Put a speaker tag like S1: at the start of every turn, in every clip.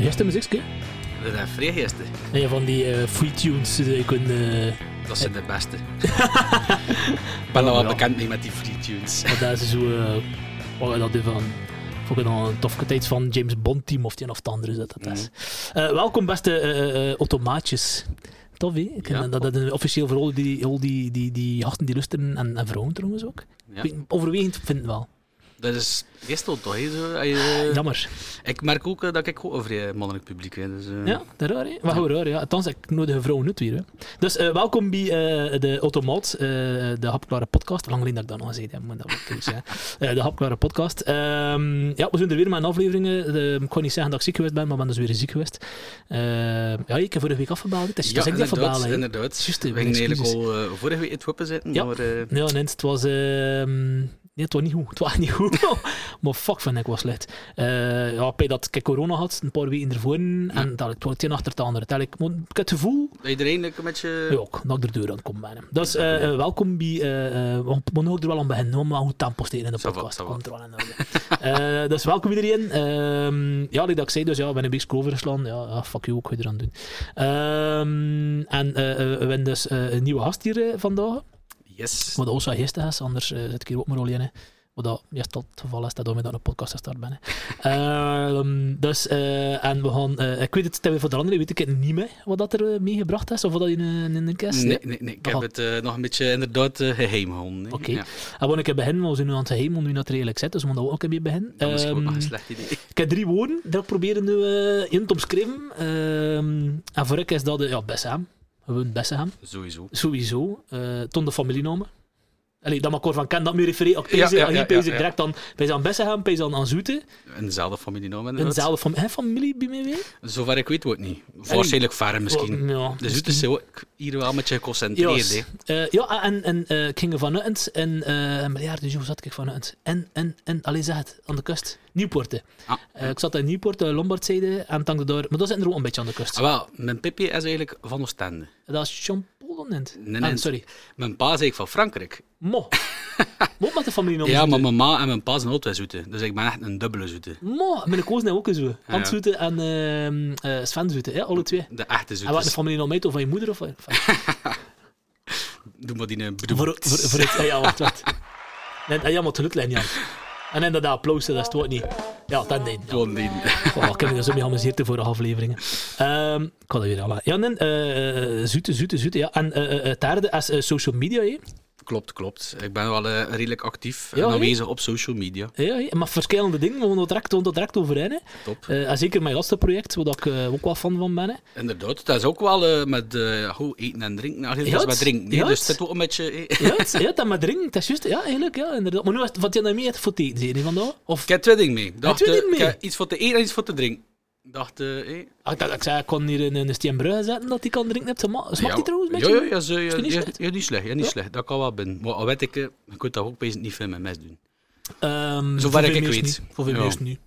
S1: Eerste muziekje?
S2: Dat zijn vreegeesten.
S1: Nee, van die eh, free tunes die je kunt... eh,
S2: Dat zijn de beste. Ik ben al wel bekend mee met die free tunes.
S1: Maar daar is zo... eh, wat dat is van... Vond ik dan een toffe tijd van James Bond team of die een of het andere is dat dat is. Eh, welkom beste eh, eh, eh, automaatjes. Tof, hè? Ik
S2: Ja,
S1: vind dat, dat is officieel voor al die, al die, die, die gasten die lusten en, en vrouwen trouwens ook. Ik
S2: Ja.
S1: weet- Overwegend vind ik het wel.
S2: Dat is meestal toch, hè? Zo, als je-
S1: Jammer.
S2: Ik merk ook eh, dat ik ook een vrij mannelijk publiek ben. Dus, eh,
S1: Ja, dat is raar, hè? Maar goed, raar, ja. Althans, ik nodig een vrouw nut weer, hè. Dus eh, welkom bij eh, de Automaat, eh, de Hapklare podcast. Lang geleden dat ik dat nog gezegd heb, moet dat wel eens zeggen. Eh, de Hapklare podcast. Ehm, ja, we zijn er weer met een aflevering. eh, de- ik kon niet zeggen dat ik ziek geweest ben, maar ik ben dus weer ziek geweest. Ehm, ja, ik heb vorige week afgebeld. Het is
S2: Ja,
S1: dus ik die
S2: inderdaad,
S1: afgebeld, hè.
S2: inderdaad.
S1: Juist,
S2: we
S1: mijn
S2: gingen eigenlijk
S1: excuses.
S2: al eh, vorige week in het wippen zitten,
S1: Ja.
S2: maar eh,
S1: Ja, nee, het was... ehm, Nee, het was niet goed. Het was niet goed. maar fuck, vind ik was slecht. Eh ja, bij dat ik corona had, een paar weken ervoor. En dat het was het een achter het andere. Tel Ik maar ik heb het gevoel
S2: dat iedereen een beetje...
S1: Ja, Eh, ook, dat ik er deur aan kom bij hem. Dus eh, eh, welkom bij... eh, eh, we moeten ook er wel aan beginnen, hoor, maar goed tempo steken in de
S2: Ça va,
S1: podcast.
S2: ça va.
S1: Komt er wel in orde. Eh, dus welkom iedereen. Ehm, ja, like dat ik zei, dus ja, we hebben een beetje school verslaan. Ja, ja, fuck you, ook ga je eraan doen. Ehm, en eh, eh, we hebben dus eh, een nieuwe gast hier eh, vandaag.
S2: Yes.
S1: Maar dat was wel gisteren gast, anders eh, zit ik hier ook maar al in. hè. Maar dat meestal het geval is, dat we dan een podcast gestart ben. hè. Ehm, dus, eh, en we gaan... eh, ik weet het, Tim, voor de anderen weet ik het niet meer, wat dat er eh, meegebracht is, of wat dat in, een- in een kist...
S2: Nee, nee, nee. Ik heb
S1: Nogal.
S2: het eh, nog een beetje inderdaad eh, geheim gehouden. hè.
S1: Oké.
S2: Ja.
S1: En wanneer Ah, ik heb begin, maar we zijn nu aan het geheim, want nu dat er redelijk zit, dus we moeten dat ook een beetje beginnen.
S2: Dat is ook nog
S1: Ehm,
S2: een slecht idee.
S1: ik heb drie woorden dat ik probeer nu eh, in te omschrijven. Ehm, en voor ik is dat, eh, ja, Bessem. Gewoon Bessem.
S2: Sowieso.
S1: Sowieso. Eh ton de familienomen. Allee, dat mag ik hoor van ken, dat me refereer. Ik pees,
S2: Ja, ja,
S1: ja,
S2: ja,
S1: hier pees
S2: ja,
S1: ik
S2: ja.
S1: direct aan, pees aan Bessem, pees aan, aan Zoete.
S2: En dezelfde familie naam
S1: Een
S2: inderdaad.
S1: zelf Eh, van, hè, familie bij mij weer? Oh,
S2: Zover ik weet, wordt niet. Waarschijnlijk ver misschien.
S1: Ja,
S2: Dus het is ook hier wel met je geconcentreerd.
S1: Yes.
S2: hè.
S1: Eh, ja, en, en eh, ik ging er vanuit en eh, maar ja, dus hoe zat ik vanuit? En, en, en, alleen zeg het, aan de kust, Nieuwpoorten.
S2: Ah.
S1: Eh, ik zat in Nieuwpoorten, Lombardzijde en dankte daar, maar dat zijn er ook een beetje aan de kust.
S2: Ah, wel, mijn Pippi is eigenlijk van Oostende.
S1: Dat is Champollion, net.
S2: Nee,
S1: Ah,
S2: nee.
S1: sorry.
S2: Mijn pa is eigenlijk van Frankrijk.
S1: Mo. Mo met de familie nog
S2: ja, maar mijn ma en mijn pa zijn altijd zoete. Dus ik ben echt een dubbele zoete.
S1: Mo, mijn koos nou ook eens zo.
S2: ja.
S1: Hans Zoete en eh, eh, Sven Zoete, hè, alle twee.
S2: De echte
S1: En wat de
S2: zoete.
S1: familie nog mee, of van je moeder of van...
S2: Doe maar die eh, bedoel.
S1: Voor, voor, voor het, ja, wacht, wacht. Nee, ja, maar het gelukt lijkt niet aan. En inderdaad, applaus, dat is het woord niet. Ja, dat nee. Ja.
S2: Gewoon die.
S1: Oh, ik heb me daar zo mee geamuseerd de vorige afleveringen. Ehm, ik had dat weer al aan. Ja, nee, eh, eh, zoete, zoete, zoete. Ja. En eh, eh, het derde is eh, social media. hè.
S2: Klopt, klopt. Ik ben wel eh, redelijk actief
S1: Ja,
S2: en
S1: hè?
S2: aanwezig op social media.
S1: Ja, hè. maar verschillende dingen, we gaan dat direct, we gaan dat direct overheen. hè.
S2: Top.
S1: Eh, en zeker mijn laatste project, waar ik eh, ook wel fan van ben. hè.
S2: Inderdaad, dat is ook wel eh, met eh, goed eten en drinken. Allee,
S1: Ja,
S2: dat is met
S1: het-
S2: drinken. hè.
S1: ja,
S2: dus
S1: het-
S2: het is ook een beetje. eh,
S1: Ja, het, ja, dat met drinken, dat is juist. Ja, eigenlijk, ja, inderdaad. Maar nu, is het- wat je nou mee hebt voor eten, zie je vandaag? Of,
S2: Ik heb twee dingen mee. Dacht,
S1: twee
S2: eh,
S1: dingen mee?
S2: Ik heb iets voor te eten en iets voor te drinken. Dacht, eh, eh,
S1: Ah, ik dacht- ik zei, ik kon hier een, een steenbrugge zetten, dat die kan drinken. hebt. Sma- Smaakt die trouwens een
S2: Ja,
S1: beetje?
S2: ja, ja, zo, ja,
S1: die niet
S2: ja,
S1: slecht?
S2: ja, niet slecht. Ja, niet
S1: Ja.
S2: slecht. Dat kan wel binnen. Maar al weet ik, eh, je kunt dat ook bezig niet veel met mes doen.
S1: Ehm,
S2: Zover
S1: voor
S2: ik
S1: veel
S2: het
S1: mensen
S2: weet.
S1: niet. Voor veel
S2: Ja.
S1: mensen niet.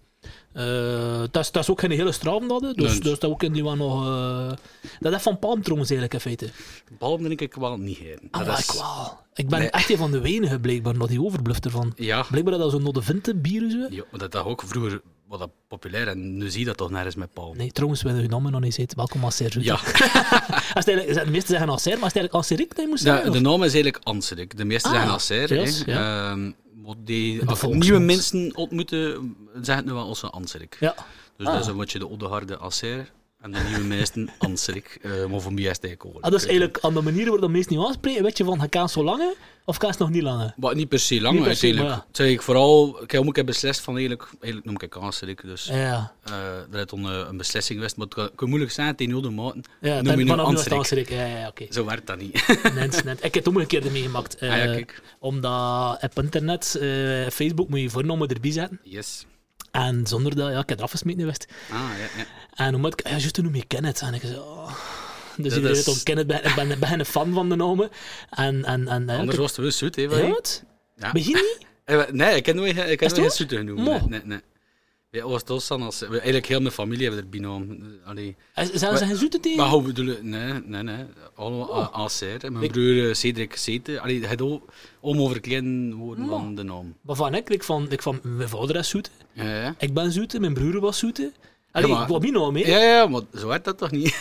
S1: Eh, dat, is, dat is ook geen hele straat, dat, hè. dus,
S2: Nee.
S1: dus dat ook in die wel nog... eh, dat is van palm trouwens eigenlijk in feite.
S2: Balm drink ik wel niet heen.
S1: Ah,
S2: dat
S1: maar
S2: is-
S1: ik wel. Ik ben
S2: Nee.
S1: echt een van de weinigen blijkbaar nog die overbluft ervan.
S2: Ja,
S1: Blijkbaar dat dat zo'n nodde vinte bieren zo.
S2: ja, maar dat dat ook vroeger wat dat populair en nu zie je dat toch nergens met palm.
S1: Nee, trouwens, we hebben hun namen nog niet gezegd. Welkom als Serge.
S2: Ja,
S1: Als het eigenlijk, de meesten zeggen als Serge, maar als het eigenlijk als Serik, dan moest
S2: de,
S1: zeggen.
S2: de naam is eigenlijk Anserik. De meeste
S1: Ah,
S2: zeggen Asser. hè.
S1: yes,
S2: Ehm, maar die,
S1: De
S2: als we nieuwe
S1: volksmond.
S2: mensen ontmoeten, zeggen het nu wel onze Anserik.
S1: Ja.
S2: Dus
S1: Ah.
S2: dat is een beetje de oude Asser en de nieuwe meesten Anserik. Eh, maar voor mij is het eigenlijk ook wel
S1: Ah, dat is
S2: leuk, hè.
S1: eigenlijk aan de manier waarop de meesten niet aanspreken. Weet je van, ga kaas zo lange of kaas nog niet lange?
S2: Maar niet per se lang,
S1: Niet per se,
S2: uiteindelijk.
S1: maar
S2: Het is eigenlijk vooral, ik heb ook een keer beslist van eigenlijk, eigenlijk noem ik het kanserik, dus eh
S1: Ja,
S2: dat is dan eh, een beslissing geweest, maar het kan, kan moeilijk zijn tegen de maten.
S1: ja
S2: noem je
S1: dan,
S2: nu
S1: vanaf nu is het
S2: Anserik.
S1: Anserik. Ja, ja, ja, oké.
S2: Zo werkt dat niet.
S1: Net, net. Ik heb het ook een keer meegemaakt. eh,
S2: Ah ja, kijk.
S1: omdat op internet, eh, Facebook, moet je je voornamen erbij zetten.
S2: Yes.
S1: En zonder dat, ja, ik heb eraf gesmeten geweest.
S2: Ah, ja, ja.
S1: En omdat ik, ja, juist toen noem je Kenneth. En ik zei, oh. Dus
S2: Dat
S1: iedereen
S2: is-
S1: is... dan Kenneth, ben- ik ben, ik ben een fan van de namen. En, en, en, ja,
S2: Anders
S1: ik-
S2: was het wel zoet, hè? van
S1: Ja,
S2: je.
S1: wat?
S2: Ja.
S1: Begin niet?
S2: Eh, wa- Nee, ik heb nooit ik
S1: Is
S2: heb
S1: het
S2: nooit
S1: waar?
S2: zoete genoemd.
S1: Mo.
S2: Nee, nee, nee. Ja, was dat dan als, eigenlijk heel mijn familie hebben er binoom. Allee.
S1: Zelfs een zoete tegen?
S2: Maar hoe bedoel je? Nee, nee, nee. Allemaal oh. Anser. Mijn
S1: Ik-
S2: broer eh, Cedric Zeten. Allee, het ook om over kleine woorden
S1: Mo.
S2: van de naam.
S1: Maar van, ik, ik, van, ik van, mijn vader is zoete.
S2: Ja, ja.
S1: Ik ben zoete, mijn broer was zoete. Allee,
S2: Ja, maar-
S1: wat mino mee.
S2: Ja, ja, maar zo werd dat toch niet?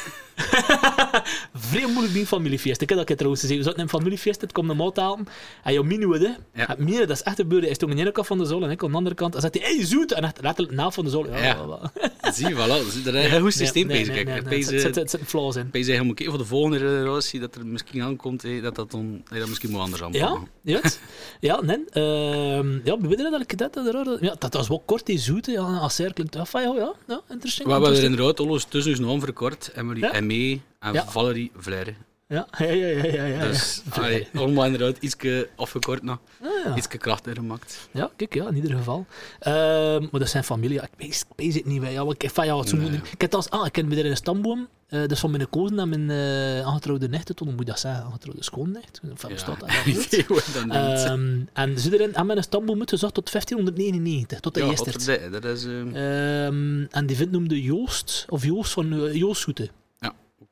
S1: Vrij moeilijk die familiefeest. Ik heb dat keer trouwens gezegd. We zaten in een familiefeest, het komt een maat halen. En jouw minuut, hè.
S2: Ja.
S1: Het mine, dat is echt gebeurd. Hij stond aan de ene kant van de zool en ik aan de andere kant. En zegt hij, hey, zoet! En echt letterlijk naaf van de zool. Ja,
S2: Ja.
S1: wel, wel.
S2: Zie, voilà. Er is een heel goed systeem
S1: Nee, nee,
S2: bezig.
S1: nee,
S2: Kijk,
S1: nee,
S2: er
S1: nee.
S2: is,
S1: Het zit-
S2: eh,
S1: zit- zit- zit flaws in.
S2: Ik ben helemaal oké voor de volgende relatie dat er misschien aankomt, hé, dat dat dan hé, dat misschien wel anders
S1: Ja,
S2: aankomt.
S1: juist. Ja, nee. ehm, ja, we weten dat ik dat, dat, dat, ja, dat was wel kort, die zoete. Ja, een Acer klinkt af. Ja, ja, ja,
S2: We
S1: interesting.
S2: hebben er
S1: interesting.
S2: inderdaad alles tussen ons naam verkort. Emily
S1: Ja.
S2: Aimee en
S1: Ja.
S2: Valerie Vlaire.
S1: Ja, ja, ja, ja. ja, ja.
S2: Dus allee, allemaal inderdaad ietske afgekort, nog,
S1: Ah, ja.
S2: ietske krachtiger gemaakt.
S1: Ja, kijk, ja, in ieder geval. Ehm, maar dat zijn familie. ja, Ik weet, ik weet het niet. Wij, ja, wat ik, van, ja, wat ze
S2: Nee.
S1: moeten- ik heb als, ah, ik ken bij een stamboom. eh dat is van mijn kozen en mijn eh aangetrouwde nichten. Toen moet dat zijn, aangetrouwde schoonnicht. Van,
S2: Ja.
S1: bestaat dat?
S2: Geen idee hoe dat noemt.
S1: Ehm, en ze erin aan mijn stamboom uitgezocht tot 1599, tot de
S2: Ja,
S1: eerste.
S2: Otterdij, dat is... eh,
S1: Ehm, en die vent noemde Joost, of Joost van eh, Joost Soete.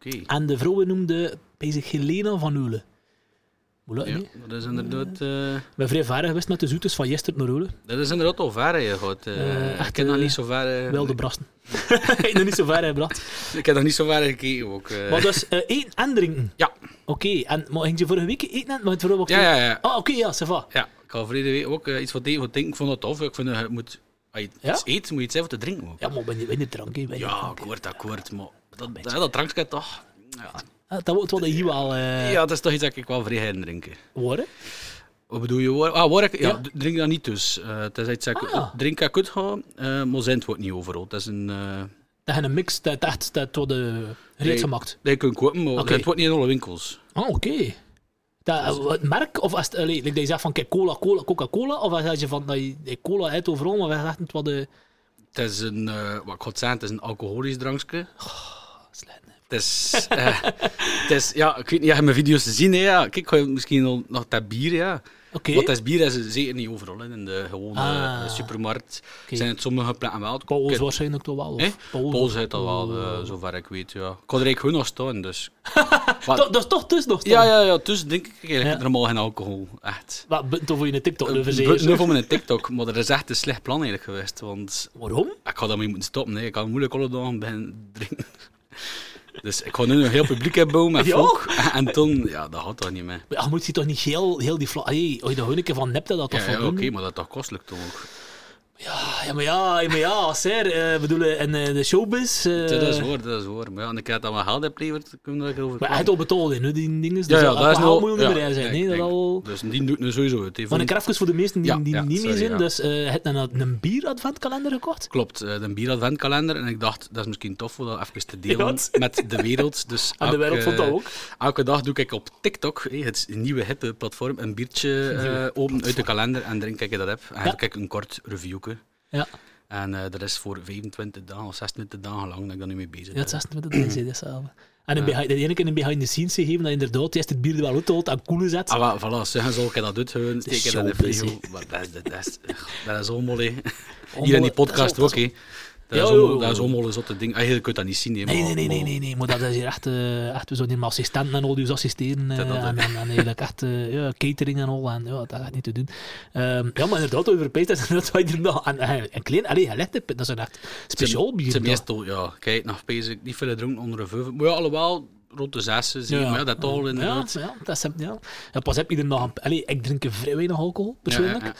S2: Oké.
S1: En de vrouwen noemde bezig Helena van Ulen. Moet dat
S2: Ja,
S1: niet?
S2: dat is inderdaad... eh,
S1: Ik ben vrij ver geweest met de zoetes van Jester naar Ulen.
S2: dat is inderdaad al ver, hè, God.
S1: Eh,
S2: Eh,
S1: echt,
S2: ik heb nog
S1: eh,
S2: niet zo ver... eh,
S1: Wel de brasten. Ik heb nog niet zo ver gebracht.
S2: Ik heb nog niet zo ver gekeken, ook. eh.
S1: Maar dus eh eten en drinken?
S2: Ja.
S1: Oké, en maar ging je vorige week eten en maar het vooral ook
S2: Ja, ja, ja.
S1: Ah, oké, ja, ça va.
S2: Ja, ik had verleden week ook eh, iets wat deed wat drinken. Ik vond dat tof. Ik vind dat je moet, als je
S1: Ja?
S2: iets eet, moet je iets hebben te drinken ook.
S1: Ja, maar ben je winnen drank, hè? ben je
S2: Ja,
S1: drank.
S2: akkoord, akkoord. Maar dat, dat, dat drankje toch... Ja.
S1: Ah, dat wordt wat hier wel eh
S2: ja, dat is toch iets dat ik wel vrij ga drinken.
S1: worden.
S2: Wat bedoel je? Waar, ah, waar ik, ja,
S1: Ja.
S2: d- drink dat niet dus. Eh het is iets dat ik,
S1: Ah, ja.
S2: Drink dat ik goed ga, eh, maar zijn het wordt niet overal. Dat is een... eh
S1: Dat je een mix, dat echt, dat wordt eh,
S2: Nee.
S1: reeds gemaakt.
S2: dat kun je kopen, maar
S1: Oké.
S2: het wordt niet in alle winkels.
S1: Ah, oké. Dat, eh, het merk, of als het, allee, like dat je zegt van kijk, cola, cola, Coca-Cola, of als je van dat je eh, cola uit overal, maar wij zeggen het wat eh, de.
S2: Het is een... eh, wat ik ga het zeggen, het is een alcoholisch drankje. Het is, eh, het is, ja, ik weet niet, ja, mijn video's te zien, hè, ja. Kijk, ga je misschien al nog dat bier, ja.
S1: Oké.
S2: Want dat is bier dat is zeker niet overal, hè. in de gewone
S1: Ah.
S2: eh, supermarkt. Zijn het sommige plekken wel. Ik-
S1: Pauls
S2: ik-
S1: waarschijnlijk toch wel.
S2: hè?
S1: Of, Oh.
S2: Pauls heeft dat wel, eh, zover ik weet, ja. Ik had er eigenlijk goed nog staan, dus.
S1: Dat, dat is toch tussen nog staan.
S2: Ja, ja, ja, dus denk ik eigenlijk
S1: Ja.
S2: normaal geen alcohol, echt.
S1: Wat, ben je toch voor je TikTok
S2: Nu
S1: lover, zeker?
S2: voor mijn TikTok, maar dat is echt een slecht plan eigenlijk geweest, want
S1: Waarom?
S2: ik had daarmee moeten stoppen. Hè. Ik had moeilijk alle dagen beginnen drinken. Dus ik ga nu een heel publiek hebben met
S1: Ja?
S2: volk. En toen, ja, dat gaat toch niet meer.
S1: Ja, moet je toch niet heel, heel die vlag... Hey, als je daar gewoon een keer van nept, dat dat toch
S2: Ja, ja,
S1: van
S2: oké,
S1: doen?
S2: maar dat is toch kostelijk toch ook.
S1: Ah, ja, maar ja, ja, maar ja, ser. eh bedoel, eh, en eh, de showbiz... eh,
S2: dat is waar, dat is waar. Maar ja, en ik heb dat wel geld opleverd, kunnen we daarover
S1: Maar hij
S2: praten.
S1: heeft al betaald, hè, die dingen.
S2: Ja,
S1: Dus
S2: ja, dat is
S1: nog...
S2: nog...
S1: moet je
S2: ja,
S1: niet meer zijn,
S2: ik
S1: nee, dat
S2: denk-
S1: al...
S2: Dus die doet nu sowieso het. hè,
S1: Maar
S2: van-
S1: ik heb even voor de meesten die,
S2: Ja,
S1: die
S2: ja,
S1: niet meer
S2: sorry,
S1: zijn,
S2: ja.
S1: dus eh hij heeft een, een bier-adventkalender gekocht.
S2: Klopt, eh, de bier-adventkalender. En ik dacht, dat is misschien tof om dat even te delen
S1: Ja, het-
S2: met de wereld. Dus
S1: En de wereld vond
S2: elke-
S1: dat ook.
S2: Elke dag doe ik op TikTok, hé, het nieuwe hippe platform, een biertje eh, open uit de kalender. En drink ik dat heb. En
S1: Ja.
S2: dan kijk ik een kort reviewke.
S1: Ja,
S2: En eh, dat is voor 25 dagen of 26 dagen lang dat ik daar nu mee bezig
S1: ja
S2: ben.
S1: het 26 december, dat is hetzelfde. En een behind, de ene keer een behind-the-scenes gegeven, dat inderdaad eerst het bier er wel uithaalt en koelen zet.
S2: Ah, wel, voilà, zeggen zal ik dat doet gewoon, steek ik dat in de
S1: showbiz,
S2: video. Maar Dat, is- dat, is- dat is allemaal, hè. Hier
S1: Allemaal-
S2: in die podcast
S1: dat
S2: ook,
S1: is al-
S2: hè. Dat
S1: Ja,
S2: is
S1: ja,
S2: allemaal-
S1: ja,
S2: dat is
S1: ja.
S2: allemaal een zotte ding. Eigenlijk kun je dat niet zien, hè.
S1: Nee, nee,
S2: maar-
S1: nee, nee,
S2: maar-
S1: nee, nee, maar dat is hier echt, eh echt we zouden hier assistenten en al die assisteren eh,
S2: Dat- dat-
S1: en, en, en eigenlijk echt eh, ja, catering en al, en ja, dat gaat niet te doen. Ehm, ja, maar inderdaad, Europees, dat is inderdaad wat je er nog, en, en, en klein, allee, je legt het, dat is een echt speciaal bier.
S2: Het is
S1: dat.
S2: meestal, ja, kijk, nog bezig, niet veel drinken onder de vijf. Maar ja, alhoewel, rond de zes, zie je, maar ja, dat toch al
S1: ja,
S2: inderdaad.
S1: ja, dat is, ja. ja, pas heb je er nog een... Allee, ik drink vrij weinig alcohol, persoonlijk.
S2: Ja, ja,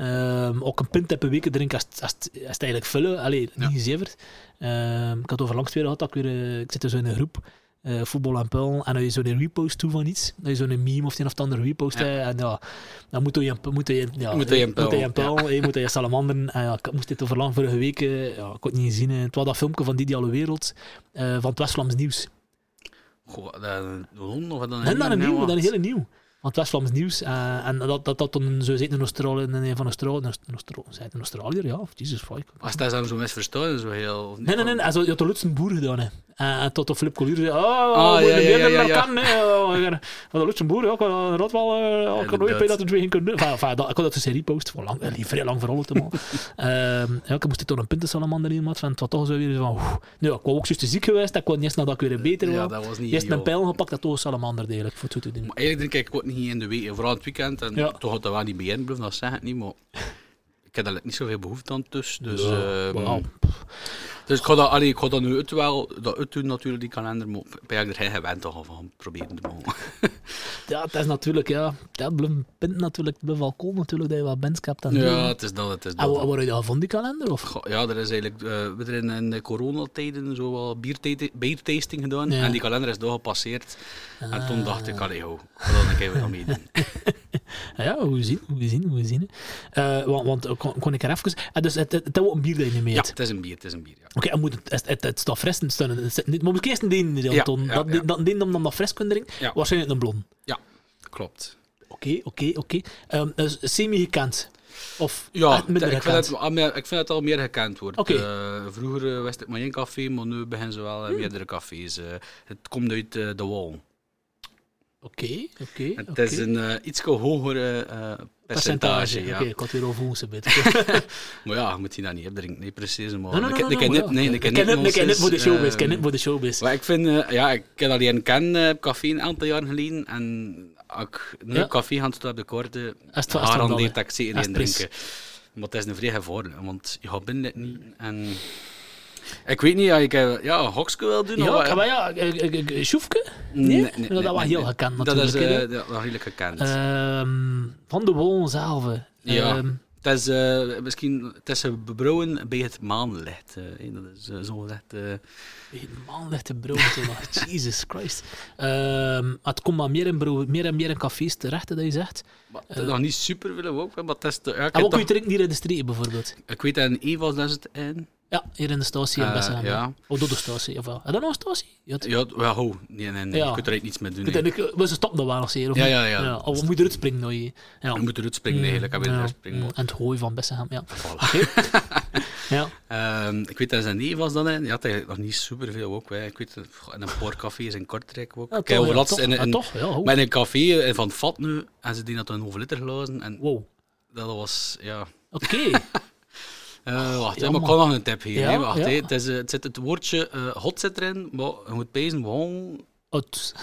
S1: Ehm, ook een pint heb per week drink als, het- als, het- als het eigenlijk vullen. Allee,
S2: Ja.
S1: niet gezeverd. Ehm, ik had over langs weer gehad dat ik weer... eh, ik zit dus in een groep, eh, voetbal en pul, en dan je zo'n repost toe van iets. Dat je zo'n meme of het een of het ander repost.
S2: Ja.
S1: eh, en ja, dan moet je... een- Moet je, ja,
S2: Moet je een pijl,
S1: Moet je, een pijl, eh, moet je een salamander. En ja, ik moest dit over lang vorige week... eh, ja, ik kon het niet zien. eh. Het was dat filmpje van Didi Alle Wereld, eh, van het West-Vlaams Nieuws.
S2: Goh, dat- waarom? Of dat
S1: Nee, dan een
S2: nou
S1: nieuw,
S2: wat?
S1: dan een hele nieuw. Want het was Vlaams nieuws. eh, en dat dat, dat dan zo zit in Australië, in een van Australië, een Austra- zei het een Australiër, ja, of Jesus fuck.
S2: Als dat zo misverstaan, is zo heel... of niet?
S1: Nee, nee, nee, hij zou- je had de Lutsen boer gedaan, hè. Eh, En tot op Flip Collier zei, oh,
S2: Ah,
S1: oh
S2: ja, ja, ja, ja, ja.
S1: kan, hè. Oh, ik ben- Van de Lutsen boer, ja, ik kan dat wel, eh, ik kan nooit
S2: inderdaad.
S1: bij dat het weer geen kunnen. Enfin, enfin, dat- ik had dat dus een repost, voor lang, eh, vrij lang verholpen, man. Ehm, ja, ik moest toen een pintensalamander in, maat, van het was toch zo weer zo van, oeh. Nou, ja, ik was ook juist te ziek geweest, ik kwam eerst nadat ik weer beter
S2: Ja,
S1: was.
S2: dat was niet
S1: Eerst een
S2: heel-
S1: pijl gepakt, dat was een salamander, eigenlijk, voor het goed te doen.
S2: Maar eigenlijk drink ik ook niet in de week, vooral het weekend. En
S1: Ja.
S2: toch had dat wel niet bij blijven, dat zeg ik niet, maar... Ik heb daar niet zoveel behoefte aan tussen, dus...
S1: Ja,
S2: ehm,
S1: wauw.
S2: Dus ik ga dat, allee, ik ga dat nu uit wel, dat uit doen natuurlijk, die kalender, maar ik ben er geen gewend aan van proberen te maken.
S1: Ja, het is natuurlijk, ja, dat blijft een punt natuurlijk, het blijft wel cool natuurlijk dat je wat bands hebt aan het
S2: Ja,
S1: doen.
S2: het is dat, het is
S1: En waar
S2: dat.
S1: waar je dat van, die kalender? Of?
S2: Goh, Ja, er is eigenlijk, eh, we hebben in de coronatijden zo wel biertate- biertasting gedaan
S1: Ja. Ah.
S2: en die kalender is doorgepasseerd. En toen dacht ik, allee ho, ik ga dat een keer weer meedoen.
S1: Ah Ja, hoe zien, hoe zien, hoe zien. hè. Eh, want, want eh, kon, kon ik er even... eh, dus het, het, het is wel een bier dat je niet meer
S2: Ja,
S1: eet.
S2: het is een bier, het is een bier, ja.
S1: Oké, dan moet het, het, het, het staat fris en het staat- het zit niet- Maar moet ik eerst een deen doen,
S2: Ja,
S1: Ton?
S2: ja,
S1: dat,
S2: ja.
S1: dat deen om dan dat fris kunnen drinken?
S2: Ja.
S1: Waarschijnlijk een blon.
S2: Ja, klopt.
S1: Oké, oké, oké. Ehm, dus Semi-gekend. Of
S2: Ja,
S1: echt
S2: ik
S1: Ah, minder
S2: vind,
S1: gekend.
S2: het, al meer- ik vind het al meer gekend wordt.
S1: Oké.
S2: Eh, vroeger eh, was het maar één café, maar nu beginnen ze
S1: Hmm.
S2: wel eh, meerdere cafés. eh. het komt uit eh, de Wall.
S1: Oké, oké,
S2: Het
S1: oké.
S2: is een eh, iets hoger eh, eh, percentage. ja.
S1: Oké, ik had weer over ons een beetje.
S2: Maar ja, je moet die dat niet opdrinken, nee, precies.
S1: Nee,
S2: Maar
S1: nee,
S2: ik-
S1: nee,
S2: ik
S1: nee,
S2: ken
S1: maar
S2: dit-
S1: ja.
S2: nee, ik
S1: Ik
S2: ken
S1: ken
S2: dit
S1: het- ik ken het
S2: nonsens,
S1: voor de showbiz. Ik
S2: eh,
S1: ken het voor de showbiz.
S2: Maar ik vind, eh, ja, ik ken al een ken eh, café een aantal jaren geleden. En als ik nu
S1: Ja.
S2: café ga staan op de korte,
S1: Als het- als het dan
S2: garandeer
S1: wel,
S2: dat ik zeker
S1: Als
S2: één
S1: het pris.
S2: drinken. Maar het is een vrij gevaarlijk, want je gaat binnen dit niet. En ik weet niet, ja, ik heb ja, een hokske wil doen. of
S1: Ja,
S2: wat.
S1: ik- nou, maar ja, eh, ik- ik- ik- ik- Sjoefke?
S2: Nee,
S1: Nee?
S2: nee,
S1: Maar
S2: nee,
S1: Dat was
S2: nee,
S1: heel
S2: nee.
S1: gekend
S2: Dat is
S1: natuurlijk. hè.
S2: eh, ja, wel redelijk gekend.
S1: Ehm, Van de Wol zelf. hè.
S2: Ja.
S1: Ehm,
S2: Het is, eh, misschien, het is bebrouwen bij het maanlicht. eh, hè. dat is eh, zo gezegd. eh,
S1: Man, ligt de brood in. maar Jesus Christ. Ehm, maar het komt maar meer, in bro- meer en meer in cafés terecht, hè, dat je zegt.
S2: maar het is nog niet super willen we ook, hè, maar het is... te- ja, ik,
S1: eh, En
S2: heb
S1: wat kun
S2: toch-
S1: je drinken hier in de streek, bijvoorbeeld?
S2: ik weet dat in Eva's dat is het in.
S1: Ja, hier in de statie in
S2: Eh,
S1: Bessenheim.
S2: ja.
S1: Of door de statie, of wel. Heb je nog een statie? Ja, het-
S2: Ja, d- ja ho. Nee, nee, nee.
S1: Ja.
S2: Je kunt er echt niets mee doen.
S1: Ik
S2: hè.
S1: denk, ik- we ze stoppen wel nog zeer, of
S2: Ja,
S1: niet?
S2: ja, ja.
S1: Of we moeten eruit springen, nou, je. Ja.
S2: Je moet eruit springen eigenlijk. Hij wil
S1: Ja,
S2: eruit springen.
S1: En het hooi van Bessenham, ja.
S2: Voilà.
S1: ja.
S2: Ehm, ik weet dat zijn neef was dan in. Ja, eigenlijk nog niet superveel ook. Hè. Ik weet, dat- goh, in een paar cafés in Kortrijk ook.
S1: Ja,
S2: ik heb
S1: toch, ja,
S2: laatst
S1: toch,
S2: in,
S1: ja,
S2: in,
S1: toch, ja, oh. ho.
S2: maar in een café eh, van het Vat nu. En ze deden dat dan over liter glazen. En
S1: Wow.
S2: dat was, ja...
S1: Oké.
S2: Eh, wacht, hè,
S1: ja,
S2: maar ik kan nog een tip geven.
S1: Ja,
S2: hè. wacht,
S1: ja.
S2: hè. Het, is, eh, het zit het woordje eh, hot zit erin, maar je moet pezen waarom...
S1: Oud.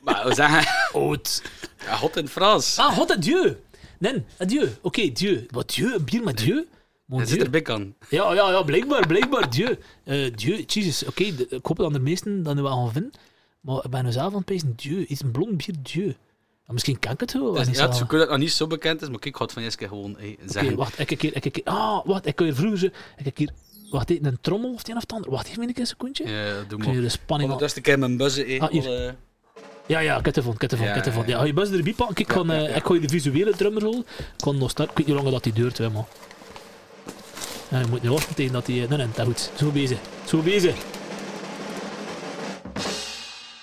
S2: Maar we zeggen,
S1: Oud.
S2: ja, hot in het Frans.
S1: Ah, god, adieu. Nee, adieu. Oké, dieu. Wat dieu? Een bier met dieu? Mon
S2: Hij zit
S1: dieu.
S2: er bik aan.
S1: Ja, ja, ja, blijkbaar, blijkbaar, dieu. Eh dieu, jezus. Oké, de- ik hoop dat de meesten dat nu wel gaan vinden. Maar ik ben nu zelf aan het pezen, dieu. Is een blond bier, dieu. Ja, misschien kan ik het wel.
S2: Dus,
S1: niet
S2: ja, het
S1: zelf.
S2: is- ik weet dat het nog niet zo bekend is, maar kijk, ik ga het van Jeske gewoon hey,
S1: Oké,
S2: zeggen.
S1: wacht, ik heb hier, ik heb hier, ah, wacht, ik heb hier vroeger, zo- ik heb hier, wacht, even, een trommel of het een of het ander, wacht even een secondje. Ik
S2: Ja, Eh, doe
S1: heb hier
S2: maar.
S1: de spanning aan-
S2: Ondertussen keer mijn buzzen in.
S1: Ah, hier. Ja, ja, ik heb het ervan, ik heb het ervan,
S2: Ja,
S1: ik heb het ervan.
S2: ja,
S1: Ja,
S2: ja.
S1: ga je buzz erbij pakken, ik, kan, eh, ik gooi de visuele drumrol, ik kan nog starten, ik weet niet hoe lang dat die duurt, hè, man. Ja, je moet niet wachten tegen dat die, eh, nee, nee, dat goed, zo bezig, zo bezig.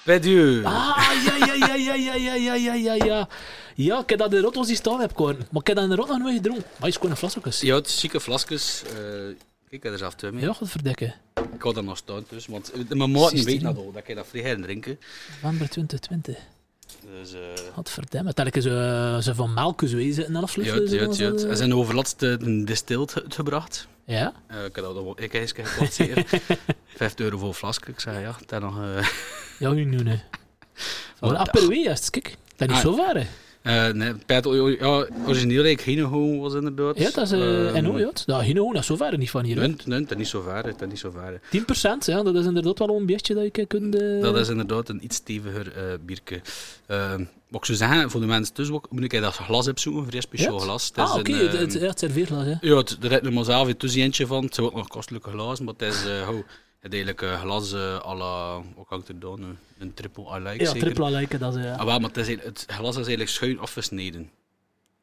S2: Pedieu.
S1: Ah, ja, ja, ja, ja, ja, ja, ja, ja, ja, ja. Ja, ik heb dat in de rotto zien staan, heb ik hoor. Maar ik heb dat in de rotto nog nooit gedronken. Maar je is gewoon een flasjes. Ja,
S2: Je houdt zieke flasjes. eh, kijk, er zelf twee mee.
S1: goed verdekken.
S2: Ik hou daar nog staan dus, want eh, mijn maat
S1: 16.
S2: weet dat al, dat ik dat vrij gaan drinken.
S1: November 2020.
S2: Dus, eh
S1: Wat verdamme. Dat ik ze, ze van melk zo in eh, zitten en
S2: ja,
S1: afsluiten.
S2: het, ja, het, ja, het. Hij zijn overlast eh, een distilled uitgebracht.
S1: Ja?
S2: Eh, ik heb dat wel ik eens gekocht, zeker. Vijf euro voor een flasje. Ik zei, ja, dat nog... eh,
S1: Ja, nu, nu, nu. Voor
S2: Wat
S1: Aperwee, juist. Kijk, dat is
S2: Ah.
S1: zo waar, hè.
S2: eh, nee, Pet, o- o- ja, origineel ik Hino was inderdaad.
S1: Ja, dat is...
S2: Ehm,
S1: eh en hoe, ja. het- Nou, Hino, dat is zo ver niet van hier, hè. 10%,
S2: Nee, nee, dat is niet zo ver, dat is niet zo ver.
S1: ja. Dat is inderdaad wel een beetje dat je kunt... eh,
S2: Dat is inderdaad een iets steviger eh bierke. Ehm, wat ik zou zeggen, voor de mensen thuis ook, moet ik dat glas opzoeken, een vrij speciaal
S1: Ja?
S2: glas. Het is
S1: Ah, oké.
S2: een,
S1: het,
S2: ehm,
S1: het, ja, het serveerglas, hè.
S2: ja, het- er zit er maar zelf een tussenjentje van. Het zijn ook nog kostelijke glazen, maar het is eh hou, het eigenlijk eh, glas eh à la, wat kan ik er doen, een, een triple I like
S1: Ja,
S2: zeker.
S1: tripla lijken, dat is... eh, ja.
S2: Ah, wel, maar het, is, eigenlijk- het glas is eigenlijk schuin afgesneden.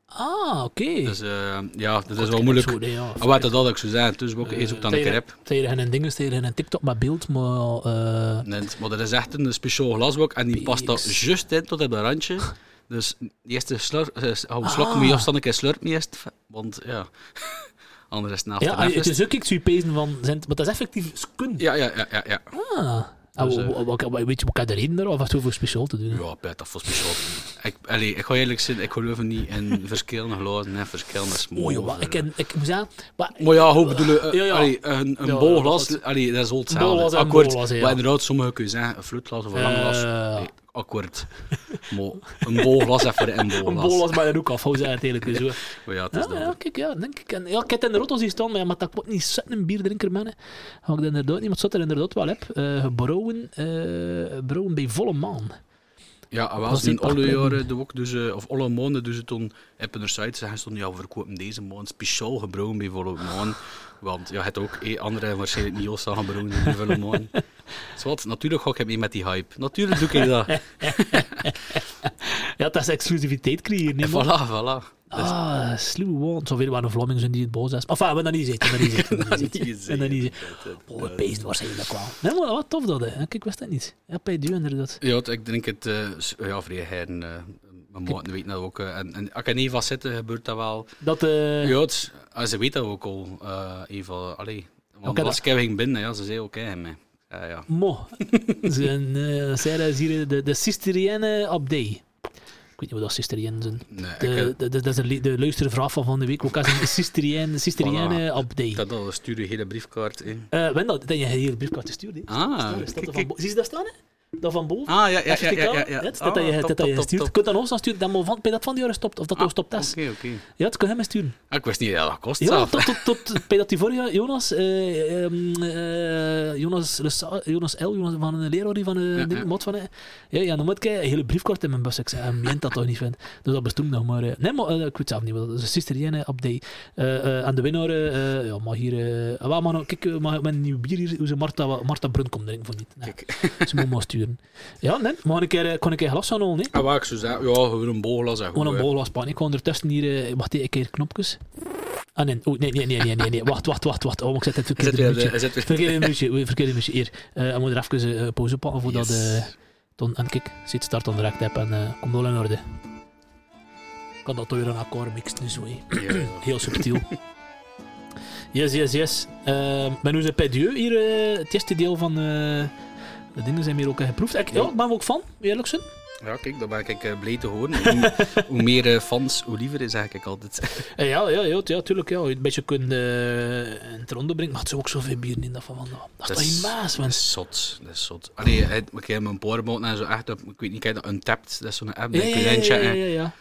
S1: Ah, oké.
S2: Dus eh, ja, dat is
S1: Kort,
S2: wel moeilijk.
S1: zo, nee, ja.
S2: Ah, wat dat had ik zo zeggen, dus ook,
S1: Eh,
S2: eerst ook dan een
S1: tegen-
S2: keer heb.
S1: Tegen een ding, tegen een TikTok met beeld, maar... eh,
S2: Nee, maar dat is echt een speciaal glasbak en die past daar
S1: Pieks.
S2: juist in tot op dat randje. Dus de eerste slur, eh, hou een slok
S1: Ah.
S2: moet je afstand een keer slurp niet eerst, want ja, anders is het naast
S1: Ja,
S2: de
S1: ah, het
S2: rest.
S1: is ook iets je pezen van... zijn het- Maar dat is effectief skun.
S2: Ja, ja, ja, ja. ja.
S1: Ah. En
S2: Dus,
S1: wa- wa- wa- wa- weet je wat ik de reden daar of wat voor speciaal te doen?
S2: Ja, Pet, dat was speciaal. Ik, allee, ik ga eerlijk zijn, ik geloof niet in verschillende glazen en verschillende
S1: Mooi,
S2: smoken.
S1: joh. wat- Ik, ken- ik moet zeggen, wat-
S2: Maar ja, hoe bedoel je, eh,
S1: Ja, ja.
S2: allee, een, een
S1: Ja,
S2: bol
S1: dat
S2: glas,
S1: is het.
S2: allee, dat is al
S1: bolglas
S2: hetzelfde.
S1: en
S2: Akkoord,
S1: bolglas, ja.
S2: maar inderdaad, sommige kun je zeggen, een vloedglas of een lang glas.
S1: Eh,
S2: Nee, akkoord. Maar een bol was even voor een
S1: Een
S2: bol
S1: bol
S2: was.
S1: was maar dan ook af, hoe ze uiteindelijk dus, hoor.
S2: Maar ja, het is
S1: Ja,
S2: dan
S1: ja, kijk, ja, denk ik. En, ja, ik heb het in de rotos zien staan, maar, ja, maar dat wordt niet zet een bierdrinker, man. hè. Had ik dat inderdaad niet, maar het zat er inderdaad wel heb. eh gebrouwen, eh, gebrouwen bij volle maan.
S2: Ja, ah, wel,
S1: Was
S2: ze
S1: die
S2: in alle
S1: pakken?
S2: jaren doen we ook, dus, eh, of alle maanden dus toen hebben er sites zeggen ze toen, ja, we verkopen deze maand speciaal gebrouwen bij volle maan. Want ja, het ook eh, andere waarschijnlijk niet Ossa gebrouwen bij volle maan. Dus wat, natuurlijk ga ik mee met die hype. Natuurlijk doe ik dat. En
S1: Ja, dat is exclusiviteit creëren, niet man.
S2: voilà, voilà. Dat is-
S1: Ah, sluwe woont. Zoveel waren de Vlamingen zijn die het boos zijn. Enfin, we hebben dat niet zitten. We hebben dat niet zitten. En dan niet zitten. Oh, het beest waarschijnlijk wel. Nee, maar wat tof dat, hè. Kijk, ik wist dat niet. Ja, bij duur inderdaad.
S2: Ja, het- ik denk het, eh, s- ja, vrij heren, eh mijn maten weten dat ook. eh, en, en als ik in Eva zitten, eh, gebeurt dat wel.
S1: Dat, eh
S2: Ja, het, ah, ze weten dat ook al, eh Eva. Allee, want
S1: Oké,
S2: als ik ging binnen, ja, ze zei oké, okay, mij. Ja, ja.
S1: Mo. Zijn, eh zij dat is hier de, de Sisterienne op day. Ik weet niet wat dat Sisterienne zijn.
S2: Nee, ik,
S1: De,
S2: eh,
S1: de, de- dat is de, lu- de luistervraag van van de week. Ook als een Sisterienne, Sisterienne op day.
S2: Ik had al stuur je hele briefkaart in.
S1: Eh, Wendel, dat je hier een briefkaart gestuurd. hè.
S2: Ah,
S1: Staat er
S2: kijk,
S1: van
S2: kijk.
S1: bo- Zie je dat staan? Hè? Dat van boven?
S2: Ah, ja, ja, ja.
S1: Even
S2: ja,
S1: kijken,
S2: ja, ja.
S1: hè, het staat dat je-
S2: Ah,
S1: dat
S2: top,
S1: je
S2: top,
S1: stuurt. Je
S2: top.
S1: kunt aan ons dan sturen dat we van, bij dat van die jaren stopt. Of dat
S2: Ah,
S1: ook stopt. is.
S2: Oké, oké.
S1: Ja, dat kun je hem sturen.
S2: Ah, Ik wist niet dat dat kost.
S1: Ja,
S2: zelf.
S1: tot, tot, tot bij dat die vorig jaar, Jonas, eh, ehm, eh, Jonas, Lesa- Jonas L, Jonas van een leraar die van eh
S2: Ja,
S1: ding,
S2: ja.
S1: Mot van eh, ja, ja, dan moet ik een hele briefkort in mijn bus. Ik zei, hij meent dat toch niet, vindt. Dus dat bestond nog maar. eh, nee, maar eh, ik weet het zelf niet. wel. Dat is een sister Jenne op die. eh, eh, aan de winnaar, eh, eh, ja, maar hier, eh, ah, maar, kijk, eh, mag ik mijn nieuw bier hier, hoe ze Marta, Marta Brun komt drinken voor niet. Nee, ze moet maar sturen. Ja, nee, maar een keer, eh, kon ik een glas van halen, nee.
S2: Ah, waar ik zo zei, ja, gewoon een booglas en
S1: Gewoon
S2: goed,
S1: een
S2: hè.
S1: bol was pan. Ik ga ondertussen hier. eh, wacht even, een keer knopjes. Ah nee, oh, nee, nee, nee, nee, nee, nee. Wacht, wacht, wacht, wacht. Oh, maar ik zet het
S2: Zet
S1: verkeerde
S2: weer de-
S1: muziekje.
S2: zet weer-
S1: Verkeerde muziekje, oei, verkeerde muziekje. Hier, Eh, ik moet er even eh, pauze op pakken voordat...
S2: Yes.
S1: eh dan, en kijk, zit start aan de heb en eh komt wel in orde. Ik kan dat door een akkoord mixen, zo. hè.
S2: Ja, ja.
S1: Heel subtiel. yes, yes, yes. Eh maar nu zijn bij Dieu hier, eh, het eerste deel van... eh, de dingen zijn hier ook eh, geproefd. Ik, ja, ik ben er ook van, eerlijk zijn.
S2: Ja, kijk, dan ben ik eh, blij te horen. Hoe, hoe meer eh, fans, hoe liever is eigenlijk altijd.
S1: Eh, Ja, ja, ja, ja tuurlijk. Ja. Je een beetje kunt eh in het ronde brengen, maar het zijn ook zoveel bieren in dat van vandaag. Dat is
S2: Dat
S1: toch
S2: is-
S1: immaas,
S2: Dat
S1: man.
S2: is zot, dat is zot. Allee, het- ik heb mijn powerboot en zo echt op, ik weet niet, kijk dat Untapped, dat is zo'n app,
S1: Ja,
S2: dat
S1: ja,
S2: kun
S1: ja,
S2: je
S1: ja,
S2: inchecken.
S1: ja, ja, ja.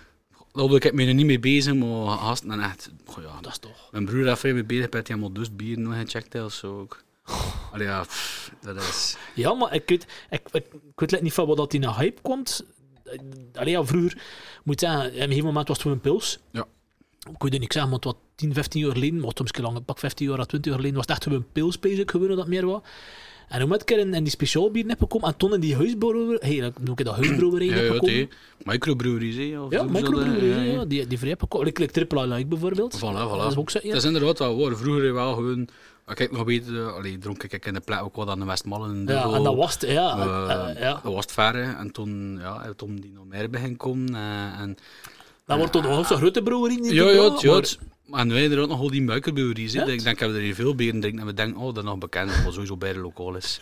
S2: Daar ben ik me er niet mee bezig, maar gasten dan echt, goh ja,
S1: Dat is toch.
S2: Mijn broer heeft veel mee bezig, hij helemaal dus bier nog gecheckt of zo ook.
S1: Oh.
S2: Allee, ja, pff, dat is...
S1: Ja, maar ik weet, ik, ik, ik weet niet van wat dat in een hype komt. Eh, Allee, ja, vroeger, ik moet zeggen, op een gegeven moment was het voor een pils.
S2: Ja.
S1: Ik weet het niet zeggen, want wat 10, 15 jaar geleden, maar soms lang, pak 15 jaar, à 20 jaar geleden, was het echt gewoon een pils bezig geworden dat meer was. En toen ben ik er in, in die speciaal bier gekomen en toen in die huisbrouwer, hey, dan noem ik dat huisbrouwerij
S2: Ja, ja,
S1: gekomen.
S2: tee. Microbreweries, hè. of
S1: Ja,
S2: zo- zo
S1: microbreweries,
S2: dat,
S1: ja,
S2: eh,
S1: ja, die, die vrij pakken. Ik like Triple I Like bijvoorbeeld.
S2: Voilà, voilà.
S1: Dat is ook zo, ja.
S2: Het is inderdaad wel waar. Vroeger wel gewoon... Kijk, nog beter... eh, Allee, dronk ik in de plek ook wat aan de Westmallen.
S1: Ja, en dat was het, ja. eh, eh, ja.
S2: Dat was het verre. En toen, ja, toen die nog meer begin komen. eh, en...
S1: Dat wordt toch nog zo'n grote brouwerie niet
S2: Ja, ja,
S1: gedaan,
S2: het- ja.
S1: maar-
S2: het- Maar nu inderdaad nog al die microbreweries. hè.
S1: Ja.
S2: Ik denk dat we er hier veel bieren drinken en we denken, oh, dat is nog bekend, maar sowieso bij de lokaal is.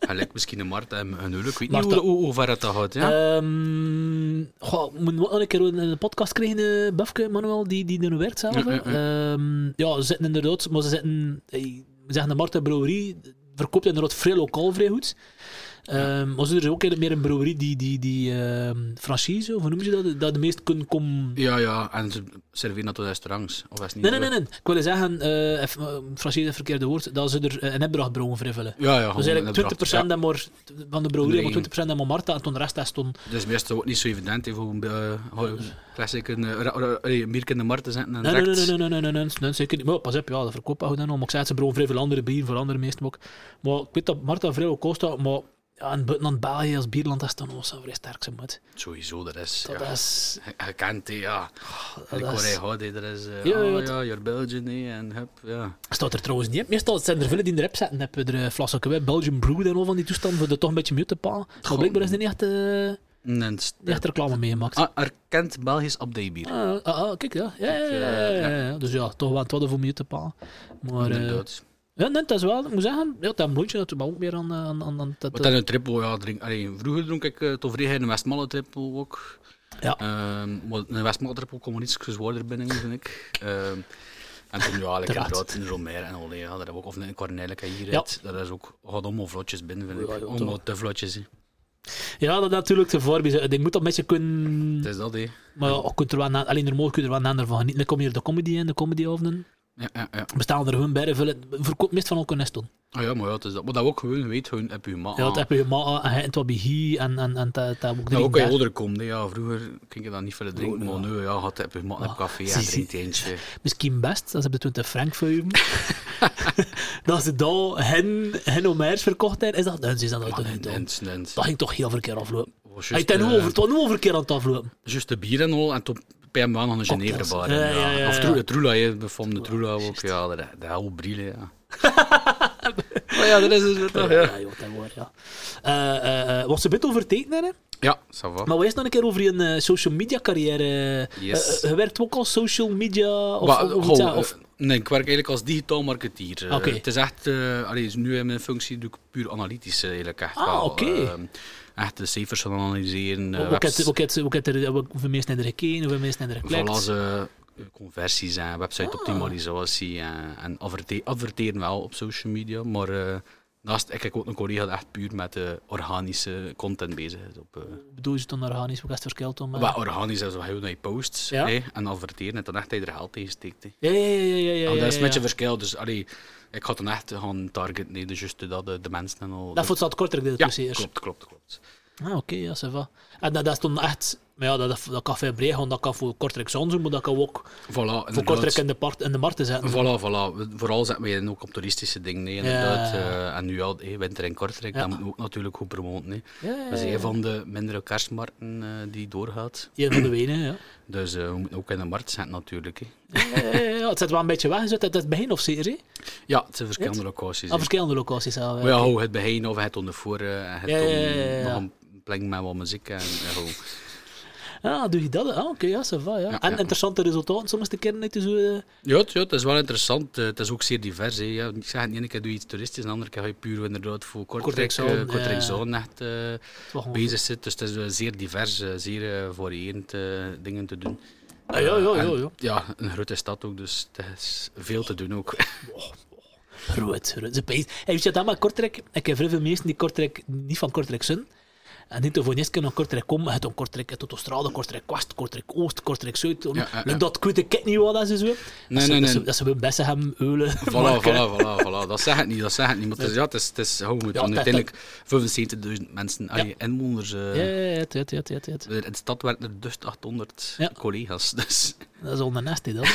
S2: Gelijk misschien een Marta en een huwelijk. Ik weet niet
S1: Marta.
S2: hoe, hoe, hoe ver het dat gaat.
S1: Eh,
S2: Ja?
S1: Ehm, goh, moet nog een keer een een podcast krijgen, eh Bafke, Manuel, die, die er nu werkt zelf.
S2: Ja,
S1: hè.
S2: ja,
S1: Ehm, ja, ze zitten inderdaad, maar ze zitten, eh, we zeggen de Marta Brouwerie, verkoopt inderdaad vrij lokaal vrij goed. Ehm, Maar ze er is ook meer een brouwerie die, die, die ehm, franchise, of hoe noem je dat, dat de meest kunnen komen
S2: ja, ja. En ze serveren dat tot restaurants. Of is het niet
S1: Nee,
S2: zo?
S1: nee, nee, nee. Ik wil zeggen, eh even, eh, Francis het verkeerde woord, dat ze er eh, een opdrachtbrouwen voor invullen.
S2: Ja, ja.
S1: Dus
S2: gewoon
S1: eigenlijk 20%
S2: inderdaad. Ja.
S1: dan maar t- van de brouwerij, maar
S2: Iedereen.
S1: 20% dan maar Marta, en toen de rest dat stond...
S2: Dus meestal ook niet zo evident hè, voor een uh, classic een eh, ra- ra- eh, een bierke in de markt te zetten en
S1: Nee, nee, nee,
S2: direct...
S1: nee, nee, nee, nee, nee, nee, zeker niet. Maar ja, pas op, ja, dat verkoopt goed dan al. Maar ik zei, het, ze brouwen vrij veel andere bieren, voor andere meesten ook. Maar ik weet dat Marta vrij ook kost, maar ja, in buitenland België als bierland, dat is dan ook zo vrij sterk, ze moet.
S2: Sowieso, dat is...
S1: Dat
S2: ja.
S1: is...
S2: Gekend, hè, ja.
S1: dat
S2: En ik hoor
S1: is-
S2: hij houdt, hè, dat is... eh,
S1: Ja, ja,
S2: oh,
S1: het-
S2: ja, your Belgian, hè, en hup, ja.
S1: Staat er trouwens niet op. Meestal zijn er vele die erop zetten. Heb je er eh, flassen kwijt, Belgium Brew en al van die toestanden, voor de toch een beetje mute te palen. Maar
S2: Goh.
S1: blijkbaar is er niet echt, eh,
S2: En dan st-
S1: niet echt reclame meegemaakt.
S2: Ah, erkend Belgisch updatebier.
S1: Ah, ah, ah, kijk, ja. Ja, ja, ja, ja, ja, ja. Dus ja, toch wel het hadden voor mij te paal. Maar eh
S2: Inderdaad.
S1: ja, nee, dat is wel, ik moet zeggen, ja, dat blondje dat doet me ook meer aan, eh, aan, aan, aan dat,
S2: Wat dan een triple, ja, drink, allee, vroeger dronk ik uh, toch vrij een Westmalle triple ook.
S1: Ja.
S2: Ehm, maar een Westmalle triple kon er iets gezwaarder binnen, vind ik. Ehm, en toen, ja, ik heb
S1: Uiteraard.
S2: dat in Romeir en Olé, ja, dat heb ik ook, of een Cornelia hier
S1: Ja.
S2: uit. Dat is ook, gaat allemaal vlotjes binnen, vind ik.
S1: Ja, ja,
S2: allemaal
S1: toch. Hm.
S2: te vlotjes. hè.
S1: eh, Ja, dat natuurlijk te voorbeeld. Ik denk, moet dat een beetje kunnen...
S2: Het is dat, hè.
S1: Maar ja, je kunt er wel na, alleen normaal kun je er wel nader van genieten. Dan kom je hier de comedy in, de comedyavonden.
S2: Ja, ja, ja.
S1: Bestaan er hun bij, vullen. Verkoopt meest van elkaar nest doen.
S2: Ah ja, maar ja, het is dat. Maar dat we ook gewoon weet, gewoon heb je maat
S1: Ja, dat
S2: aan.
S1: heb je ma en hij en wat bij hier en, en, en dat dat ook
S2: Nou, ook als je
S1: daar.
S2: ouder komt, hè. ja, vroeger ging je dan niet veel drinken, maar nu, ja, had heb je maat, heb
S1: Ah,
S2: café en
S1: zie, zie.
S2: drinkt eentje.
S1: Misschien best, als ze op de 20 frank voor je. dat ze daar hen, hen omers verkocht hebben, is dat dan is dat nooit
S2: Maar
S1: gedaan.
S2: en- en- en-
S1: Dat ging toch heel veel keer aflopen. Hij
S2: was juist,
S1: ten
S2: eh,
S1: over, het was nu over een keer aan het aflopen.
S2: Juist de bier en al, en toen bij hem wel nog een
S1: Cocktails.
S2: Geneverbar.
S1: Ja,
S2: Ja,
S1: ja, ja, ja.
S2: Of troela, troela, hè, we vonden de troela ook. Ja, de, de hele brille, ja. maar ja, dat is het weer toch,
S1: Ja,
S2: ja.
S1: ja, joh, tegenwoordig, ja. Eh, eh, eh, was ze een bit over tekenen, hè?
S2: Ja, ça va.
S1: Maar we eerst nog een keer over je eh, social media carrière. eh.
S2: Yes.
S1: Eh, eh, je werkt ook als social media of,
S2: Maar,
S1: of, of
S2: goh,
S1: iets, ja,
S2: eh,
S1: of-
S2: nee, ik werk eigenlijk als digitaal marketeer. Eh,
S1: Oké.
S2: Het is echt, eh, allee, is nu in mijn functie doe ik puur analytisch eh, eigenlijk. Echt
S1: Ah,
S2: wel,
S1: oké. Oh,
S2: eh, echt de cijfers gaan analyseren. eh,
S1: Ook
S2: webs-
S1: het- ook het- ook het er- eh, ook Hoeveel mensen hebben er gekeken, hoeveel mensen hebben er
S2: Voilà,
S1: geklikt.
S2: ze eh, conversies en
S1: Ah.
S2: website-optimalisatie en, en adverte- adverteren wel op social media, maar eh, naast ik heb ook een collega die echt puur met eh, organische content bezig is. Op, eh,
S1: Bedoel je het dan organisch? Wat is het verschil dan? eh? maar-
S2: wel, organisch is wel heel naar je posts
S1: Ah. Ja.
S2: hè, en adverteren en dan echt dat je er geld tegen steekt. hè.
S1: Ja, ja, ja, ja, ja.
S2: En
S1: ja,
S2: dat Ah, is
S1: ja,
S2: een beetje
S1: ja.
S2: verschil, dus allee, ik ga dan echt gaan targeten, nee, dus juist dat de, de mensen en al. Dus-
S1: Dat voelt wat korter deel
S2: ja,
S1: tussen eerst.
S2: klopt, klopt, klopt.
S1: Ah, oké, ja, ça va. En dat, dat is dan echt... Maar ja, dat, dat kan veel breder, want dat kan voor korter examen zijn, maar dat kan ook
S2: Voilà,
S1: voor
S2: inderdaad.
S1: korter in de, part, in de markt zetten.
S2: Voilà, voilà. We- Vooral zetten wij in ook op toeristische dingen. hè, inderdaad. Eh, en nu ja, hey, winter en Kortrijk,
S1: Ja.
S2: dat moeten we ook natuurlijk goed promoten. hè.
S1: Ja, ja,
S2: Dat is
S1: ja.
S2: een van de mindere kerstmarkten eh, die doorgaat.
S1: Hier van de wenen, ja.
S2: Dus eh, we moeten ook in de markt zetten natuurlijk. hè.
S1: Ja, ja, ja, ja, Het zit wel een beetje weggezet uit het begin of zeker, hè?
S2: Ja, het zijn verschillende locaties.
S1: Aan
S2: hè.
S1: Ah, verschillende locaties. Ja,
S2: Maar ja, hou het begin of het ondervoor eh, en het
S1: Ja, ja,
S2: om-
S1: ja, ja, ja.
S2: nog een plek met wat muziek. En, en hou.
S1: Ah, doe je dat? Ah, oké, ja, ça va, ja.
S2: Ja,
S1: En
S2: ja.
S1: interessante resultaten soms de keer niet zo... eh,
S2: Ja, het- ja, het is wel interessant. Eh, het is ook zeer divers. Hè. Ja, ik zeg, het, de ene keer doe je iets toeristisch, de andere keer ga je puur inderdaad voor Kortrijk,
S1: Kortrijk Zone,
S2: eh, Kortrijk
S1: ja.
S2: Zone echt... eh,
S1: wat gewoon-
S2: bezig zit. Dus het is eh, zeer divers, eh, zeer eh, variërend eh, dingen te doen.
S1: Ah, ja, ja,
S2: Eh,
S1: ja,
S2: en-
S1: ja.
S2: Ja, een grote stad ook, dus het is veel te doen ook.
S1: Rood, rood. Ze pees. Hey, weet je dat maar Kortrijk? Ik heb vrij veel mensen die Kortrijk, niet van Kortrijk zijn. En niet voor niets kunnen naar Kortrijk komen. Je hebt een Kortrijk uit Autostrade, Kortrijk West, Kortrijk Oost, Kortrijk Zuid.
S2: ja, ja.
S1: Lukt Dat ik weet ik niet wat dat is. zo. Dat
S2: Nee,
S1: ze- dat
S2: nee, nee.
S1: ze- Dat ze bij Bessenhem, Eulen...
S2: Voilà,
S1: maken.
S2: voilà, voilà, voilà. Dat zeg ik niet, dat zeg ik niet. Maar het is, ja, het is, het is, hoe moet
S1: Ja,
S2: doen?
S1: het is-
S2: uiteindelijk 75.000 mensen, allee, inwoners. eh,
S1: Ja, ja, ja, het, het, het, het, het.
S2: In de stad werken er dus 800
S1: Ja.
S2: collega's. Dus,
S1: Dat is al een nest, hè, dan.
S2: dus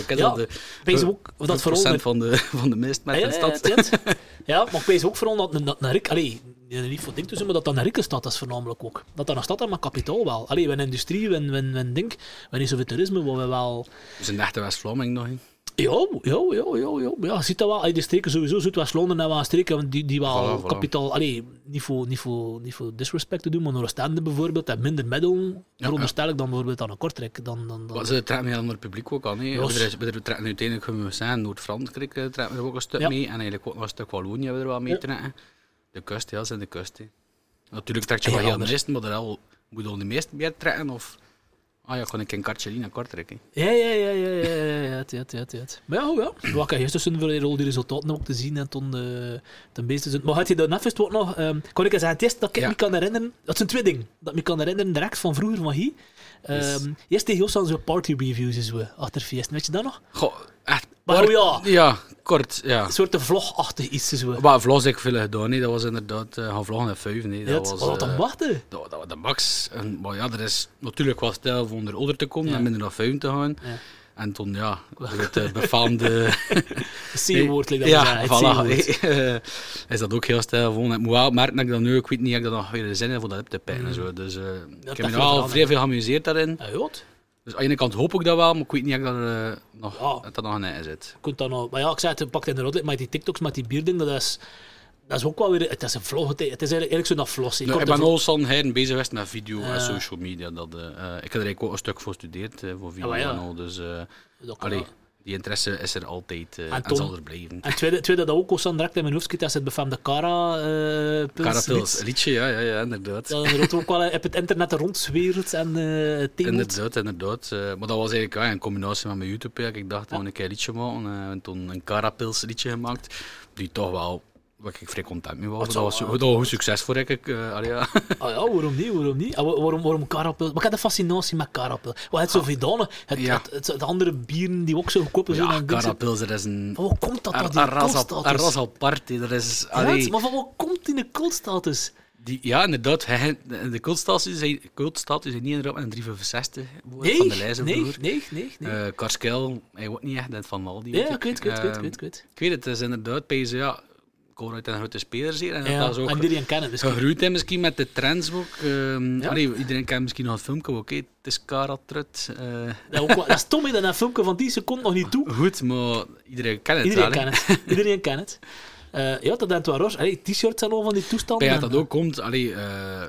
S2: ook
S1: Ja,
S2: is dat de
S1: Pees ook, dat vooral... met-
S2: procent van de, van de mist met
S1: Ja,
S2: een
S1: ja,
S2: stad.
S1: ja, het- het. Ja, maar ik weet ook vooral dat dat een Rik... Allee, niet voor ding te zeggen, maar dat dat een Rikkenstad is voornamelijk ook. Dat dat een stad is met kapitaal wel. Allee, we hebben industrie, we hebben- we hebben- we hebben ding, we hebben niet zoveel toerisme, waar we wel...
S2: We zijn echt de West-Vlaming nog in.
S1: Ja, ja, ja, ja, ja. Ja, je ziet dat wel. Allee, die streken sowieso, Zuidwest-Londen en wel streken die, die wel
S2: Voilà, voilà.
S1: kapitaal... Allee, niet voor, niet, voor, niet voor disrespect te doen, maar Oostende bijvoorbeeld, en minder middel, veronderstel ik dan bijvoorbeeld aan een Kortrijk. Dan, dan, dan,
S2: Maar ze trekken heel ander publiek ook aan. hè.
S1: Los.
S2: We, we trekken uiteindelijk, kunnen we zeggen, Noord-Frankrijk eh, trekken we er ook een stuk
S1: Ja.
S2: mee. En eigenlijk ook nog een stuk Wallonië hebben we er wel mee
S1: Ja.
S2: trekken. De kust, ja, zijn de kust. hè. Natuurlijk trek je
S1: Heel
S2: wel heel de
S1: anders.
S2: rest, maar er al, moet je al de meeste meer trekken. Of, ah ja, kan ik een kartje in naar Kortrijk. hè.
S1: Ja, ja, ja, ja, ja, ja, ja, ja, het, ja, het, ja, het, ja, het. Maar ja, oh ja. Wat kan je tussen voor al die resultaten ook te zien en toen eh ten beeste zijn. Maar had je dat netfest ook nog, ehm kon ik eens aan het eerste dat ik
S2: Ja.
S1: me kan herinneren, dat zijn twee dingen, dat ik me kan herinneren direct van vroeger van hier. Ehm
S2: Yes.
S1: Eerst tegen Jos aan zo'n party reviews en zo, achter feesten, weet je dat nog?
S2: Goh, echt.
S1: Maar
S2: kort-
S1: oh ja.
S2: Ja, kort, ja.
S1: Een soort vlogachtig iets en zo.
S2: Maar vlog heb ik veel gedaan, hè. dat was inderdaad, eh, gaan vloggen en vijf. Nee.
S1: Ja,
S2: Dat
S1: het-
S2: was,
S1: oh, wat
S2: eh,
S1: dan wachten?
S2: dat, dat was de max. En, maar ja, er is natuurlijk wel stijl om onder onder te komen en minder naar vuil te gaan.
S1: Ja.
S2: En toen, ja, het eh, befaamde...
S1: C-woord, like dat we
S2: ja,
S1: zeggen,
S2: voilà.
S1: het C-woord.
S2: Eh, is dat ook heel stijl gewoon. Ik moet wel merken dat ik dat nu, ik weet niet, of ik dat nog weer zin heb voor dat op te pijn en zo. Dus eh,
S1: Mm. dat
S2: ik heb me
S1: veel
S2: wel
S1: veranderd.
S2: vrij veel geamuseerd daarin.
S1: Ja, goed.
S2: Dus aan de ene kant hoop ik dat wel, maar ik weet niet of ik dat, er, eh, nog,
S1: Ja.
S2: dat dat nog een ei zit.
S1: kunt dan al, maar ja, ik zei het, pakt in de rood, maar die TikToks met die bierding, dat is, dat is ook wel weer, het is een vlog, het is eigenlijk, eigenlijk zo'n vlog.
S2: Ja, nou ik ben al zo'n heren bezig geweest met video
S1: Ja.
S2: en social media. Dat, eh, eh, ik heb er eigenlijk ook een stuk voor gestudeerd, eh, voor video
S1: maar Ah, ja.
S2: en al. Dus eh,
S1: Dat kan
S2: allee,
S1: wel.
S2: die interesse is er altijd eh, en,
S1: Tom?
S2: zal er blijven.
S1: En tweede, tweede dat ook al zo'n direct in mijn hoofd schiet, dat is het befaamde Cara eh Pils
S2: Carapils,
S1: lied.
S2: liedje, ja, ja, ja inderdaad.
S1: Dat inderdaad ook wel op het internet rondzweert en eh temelt.
S2: Inderdaad, inderdaad. Eh, maar dat was eigenlijk ja, in combinatie met mijn
S1: Ah.
S2: YouTube. ja. Ik dacht, we gaan een keer een liedje maken. eh, en toen een Carapils liedje gemaakt. Die toch wel Waar ik vrij content mee was.
S1: Dat
S2: Dat was,
S1: zou-
S2: dat was een succes voor ik. ik eh, allee, ja.
S1: Ah ja, waarom niet? Waarom niet? Ah, wa- waarom, waarom karapil? Maar ik heb de fascinatie met karapil. Want het zoveel danen. Het,
S2: Ah. Ja.
S1: het, het- de andere bieren die ook zo goedkoop zijn.
S2: Ja,
S1: dan denk je,
S2: Karapilzer is een...
S1: Van waar komt dat
S2: Een
S1: dat
S2: een
S1: in de
S2: ras
S1: cultstatus?
S2: al- een ras apart. hè. Er is...
S1: Ja,
S2: allee,
S1: maar van waar komt die in de cultstatus?
S2: die, ja, inderdaad. hij- De cultstatus zijn, cultstatus zijn niet inderdaad met een 365 woord
S1: Nee,
S2: van de lijst.
S1: nee,
S2: vroeger.
S1: nee, nee, nee.
S2: Eh, Karskel, hij wordt niet echt net van Maldi.
S1: ja,
S2: weet
S1: ik weet, ik weet, ik weet, ik
S2: Ehm,
S1: weet, ik weet.
S2: Ik weet het, het is inderdaad bij ze, ja, Colruyt en grote spelers hier. En
S1: Ja,
S2: Eh, dat is ook
S1: en iedereen kennen misschien.
S2: gegroeid hè, misschien met de trends ook. Ehm,
S1: Ja.
S2: allee, iedereen kent misschien nog het filmpje ook, hè. het is Karatrut. eh,
S1: Dat, ook wel- dat is stom, hè, dat een filmpje van 10 seconden nog niet toe.
S2: goed, maar iedereen kent het
S1: Iedereen
S2: wel, hè.
S1: kent het. Iedereen kent het. Eh, ja, dat is wel roos. Allee, T-shirts en al van die toestanden.
S2: Ik denk dat dat ook komt. Allee, eh,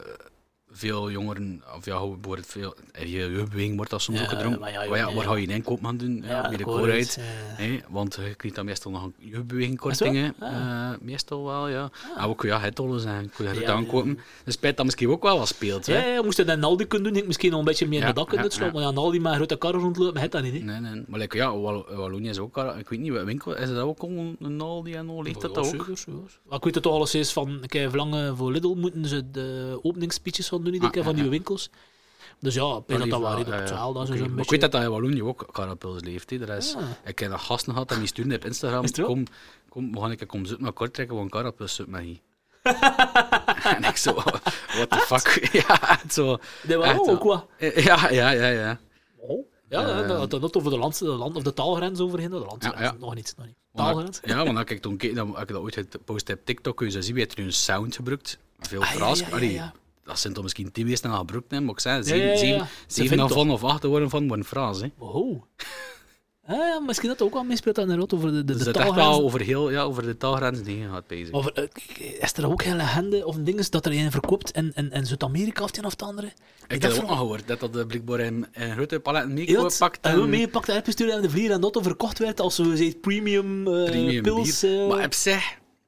S2: veel jongeren, of ja, hoe wordt het veel, eh, je jeugdbeweging wordt dat soms
S1: Ja,
S2: ook gedronken.
S1: maar
S2: Maar
S1: ja,
S2: ja,
S1: ja, ja.
S2: waar ga je een inkoop aan doen? Ja, bij de
S1: ik hoor
S2: Colruyt.
S1: het, eh.
S2: Hé, want je krijgt dan meestal nog een
S1: Is
S2: jeugdbewegingkorting. hè.
S1: het wel?
S2: Eh, meestal wel, ja. En ook ja, headdollers en kun je het
S1: Ah. Ja,
S2: aankopen. Dus spijt dat misschien ook wel wat speelt. Hè?
S1: Ja, ja, moest je dat in Aldi kunnen doen, denk ik misschien nog een beetje meer in
S2: Ja,
S1: de dak kunnen
S2: ja,
S1: slaan.
S2: ja.
S1: Maar ja, in Aldi met een grote kar rondlopen, het dat niet. hè.
S2: Nee, nee. Maar like, ja, Wal- Wallonië is ook, al- ik weet niet, wat winkel, is dat ook al een Aldi en al, ligt dat
S1: Ja,
S2: dat ook?
S1: zeker, zeker. Maar ik weet het toch alles eens van, kijk, verlangen voor Lidl moeten ze de openingsspeeches van doen, iedere
S2: Ah,
S1: keer
S2: ja,
S1: van
S2: ja.
S1: nieuwe winkels. Dus ja, ik denk dat dat wel
S2: Ja,
S1: redelijk
S2: ja,
S1: op
S2: ja.
S1: zaal, dat is
S2: Oké.
S1: zo'n
S2: Maar Ik
S1: beetje...
S2: weet dat dat in Wallonië ook karapils leeft. hè. Daar is,
S1: Ja.
S2: Ik ken dat gasten gehad en die stuurde op Instagram,
S1: Is het wel?
S2: kom, kom, we gaan een keer komen zoeken naar Kortrekken, want karapils zoekt mij hier. en ik zo, what the fuck. ja, zo.
S1: Nee, maar
S2: echt
S1: oh,
S2: wel.
S1: ook wat.
S2: Eh, Ja, ja, ja, ja.
S1: Oh. Ja, ja, dat dat dat over de, land, de land, of de taalgrens overheen, de landgrens,
S2: Ja, ja.
S1: nog niet, nog niet.
S2: Want-
S1: Taalgrens?
S2: Ja, want als ik toen keek, dan, als ik dat ooit gepost heb op TikTok, kun je zo zien, wie heeft er nu een sound gebruikt. Veel
S1: Ah, ja,
S2: Frans.
S1: ja, ja,
S2: allee,
S1: ja.
S2: Dat zijn toch misschien tien mensen die dat gebruikt hebben, maar ik zei,
S1: ja, ja.
S2: zeven, zeven,
S1: Ze
S2: zeven
S1: vinden
S2: daarvan of acht worden van worden Frans. Hè.
S1: Oh. Ah, ja, misschien dat dat ook wel meespeelt aan de rot over de, de,
S2: Dus
S1: de
S2: dat echt
S1: taalgrens.
S2: wel over, heel, ja, over de taalgrenzen heen gaat bezig.
S1: Maar eh, k- is er ook geen legende of een ding is dat er een verkoopt in, in, in Zuid-Amerika of het een of het andere?
S2: ik
S1: dat
S2: heb dat ook
S1: vro-
S2: nog gehoord, dat dat eh, blijkbaar in, in grote paletten
S1: Heel
S2: meegepakt
S1: het-
S2: pakt.
S1: oh, en we meegepakt en gestuurd en de vlier en dat verkocht werd als we zeiden premium, eh
S2: premium
S1: pils.
S2: bier.
S1: eh.
S2: Maar op zich,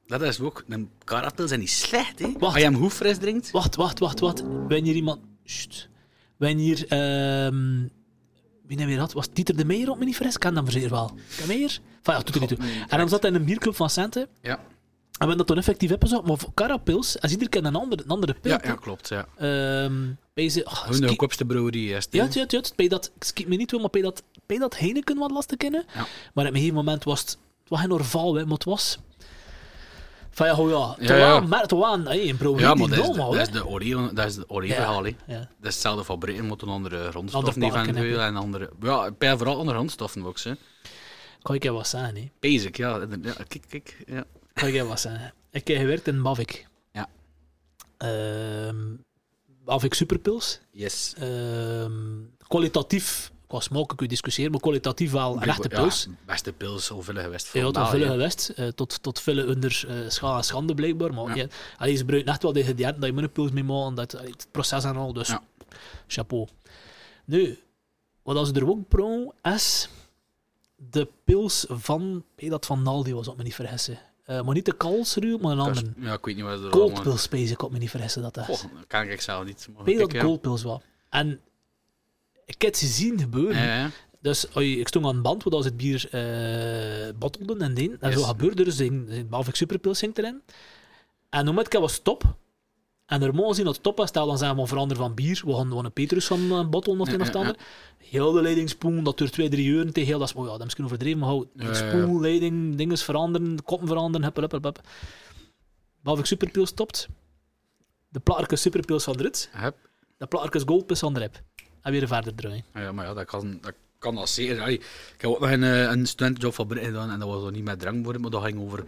S2: dat is ook, een karatpils zijn niet slecht. Hè.
S1: Wacht.
S2: Als je hem goed fris drinkt,
S1: Wacht, wacht, wacht, wacht. Wen hier iemand. Sst. Wen hier. ehm, Wie nou weer had, was Dieter de Meijer op me niet fris? Kan dan zeer wel. Kan Meijer? Van ja, doet er niet toe. En dan zat hij in een bierclub van Centen. En
S2: ja.
S1: we hebben dat toen effectief opgezocht. Maar voor Carapils, als ieder kent een andere, een andere pil.
S2: Ja, ja, klopt. Ja.
S1: Ehm, bij ze, oh,
S2: Hun de
S1: ski-
S2: goedkoopste brouwerie is het, hè.
S1: Ja, het, ja, het, ja, het. Bij dat, ik schiet me niet toe, maar bij dat, bij dat Heineken wat lastig kennen.
S2: Ja.
S1: Maar op een gegeven moment was het, het was geen orval, hè, maar het was... Van ja, oh ja, het
S2: Ja,
S1: was
S2: ja.
S1: een merk, het was een- hey, een broer
S2: Ja,
S1: die
S2: maar dat is, de,
S1: normaal,
S2: dat
S1: hè.
S2: is de Oreo, dat is de Oreo
S1: Ja.
S2: verhaal, hè.
S1: Ja.
S2: Dat is hetzelfde fabriek, moet een andere
S1: Ander
S2: grondstof niet
S1: parken
S2: eh, van
S1: hebben.
S2: en andere... Ja, bij vooral andere grondstoffen ook, hè.
S1: Kan ik je wat zeggen, hè.
S2: Basic, ja. inderdaad. ja kijk, kijk, ja.
S1: Kan ik je wat zeggen. Ik heb gewerkt in Mavic.
S2: Ja.
S1: Ehm, Mavic Superpils.
S2: Yes.
S1: Ehm, kwalitatief, qua smaken kun je discussiëren, maar kwalitatief wel een rechte
S2: Blijkbaar-
S1: pils.
S2: Ja, beste pils, hoeveel geweest
S1: Ja,
S2: voor
S1: tot vullen
S2: België.
S1: gewest. eh, tot, tot vullen onder eh schaal en schande blijkbaar. Maar
S2: Ja.
S1: ja. allee, ze gebruiken echt wel de ingrediënten dat je monopools mee maakt. Dat, allee, het proces en al. Dus
S2: Ja.
S1: chapeau. Nu, wat als ze er ook pro is de pils van. Hey, dat van Naldi was, op me niet vergissen. Eh, maar niet de Kalsruw, maar een
S2: Kast-
S1: andere.
S2: Ja, ik weet niet wat er allemaal...
S1: Goldpils, pees ik op me niet vergissen dat dat is.
S2: Goh, dat kan ik eh, zelf niet. maar
S1: Weet
S2: kijk,
S1: dat
S2: ja.
S1: Goldpils was. En ik heb ze zien gebeuren.
S2: Ja, ja.
S1: Dus oei, ik stond aan het band, want als het bier eh bottelden en deen. En
S2: Yes.
S1: zo gebeurde er, dus zing- behalve ik superpils zingt erin. En om het keer was het top. En er mogen zien dat het top was. Stel, dan zijn we verander van bier. We gaan, we gaan een Petrus van uh, bottelen of het een
S2: Ja,
S1: of het
S2: ja, ja.
S1: ander. Heel de leidingspoen, dat duurt twee, drie uur. Tegen heel dat is, oh ja, dat is misschien overdreven, maar hou,
S2: Ja, ja, ja.
S1: spoel, leiding, dingen veranderen, koppen veranderen, hup, hup, hup, hup. Behalve ik superpils stopt. De plaatjes superpils van de Ruts.
S2: Hup.
S1: De plaatjes goldpils van de Rep. En weer verder draaien.
S2: Ja, maar ja, dat kan, dat kan al zeker. Allee, ik heb ook nog een, eh, een studentenjob van Britten gedaan en dat was nog niet met drankwoorden, maar dat ging over.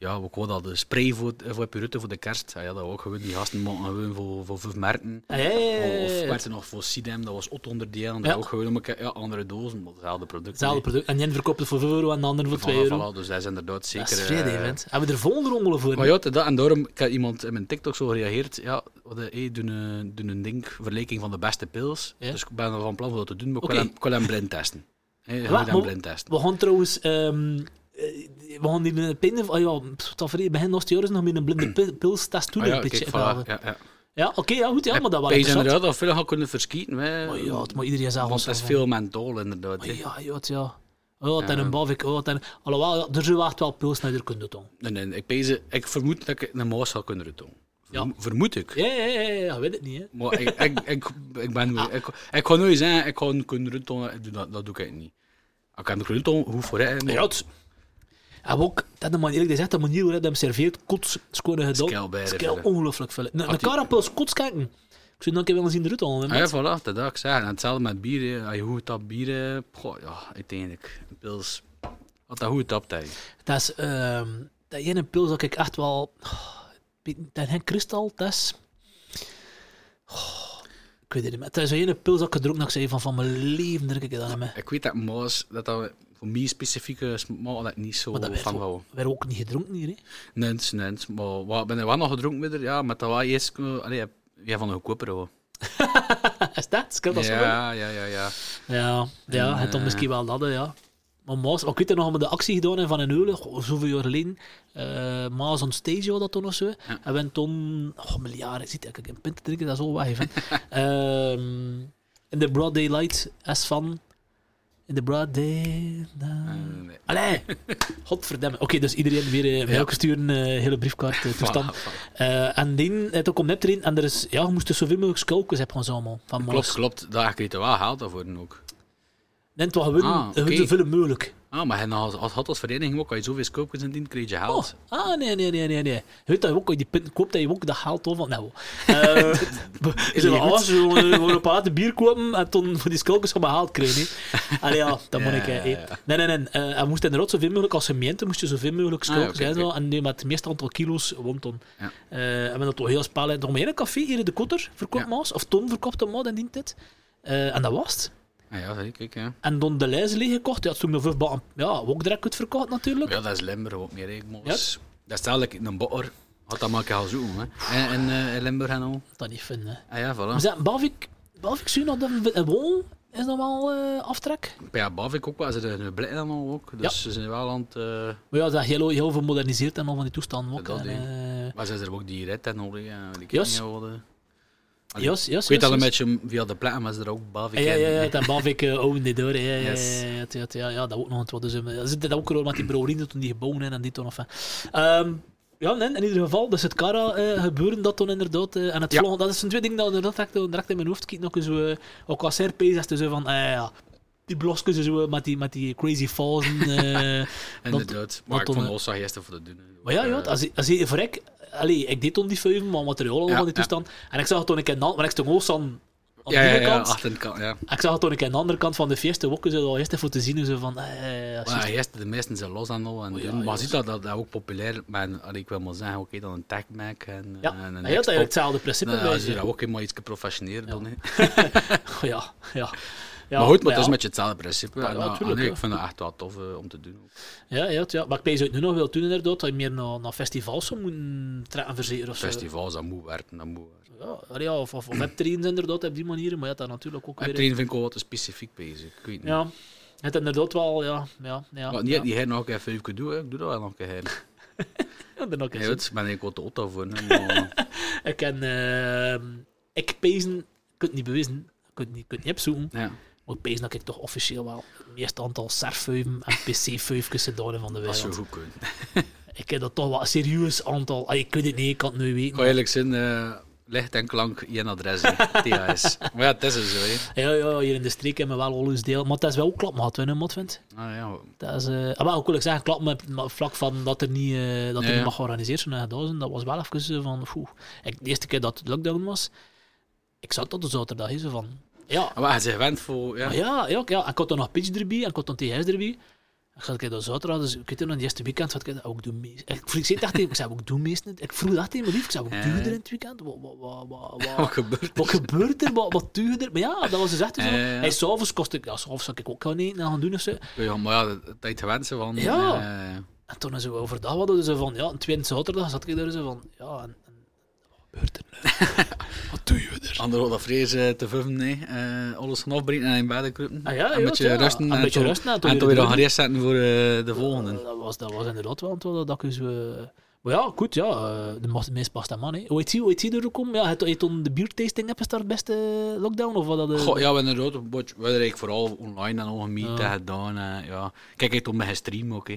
S2: Ja, wat was dat? De spray voor, eh, voor Pirutte voor de kerst. Ja, ja, dat ook gewoon. Die gasten mochten gewoon voor, voor vijf merken.
S1: Ah, ja, ja, ja, ja,
S2: Of
S1: ja.
S2: werd er nog voor Sidem, dat was 800 delen. Dat
S1: Ja.
S2: ook gewoon om elkaar- ja, andere dozen, maar hetzelfde product.
S1: Hetzelfde product. En jij verkoopt het voor 5 euro en de ander voor 2
S2: Voilà,
S1: euro.
S2: voilà, dus dat is inderdaad zeker.
S1: Dat is vrede,
S2: eh,
S1: event. Hebben we er volgende rommelen voor?
S2: maar ja, dat, en daarom ik had iemand in mijn TikTok zo gereageerd. Ja, wat eh, hey, doen, een- doen een ding, vergelijking van de beste pils.
S1: Ja.
S2: Dus ik ben er van plan om dat te doen, maar
S1: Oké.
S2: ik wil hem- ik wil hem blind testen. Hey, ik
S1: Wa-
S2: wil hem
S1: maar-
S2: blind testen.
S1: We gaan trouwens... ehm, eh, we gaan hier een pinde... Oh ja, pff, tot vrede, begin nog jaar is nog met een blinde pil- pilstest doen.
S2: Ah
S1: een
S2: ja,
S1: beetje
S2: kijk, voilà,
S1: inhalen.
S2: ja, ja.
S1: Ja, oké, ja, goed. Ja, maar dat was
S2: Wij zijn
S1: interessant.
S2: inderdaad al veel gaan kunnen verschieten. Hè.
S1: Maar ja, het moet iedereen zelf
S2: want
S1: wel
S2: dat is
S1: zeggen.
S2: veel menthol inderdaad.
S1: Maar
S2: hè.
S1: Ja, ja, het- ja. Oh, wat en een bavik. Oh, wat en... Alhoewel, ja, er zijn echt wel pilsnijder kunnen doen.
S2: Nee, nee, ik, pees- ik vermoed dat ik een maas zou kunnen doen.
S1: Ja.
S2: Vermoed ik.
S1: Ja, ja, ja, ja, je weet het niet. Hè.
S2: Maar ik, ik, ik, ik ben
S1: Ah.
S2: weer- ik, ik ga nooit zeggen, ik ga een kunnen rutten, ik doe dat, dat doe ik niet. Als Ik heb een kunnen hoe voor het, maar
S1: Ja, het- En ook, dat de manier, eerlijk gezegd, de manier hoe hij hem serveert, kots, scoren gedaan.
S2: Scale bij de
S1: Scale
S2: verre.
S1: ongelooflijk veel. Een, een
S2: die-
S1: karapels, kots kijken. Ik zou nog een keer willen zien eruit halen.
S2: Ah
S1: hè,
S2: ja,
S1: maat.
S2: voilà, dat zou ik zeggen. En hetzelfde met bier, hè. als je goed tapt bier, hè, goh, ja, uiteindelijk, een pils. Had dat goed getapt, hè.
S1: Dat is, ehm dat ene pils dat ik echt wel... Oh, ik weet niet, dat Henk Kristal, dat is... Oh, ik weet het niet meer. Dat is een ene pils dat ik gedronken heb, dat ik zei van, van mijn leven drink ik dat niet meer.
S2: Ik weet dat Maas, dat dat voor mij specifieke smaak dat ik niet zo
S1: Maar dat werd
S2: Oh, van
S1: ook,
S2: wou.
S1: werd ook niet gedronken hier, hè.
S2: Nens, nens. Maar wat, ben er wel nog gedronken met haar? Ja, maar dat was eerst... eh, Allee, ja, van een goedkoper, hoor.
S1: Is dat? Scheelt dat zo?
S2: Ja, ja, ja, ja.
S1: Ja, ja
S2: En,
S1: het dan
S2: eh,
S1: misschien wel dat, ja. Maar Maas, maar ik weet het nog met de actie gedaan hè, van een Eulen, goh, zoveel jaar geleden. Eh, Maas on stage was dat toen of zo. En we hebben toen, oh, miljarden, ziet ik een pint te drinken, dat is al weg. hè. Ehm, in de broad daylight, S van. In de broad day.
S2: Eh,
S1: na-
S2: nee.
S1: Allee, godverdamme. Oké, dus iedereen weer eh, mail sturen, eh, hele briefkaart eh, toestand.
S2: Voilà, voilà.
S1: Eh, en die, het ook om net erin, en er is, ja, je moest er zoveel mogelijk skulkers hebben gaan zamelen van Maas.
S2: Klopt, klopt. Daar kreeg je wel geld daarvoor ook.
S1: Net wat gewoon,
S2: Ah,
S1: gewoon
S2: oké.
S1: zoveel mogelijk.
S2: Ah, maar hij had, had, had als vereniging ook, als je zoveel koopjes indient, kreeg je
S1: Oh,
S2: geld.
S1: ah, nee, nee, nee, nee, nee. Je weet dat je ook als je die punten koopt, dat je ook dat geld over... Nou, eh is
S2: niet goed.
S1: alles gewoon een paar bier kopen en toen voor die skulkers van mijn haalt krijgen. hè. Allee, ja, dat moet ik...
S2: Ja,
S1: eh,
S2: ja,
S1: eh. Nee, nee, nee. eh, hij moest inderdaad zoveel mogelijk als gemeente, moest je zoveel mogelijk
S2: Ah, ja,
S1: skulkers
S2: oké,
S1: hebben.
S2: oké.
S1: En nu met het meeste aantal kilo's won ton.
S2: Ja.
S1: Eh, en we hadden toch heel spel uit. Nog maar één café hier in de Kotter verkoopt
S2: Ja.
S1: Maas, of Tom verkoopt een maat en dient dit. Eh, en dat was het.
S2: Ah, ja, zeker. kijk, Ja.
S1: En dan de lijst leeggekocht. Ja, toen nog vijf ba- Ja, ook direct uitverkocht natuurlijk.
S2: Maar ja, dat is Limburg ook meer, hè, ik moest. Dat is eigenlijk in een botter. Had dat maar een keer gaan zoeken, hè. En, en eh, in Limburg en al.
S1: Dat niet vinden, hè.
S2: Ah ja,
S1: Maar
S2: voilà.
S1: zeg, Bavik, Bavik zie je nog dat een wol is nog wel eh, aftrek.
S2: Ja, Bavik ook wel. Ze zijn in Blitten en al ook. Dus ze zijn wel aan het... eh,
S1: Maar ja, dat is heel, heel veel moderniseerd en al van die toestanden ook.
S2: Dat
S1: en,
S2: ding.
S1: eh,
S2: Maar zijn er ook die red en olie en die
S1: Yes.
S2: kringen worden? Allee,
S1: Yes, yes,
S2: eh. Ik
S1: yes,
S2: weet dat een
S1: yes.
S2: beetje via de platen, maar ze er ook Bavik
S1: Ja, ja,
S2: en-
S1: ja, ja, dat Bavik eh, own dit hoor. Ja, ja, ja,
S2: Yes.
S1: ja, ja, ja, ja, dat ook nog. Wat, dus, eh, dat zit dat ook gewoon met die brouwerien toen die gebouwd zijn en dit toen. Of, Ehm ja, nee, in ieder geval, dus het Cara eh gebeuren dat toen inderdaad. eh, en het
S2: Ja.
S1: vloggen, dat is een twee dingen dat inderdaad direct, direct in mijn hoofd kiet. Nog eens, eh, ook als RP zegt ze zo van, eh, ja, die blosjes zo eh, met die, met die crazy falsen. eh,
S2: Inderdaad. Maar
S1: want
S2: ik
S1: dan,
S2: vond
S1: eh,
S2: Ossa gisteren voor de doen.
S1: Maar ja, ja als, je- als je voor ik, allee, ik deed om die film, maar materiaal al
S2: Ja,
S1: van die
S2: ja.
S1: toestand. En ik zag het toen ik in de hand, maar ik stond Oost aan, aan
S2: Ja,
S1: de
S2: ja,
S1: ene
S2: ja,
S1: kant.
S2: achter de kant, ja.
S1: En ik zag het toen ik aan de andere kant van de feesten wokken, zo al eerst even te zien. en Zo van, eh, ja,
S2: Maar
S1: juist.
S2: ja, gisteren, de meesten zijn los en al. En
S1: Oh, ja,
S2: doen. maar
S1: juist.
S2: je ziet dat, dat dat ook populair maar allee, Ik wil maar zeggen, oké, dan een tech mac en,
S1: ja,
S2: en
S1: hij
S2: een
S1: had eigenlijk
S2: Xbox.
S1: hetzelfde principe.
S2: Nou, ja,
S1: bij
S2: ze dat
S1: zich.
S2: ook helemaal iets professioneler doen. hè.
S1: Oh, ja, ja. ja.
S2: maar goed, maar
S1: ja.
S2: het is met je hetzelfde principe.
S1: Ja,
S2: En,
S1: ja,
S2: ah,
S1: tuurlijk,
S2: nee,
S1: ja.
S2: ik vind het echt wel tof eh, om te doen. ook.
S1: Ja, ja, ja. Maar ik denk dat je het nu nog wel doen inderdaad, dat je meer naar, naar festivals zou moeten trekken verzekeren of zo.
S2: Festivals, dat moet werken, dat moet werken.
S1: Ja, allee, ja, of, of, of webtrains inderdaad, op die manier. Maar ja, dat natuurlijk ook
S2: En
S1: weer...
S2: trainen vind ik wel wat te specifiek bezig. Ik weet niet.
S1: Ja, het inderdaad wel, ja. ja, ja,
S2: Maar
S1: ja.
S2: niet dat die her nog even even doen, hè. ik doe dat wel nog een keer. her.
S1: Ja, dan ook eens,
S2: Nee, het ben ik wat te auto voor. hè, maar-
S1: Ik kan eh, ik pezen, ik kan het niet bewijzen, ik kan het niet, ik kan het niet opzoeken,
S2: ja.
S1: maar ik pezen dat ik toch officieel wel het meeste aantal servuiven en pc-vuifjes gedaan van de
S2: Als je
S1: wereld.
S2: goed kunt.
S1: Ik heb dat toch wel een serieus aantal, ah, ik weet het niet, ik kan het nu
S2: Ik
S1: weten.
S2: ga eerlijk zijn, eh, licht en klank, één adres, hè. THS. Maar ja, het is er zo, hè.
S1: Ja, ja, hier in de streek hebben we wel al ons deel, maar dat is wel ook klap, wat winnen, wat vindt.
S2: Ah, ja.
S1: Dat is, eh, ah, wel, ik wil ook zeggen, klap, maar maar vlak van dat er niet, eh, dat er niet
S2: Ja, ja.
S1: mag georganiseerd zijn en gedaan zijn, dat was wel even eh, van, poeh. Ik, de eerste keer dat het lockdown was, ik zat tot de zaterdag, hè, zo van, ja,
S2: Maar hij is gewend voor... Ja.
S1: Maar Ah, Ja, ja, ook, ja. En ik had dan nog pitch erbij en ik had dan TS erbij. En ik had dat zaterdag, dus ik weet nog, in het eerste weekend had ik dat ook doen meest. Ik vroeg, ik zei echt tegen hem, ik zei ook doen meest niet. Ik vroeg dat tegen mijn lief, ik zei ook
S2: Ja.
S1: doen er in het weekend? Wat, wat, wat, wat,
S2: Wat
S1: wat,
S2: gebeurt
S1: wat gebeurt er? Wat, wat doe je er? Maar ja, dat was dus echt zo.
S2: Ja, ja, ja.
S1: Hij s'avonds kost ik, ja, s'avonds zou ik ook gaan eten en gaan doen of zo.
S2: er? Ja, maar ja, dat- dat tijd gewend zijn van...
S1: Ja.
S2: eh,
S1: En toen zo overdag hadden ze van, ja, een tweede zaterdag zat ik daar zo van, ja, en, en wat gebeurt er nu? wat doe je er?
S2: Anderhalf vrees eh, te vuffen, nee. Eh, alles gaan afbreken en in bed kruipen.
S1: Ah, ja,
S2: een
S1: ja,
S2: beetje
S1: ja.
S2: rusten.
S1: Een
S2: en
S1: beetje
S2: tot-
S1: rusten en tot
S2: En
S1: weer
S2: toen weer
S1: door.
S2: gaan rechtzetten voor eh, de volgende.
S1: Dat was, dat was inderdaad wel een dat ik zo... eh, Maar ja, goed, ja, eh, de mas- meest pasta man. hè. Hoe heet die, hoe heet die er ook om? Ja, het, het on de biertasting hebben start beste lockdown? Of wat dat? eh?
S2: Goh, ja, we hebben een rode botje. We hebben eigenlijk vooral online en nog een meet
S1: Ja. Oh,
S2: gedaan. En, ja. Kijk, ik heb mijn stream ook. Hè.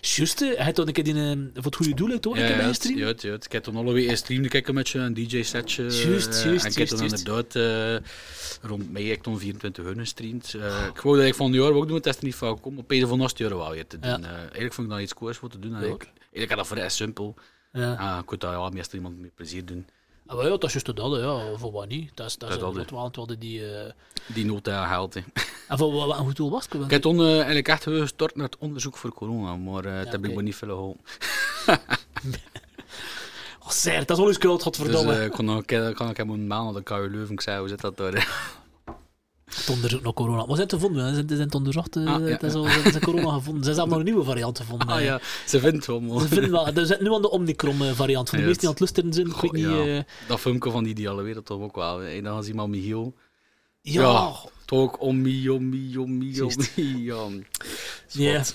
S1: Juist, hè. hij had toen een keer die, eh, voor het goede doel, toch?
S2: ja,
S1: een keer bij
S2: ja,
S1: een stream.
S2: Ja, ja, ik heb toen alle weer een stream gekeken met je, een DJ-setje.
S1: Juist,
S2: eh,
S1: juist,
S2: En ik heb toen
S1: juist,
S2: inderdaad eh, rond mei heb ik toen 24 uur gestreamd. Eh, Ik wou dat ik van jaar ook doen, maar het is er niet vaak om. Op een van naast jaar wel weer te doen.
S1: Ja.
S2: Eh, eigenlijk vond ik dat iets cools voor te doen. En
S1: Ja.
S2: ik, eigenlijk had dat vrij simpel.
S1: Ja.
S2: Ah, ik kon daar ja, meestal iemand mee plezier doen.
S1: Ah, maar ja, dat is juist dat, hè, ja. Voor wat niet? Dat is, dat is
S2: Dat
S1: een
S2: hadden.
S1: groot want we hadden die... eh,
S2: Die nota haalt. hè.
S1: En voor wat, wat een goed doel was het?
S2: Ik heb toen eh, eigenlijk echt gestort naar het onderzoek voor corona, maar eh het heb ik
S1: oké.
S2: me niet veel geholpen.
S1: Oh, Ser, dat is al eens groot,
S2: Dus
S1: godverdomme.
S2: eh, ik kon nog een keer- kon nog een keer mijn maand naar de KU Leuven. Ik zei, hoe zit dat daar?
S1: Het onderzoek naar corona. Maar ze hebben het gevonden, hè. ze ze zijn het onderzocht. eh,
S2: Ah, ja,
S1: het is al- Ze hebben ze corona gevonden. Ze hebben nog een nieuwe variant gevonden.
S2: Ah
S1: hè.
S2: ja, ze vindt wel mooi.
S1: Ze vinden wel, er zit nu aan de Omicron-variant. Van de
S2: Ja,
S1: meesten die aan het lusten zijn, ik
S2: Goh,
S1: weet niet...
S2: ja.
S1: eh,
S2: Dat filmpje van die ideale wereld toch ook wel. En dan was iemand Michiel.
S1: Ja,
S2: Toch ook oh, ommi, ommi, ommi,
S1: Juist.
S2: ommi. om.
S1: ja.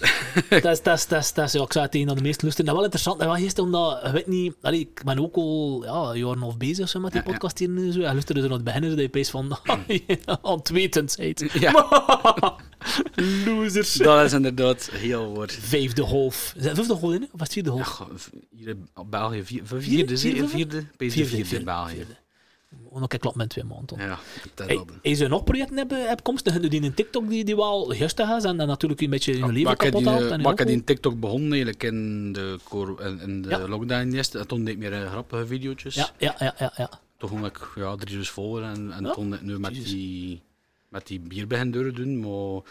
S1: dat is, dat is, dat is, dat is, ja, ik zou het een van de meest lusten. Dat is wel interessant. Dat was eerst omdat, ik weet niet, allee, ik ben ook al ja, een jaar en een half bezig zo, met die
S2: Ja, ja.
S1: podcast hier en zo. En luisterde zo naar het begin, dat je opeens van, ontwetendheid.
S2: Ja,
S1: Losers.
S2: dat is inderdaad heel woord.
S1: Vijfde golf. Is dat vijfde golf in, hè? of was het vierde
S2: Ja,
S1: golf?
S2: goh, hier in België, vier- vierde,
S1: Vierde?
S2: vierde, vierde, vierde, Pees de
S1: Vierde,
S2: vierde
S1: vierde,
S2: in België.
S1: vierde. Omdat ik klap met twee maanden.
S2: Ja, dat
S1: Hey,
S2: dat.
S1: als je nog projecten hebben opkomsten, hebben die in TikTok die, die wel gestig is en dan natuurlijk een beetje hun leven
S2: Maar ik heb
S1: kapot
S2: die,
S1: haalt.
S2: eh,
S1: en
S2: Maar ik heb
S1: ook-
S2: die TikTok begonnen eigenlijk in de, cor- in, in de
S1: Ja.
S2: lockdown. Yes. En Toen deed ik meer eh, grappige video's.
S1: Ja, ja, ja, ja. ja.
S2: Toen ging ik ja, drie dus voor en, en
S1: Ja,
S2: toen ik nu met
S1: Jezus.
S2: die, met die bier begin door te doen. Maar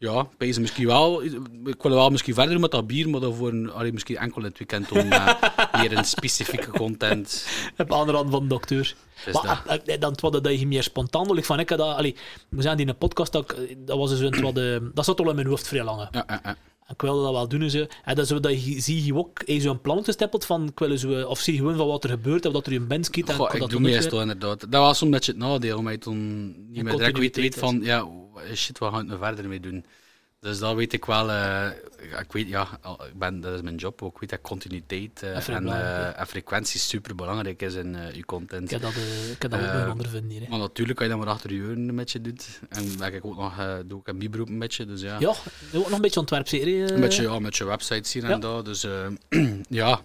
S2: ja, pees misschien wel. Ik wil wel misschien verder doen met dat bier, maar daarvoor een, allee, misschien enkel in het weekend om eh, hier een specifieke content.
S1: Op andere hand van de dokter.
S2: Dus
S1: maar eh, eh, dan het wat dat je meer spontaan doet. Ik van, ik had dat, allee, ik moet zeggen, die podcast, dat, ik- dat was dus een, wat, eh, dat zat al in mijn hoofd vrij lang. hè.
S2: Ja, ja, ja.
S1: En Ik wilde dat wel doen. Zo. En dan zo, dat je, zie je ook eh, zo'n plan gesteppeld van, ik wil zo, of zie je gewoon van wat er gebeurt, of dat er een band schiet. en
S2: Goh,
S1: kan
S2: ik
S1: dat
S2: doe
S1: doen
S2: meestal inderdaad. Dat was een beetje het nadeel, maar je toen niet meer direct weet,
S1: continuïteit
S2: weet van, ja, shit, wat gaan we er verder mee doen? Dus dat weet ik wel. eh, ik weet, ja, al- ik ben, dat is mijn job ook. Ik weet dat continuïteit eh,
S1: Dat vind ik
S2: en,
S1: belangrijk,
S2: eh, en frequentie super belangrijk is in eh, je content.
S1: Ik heb dat, eh, ik heb dat ook nog
S2: Eh,
S1: ondervinden hier. hè.
S2: Maar natuurlijk kan je dat maar achter je uren met je doet. En dat ik ook nog, eh, doe ik een bibroep met je, dus ja.
S1: Ja, ook nog een beetje ontwerpserie. eh.
S2: Met, je ja, met je websites hier en
S1: Ja.
S2: daar, dus eh, ja.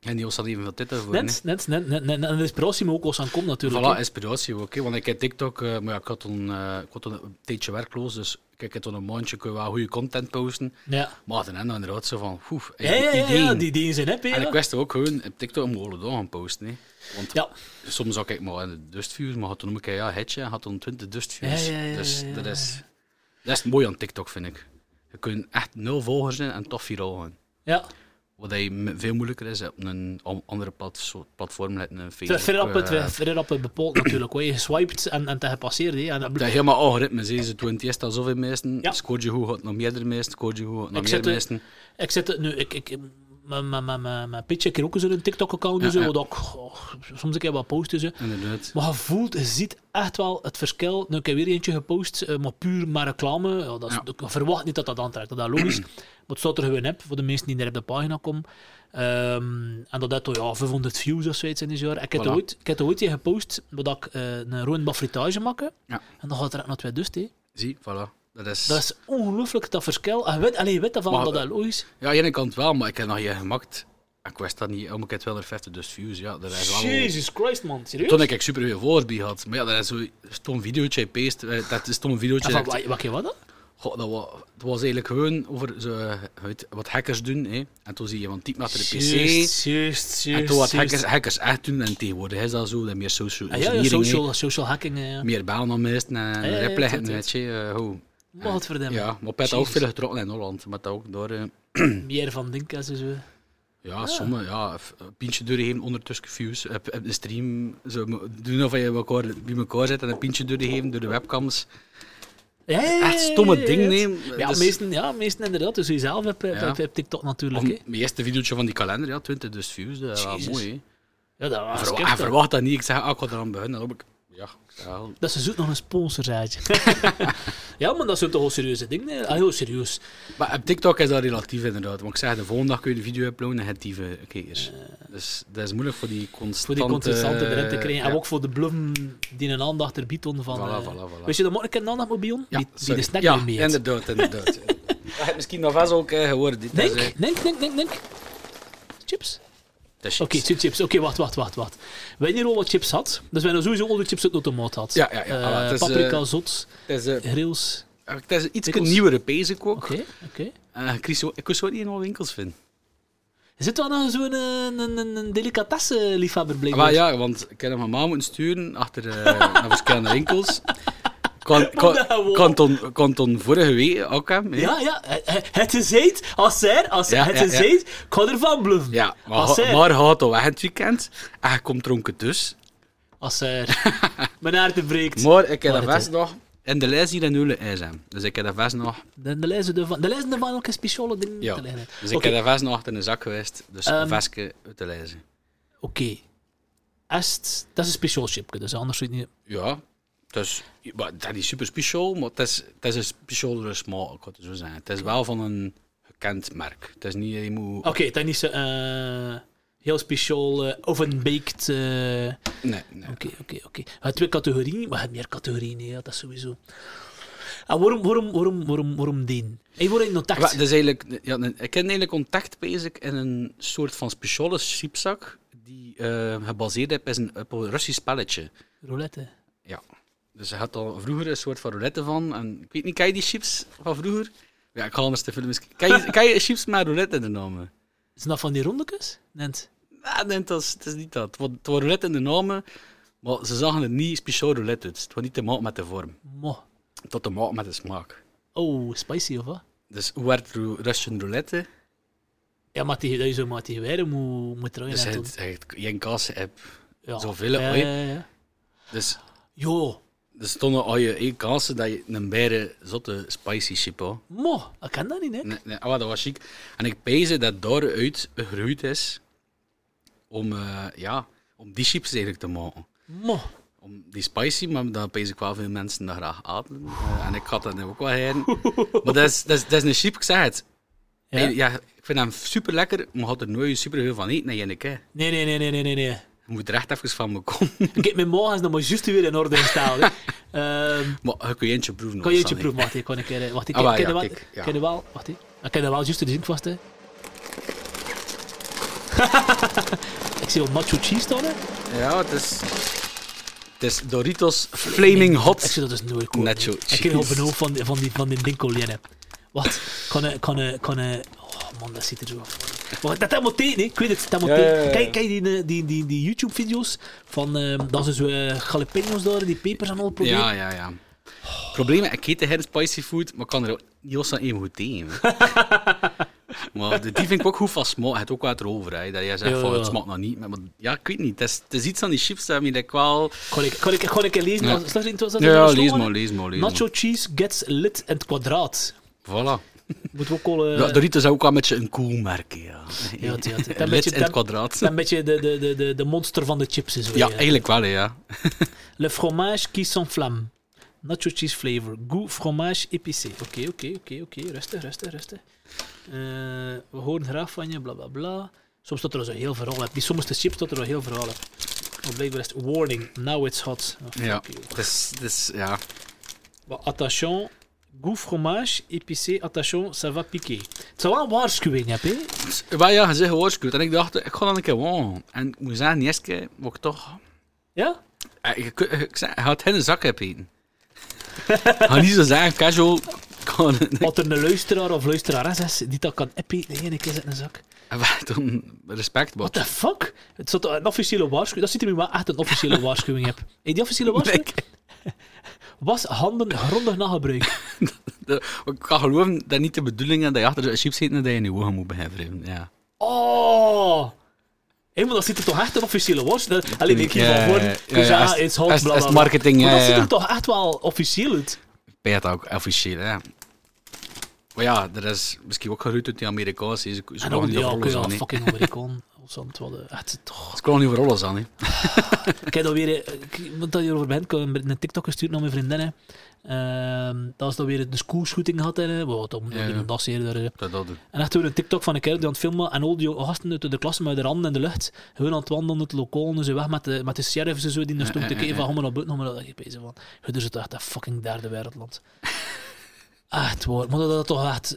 S2: En die was dat even veel tijd daarvoor. hè.
S1: Net, net, net, net, net. En de inspiratie moet ook wel aan komen natuurlijk.
S2: Voilà,
S1: hè.
S2: inspiratie ook. hè. Want ik heb TikTok, eh, maar ja, ik, had toen, eh, ik was toen een tijdje werkloos, dus kijk, ik heb toen een maandje kun je wel goede content posten.
S1: Ja.
S2: Maar dan en inderdaad zo van, oef,
S1: Ja, ja, ja,
S2: ideeën.
S1: ja, die ideeën zijn heb
S2: En ik
S1: ja.
S2: wist ook gewoon, op TikTok moet je alle dagen posten. Hè. Want
S1: Ja.
S2: soms zag ik maar in de dustviews, maar had toen een keer ja, hetje, had dan 20 dustviews.
S1: Ja, ja, ja,
S2: dus
S1: ja, ja,
S2: dat
S1: ja.
S2: is... Dat is het mooie aan TikTok, vind ik. Je kunt echt nul volgers zijn en toch viraal gaan.
S1: ja.
S2: Wat hij me- veel moeilijker is op een an- andere plat- soort platform, net een
S1: Ver-
S2: Facebook.
S1: Verder op het,
S2: eh,
S1: verder op het bepoeld natuurlijk. Hoor. Je swiped en, en te gepasseerd. hè. En dat-
S2: Dat helemaal algoritme is. Ze doen het eerst al zoveel meesten.
S1: Ja.
S2: Scoort je goed, gaat nog meerdere meesten. Scoort je goed, gaat nog
S1: Ik zet
S2: meer
S1: de-
S2: meesten.
S1: Ik zit nu, ik, ik, mijn- mijn- mijn- mijn mijn pitje, ik heb ook zo'n TikTok-account. dus
S2: Ja,
S1: zo,
S2: ja.
S1: wat ook oh, soms een keer wat dus, posten. Zo.
S2: Inderdaad.
S1: Maar je voelt, je ziet echt wel het verschil. Nu, ik heb weer eentje gepost, eh, maar puur maar reclame. Ja, dat is,
S2: Ja.
S1: Ik verwacht niet dat dat aantrekt, dat is logisch. maar het staat er gewoon op, voor de mensen die er op de pagina komen. Ehm, en dat had ja, 500 views of zoiets in dit jaar. Ik heb
S2: Voilà.
S1: er ooit, ik heb er ooit een gepost dat ik eh, een rode fritage maak.
S2: Ja.
S1: En dan gaat er echt naar twee dust. hè.
S2: Zie, voilà. Dat is...
S1: Dat is ongelooflijk, dat verschil. En je weet, alleen je weet dat van,
S2: Maar-
S1: dat is logisch.
S2: Ja, aan de ene kant wel, maar ik heb nog je gemaakt. Ik wist dat niet. Om ik heb 250 dus views. Ja, dat is wel...
S1: Christ, man. Serieus?
S2: Toen ik superveel volgers bij had. Maar ja, dat is zo'n stom videootje paste. eh, Dat is stom
S1: En
S2: videootje.
S1: van,
S2: dat ik-
S1: wat, wat, wat dan?
S2: Goh, dat was, het was eigenlijk gewoon over zo, eh, uit- wat hackers doen. Hè. En toen zie je van typ naar de PC.
S1: Juist, juist,
S2: en toen wat
S1: juist,
S2: hackers,
S1: juist.
S2: hackers echt doen. En tegenwoordig is dat zo. Dat meer social
S1: Ah, ja, ja,
S2: engineering, hè.
S1: social, social hacking. eh, ja.
S2: meer baan dan meest en
S1: ja, ja,
S2: een
S1: tot,
S2: repleggen,
S1: tot.
S2: weet je. eh, hoe.
S1: Maar wat voor hem.
S2: ja, maar Pet ook
S1: Jezus.
S2: veel getrokken in Holland. Maar dat ook door... eh,
S1: Meer van Dinkas en zo.
S2: ja,
S1: Ah.
S2: sommige, ja, f- een pintje doorheen ondertussen views. Op, op de stream, zo, mo- doen of je elkaar, bij elkaar zit en een pintje doorheen door de webcams.
S1: Ja, ja, ja,
S2: Echt stomme
S1: ja,
S2: ding,
S1: ja.
S2: nee.
S1: Ja,
S2: Dus-
S1: meesten, ja, meesten inderdaad. Dus jezelf hebt
S2: Ja.
S1: hebt hebt TikTok natuurlijk.
S2: Om-
S1: hè.
S2: Mijn eerste videootje van die kalender, ja, 20 dus views, dat is wel
S1: Jezus.
S2: mooi. hè.
S1: Ja, dat was
S2: Verwa-
S1: kip,
S2: en
S1: dat.
S2: verwacht dat niet, ik zeg, ah, ik ga eraan beginnen. Dan heb ik Ja, ja.
S1: Dat ze zoekt nog een sponsor, zei je. ja, maar dat zijn toch wel serieuze dingen. hè? Ah, heel serieus.
S2: Maar op TikTok is dat relatief inderdaad. Want ik zeg, de volgende dag kun je de video uploaden en het die kijkers. Dus dat is moeilijk voor die constante...
S1: Eh.
S2: eh,
S1: Voor die consistente erin te krijgen. En
S2: Ja.
S1: ook voor de blum die een aandacht er biedt on van...
S2: Voilà,
S1: eh,
S2: voilà, voilà.
S1: Weet je dat morgen een aandacht moet bij on?
S2: Ja,
S1: die, die
S2: sorry.
S1: de snack
S2: Ja,
S1: mee eet.
S2: inderdaad, inderdaad. Je hebt misschien nog vast ook eh, gehoord. Dit is, eh,
S1: Denk, denk, denk, denk, denk. Chips?
S2: dat is
S1: Oké,
S2: iets.
S1: chips, chips. Oké, wacht, wacht, wacht, wacht. Wij hier al wat chips had. Dus wij nou sowieso al de chips uit de automaat had.
S2: Ja, ja, ja.
S1: Eh,
S2: Voilà, het is, eh,
S1: paprika, zot,
S2: Het is, eh,
S1: grills.
S2: het is iets
S1: Pickles.
S2: nieuwere bezig ook.
S1: Oké, oké.
S2: Eh, ik wist zo- ik wist zo niet in alle winkels vinden.
S1: Er Zit wel nog zo'n eh, een, een, een delicatesse-liefhebber blijkbaar?
S2: Maar ja, want ik heb mijn ma moeten sturen achter eh, naar verschillende winkels. Kan,
S1: Oh, dat
S2: kan,
S1: gewoon.
S2: kanton, kanton vorige week ook hem. hè?
S1: Ja, ja, eh, eh, het is eet. Als zij, als
S2: Ja,
S1: het
S2: ja,
S1: is
S2: ja.
S1: eet, ik ga ervan bluffen.
S2: Ja, maar,
S1: als
S2: ha-
S1: zij,
S2: maar gaat al weg het weekend. En je komt dronken dus.
S1: als zij, mijn hart breekt.
S2: Maar ik heb
S1: Maar
S2: dat
S1: het
S2: vast nog. En de lijst hier in Ulle is hem. Dus ik heb dat vast nog.
S1: De, de lijzen ervan, de lijzen ervan ook een speciale ding
S2: Ja.
S1: te leggen.
S2: Dus ik
S1: Oké,
S2: heb dat vast nog achter een zak geweest. Dus
S1: Ehm.
S2: een vestje uit de lijst.
S1: oké. Als het- dat is een speciaal chipje, dus anders zou je het niet...
S2: Ja, dus, maar dat is super speciaal, maar het is, het is een specialere smaak, ik kan het zo zeggen. Het is wel van een gekend merk. Het is niet, je moet...
S1: Oké, dat is een heel speciaal eh, oven-baked... eh,
S2: Nee, nee.
S1: Oké, oké, oké. Je hebt twee categorieën, maar je hebt meer categorieën, hè, ja, dat sowieso. En waarom, waarom, waarom, waarom, waarom die? Hey, waarom in contact?
S2: Maar het is eigenlijk, ja, nee, ik ken eigenlijk contact bezig in een soort van speciale chipzak die eh, gebaseerd is op een, op een Russisch pelletje.
S1: Roulette.
S2: Ja. Dus je had al vroeger een soort van roulette van. En ik weet niet, ken je die chips van vroeger? Ja, ik ga anders te filmen. Ken je, ken je chips met roulette in de namen?
S1: Is dat van die rondekes? Nent.
S2: Ja, nee, het, was, het is niet dat. Het was, het was roulette in de namen, maar ze zagen het niet speciaal roulette uit. Het was niet te maken met de vorm.
S1: Mo.
S2: Het had te maken met de smaak.
S1: Oh, spicy of wat?
S2: Dus hoe werd ru- Russian roulette?
S1: Ja, maar die, dat je zo maar die weer moet, moet trouwen.
S2: Dus
S1: en
S2: je
S1: doen.
S2: hebt- je hebt geen kaas app.
S1: ja.
S2: zoveel,
S1: Ja,
S2: oei.
S1: ja, ja.
S2: Dus
S1: Jo,
S2: er stonden al je één kansen dat je een bijre zotte spicy chip had.
S1: mo. Ik ken dat niet, hè?
S2: Nee, nee, ah, dat was chic. En ik pijze dat daaruit gegroeid is om, eh, ja, om die chips eigenlijk te maken.
S1: Mo.
S2: om die spicy, maar dan pees ik wel veel mensen dat graag aten. Eh, en ik had dat nu ook wel heen. Maar dat is, dat, is, dat is een chip, ik zeg het.
S1: Ja.
S2: Eh, Ja, ik vind hem super lekker, maar je had er nooit super veel van eten. Nee, Jenneke. Je
S1: Nee, nee, nee, nee, nee, nee. nee.
S2: moet er echt even van me komen.
S1: Ik heb mijn morgen is nog maar juist weer in orde gesteld. hè. Ehm,
S2: Maar je kun je eentje proeven.
S1: kan je eentje
S2: Sammy.
S1: proeven, wacht, ik kan een keer... eh, Wacht, ik
S2: Ah, wel,
S1: ken
S2: ja,
S1: er wel...
S2: kijk, ja.
S1: ken er wel... Wacht, hè. ik ken er wel juist de zin vast, hè. ik zie al nacho cheese staan, hè.
S2: Ja, het is... Het is Doritos Flaming Hot.
S1: Ik zie dat dus nooit komen.
S2: Nacho
S1: hè. Ik ken
S2: cheese.
S1: op een hoofd van, van die, van die dinkel liggen. Wat? Kan een, kan een, kan een... Oh man, dat ziet er zo af. Maar dat dat moet tegen, hè. ik weet het, dat moet
S2: Ja,
S1: tegen.
S2: ja, ja, ja.
S1: Kijk, kijk die, eh, die, die, die YouTube-video's van... ehm dat ze zo eh, jalapenos daar, die pepers en al proberen.
S2: Ja, ja, ja. Probleem, is, ik eet geen spicy food, maar ik kan er ook niet als dat even goed tegen. maar de- die vind ik ook goed van smaak. Het ook wat erover, hè, dat jij zegt
S1: Ja,
S2: van
S1: ja.
S2: het smaakt nog niet. Maar, maar ja, ik weet niet. Het is, het is iets aan die chips waarmee ik wel...
S1: Kan ik, kan ik, kan ik lezen?
S2: Ja.
S1: Als- Staat er in- staat er in
S2: Ja,
S1: de
S2: lees
S1: slogan?
S2: maar, lees maar, lees maar.
S1: Nacho cheese gets lit en het kwadraat.
S2: Voilà.
S1: Moet we ook al... eh,
S2: Ja, Doritos is ook wel een beetje een cool merk, ja.
S1: ja, het- ja, het- het- een
S2: Lid
S1: beetje-
S2: in het kwadraat.
S1: dat Een beetje de, de, de- de, de monster van de chips is. weer,
S2: Ja,
S1: eh.
S2: eigenlijk wel, hè, ja.
S1: Le fromage qui s'enflamme. Nacho cheese flavor. Goût fromage épicé. Oké, oké, oké, oké. Rustig, rustig, rustig. Eh, we horen graag van je, bla bla bla. Soms staat er al zo heel verhaal op. Die sommige chips staat er al heel verhaal op. Maar blijkbaar is het warning. Now it's hot. Oh, fuck
S2: Ja,
S1: you.
S2: het is, het is, ja.
S1: Maar attention, goût fromage, épicé, attention, ça va piquer. Het zou wel een waarschuwing hebben, hè?
S2: Maar ja, je zegt gewaarschuwd. En ik dacht, ik ga dan een keer wonen. En ik moet zeggen, eerst keer wou ik toch...
S1: Ja?
S2: Eh, Je, kun- ik zei, hij had geen zak hebben eten. Ga niet zo zeggen, casual. Kan,
S1: Wat er een luisteraar of luisteraar is die dat kan appen, de ene keer zit in een zak.
S2: toen respect,
S1: What
S2: bot.
S1: the fuck? Het zat een officiële waarschuwing. Dat ziet er nu wel echt een officiële waarschuwing heb. Hey, die officiële waarschuwing? Was handen grondig na gebruik.
S2: De- Ik kan geloven dat niet de bedoeling is dat je achter de chips zit en dat je in je ogen moet beginnen wrijven, Ja.
S1: Oh! Hé, maar dat ziet er toch echt een officiële waarschuwing. Alleen ik hier
S2: Ja,
S1: van
S2: ja,
S1: worden.
S2: ja,
S1: Dus
S2: ja,
S1: ja,
S2: ja, is-
S1: it's hot,
S2: is-
S1: bla, bla,
S2: is
S1: bla.
S2: marketing,
S1: Maar
S2: ja,
S1: dat ziet
S2: ja.
S1: er toch echt wel officieel uit.
S2: Pijt ook officieel, ja. Maar ja, er is misschien ook geruut uit die Amerikaanse. Ze ze
S1: En
S2: mogen
S1: ook
S2: niet
S1: die
S2: op
S1: ja,
S2: rollen
S1: oké, ja,
S2: staan, hè.
S1: fucking Amerikaan. soms wel eh, echt toch.
S2: Het kwam niet voor alles aan, hè.
S1: Ik heb dat weer, eh, ik- want dat je erover bent, ik heb een TikTok gestuurd naar mijn vriendin. hè. Ehm, dat is dan weer de schoolshooting had. Hè. Wat, om,
S2: Ja, ja.
S1: een dag eerder, eh.
S2: Dat, dat,
S1: En echt weer een TikTok van een kerel die aan het filmen en al die gasten uit de klas met de randen in de lucht. Gewoon aan het wandelen, het lokaal, en ze weg met de, met de sheriffs en zo, die er stond te
S2: ja, ja,
S1: kijken
S2: ja.
S1: van, kom maar naar buiten, kom maar naar buiten. Ik ben zo van, je doet het echt een fucking derde wereldland. Echt waar, maar dat, dat toch echt...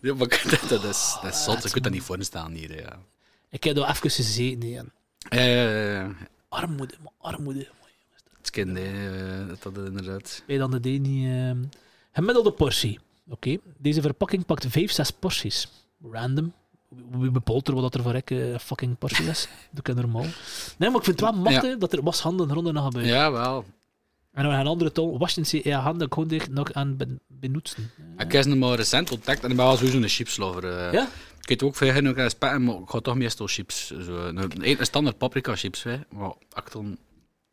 S2: ja, maar dat, dat is, dat is zot. Je
S1: het-
S2: kunt daar niet voor staan hier, ja.
S1: Ik heb daar even gezeten hè, en
S2: Eh,
S1: Armoede, maar armoede.
S2: het kind, hè, eh, dat inderdaad.
S1: Wij dan de D niet... ehm, Gemiddelde portie. Oké, deze verpakking pakt 5, 6 porties. Random. Wie bepaalt er wat dat er voor een fucking portie is? Doe ik normaal. Nee, maar ik vind het wel machtig dat er was handen en ronden naar gebeuren.
S2: Ja, wel.
S1: En dan een andere tol, wassen ze je handen grondig nog aan ben- benutzen.
S2: Ik heb ze maar recent ontdekt en ik ben wel sowieso een chipslover. eh.
S1: Ja?
S2: Ik eet ook veel genoeg aan spatten, maar ik ga toch meestal chips. Zo, eh, een, een standaard paprika chips, hè. Maar ik, dan,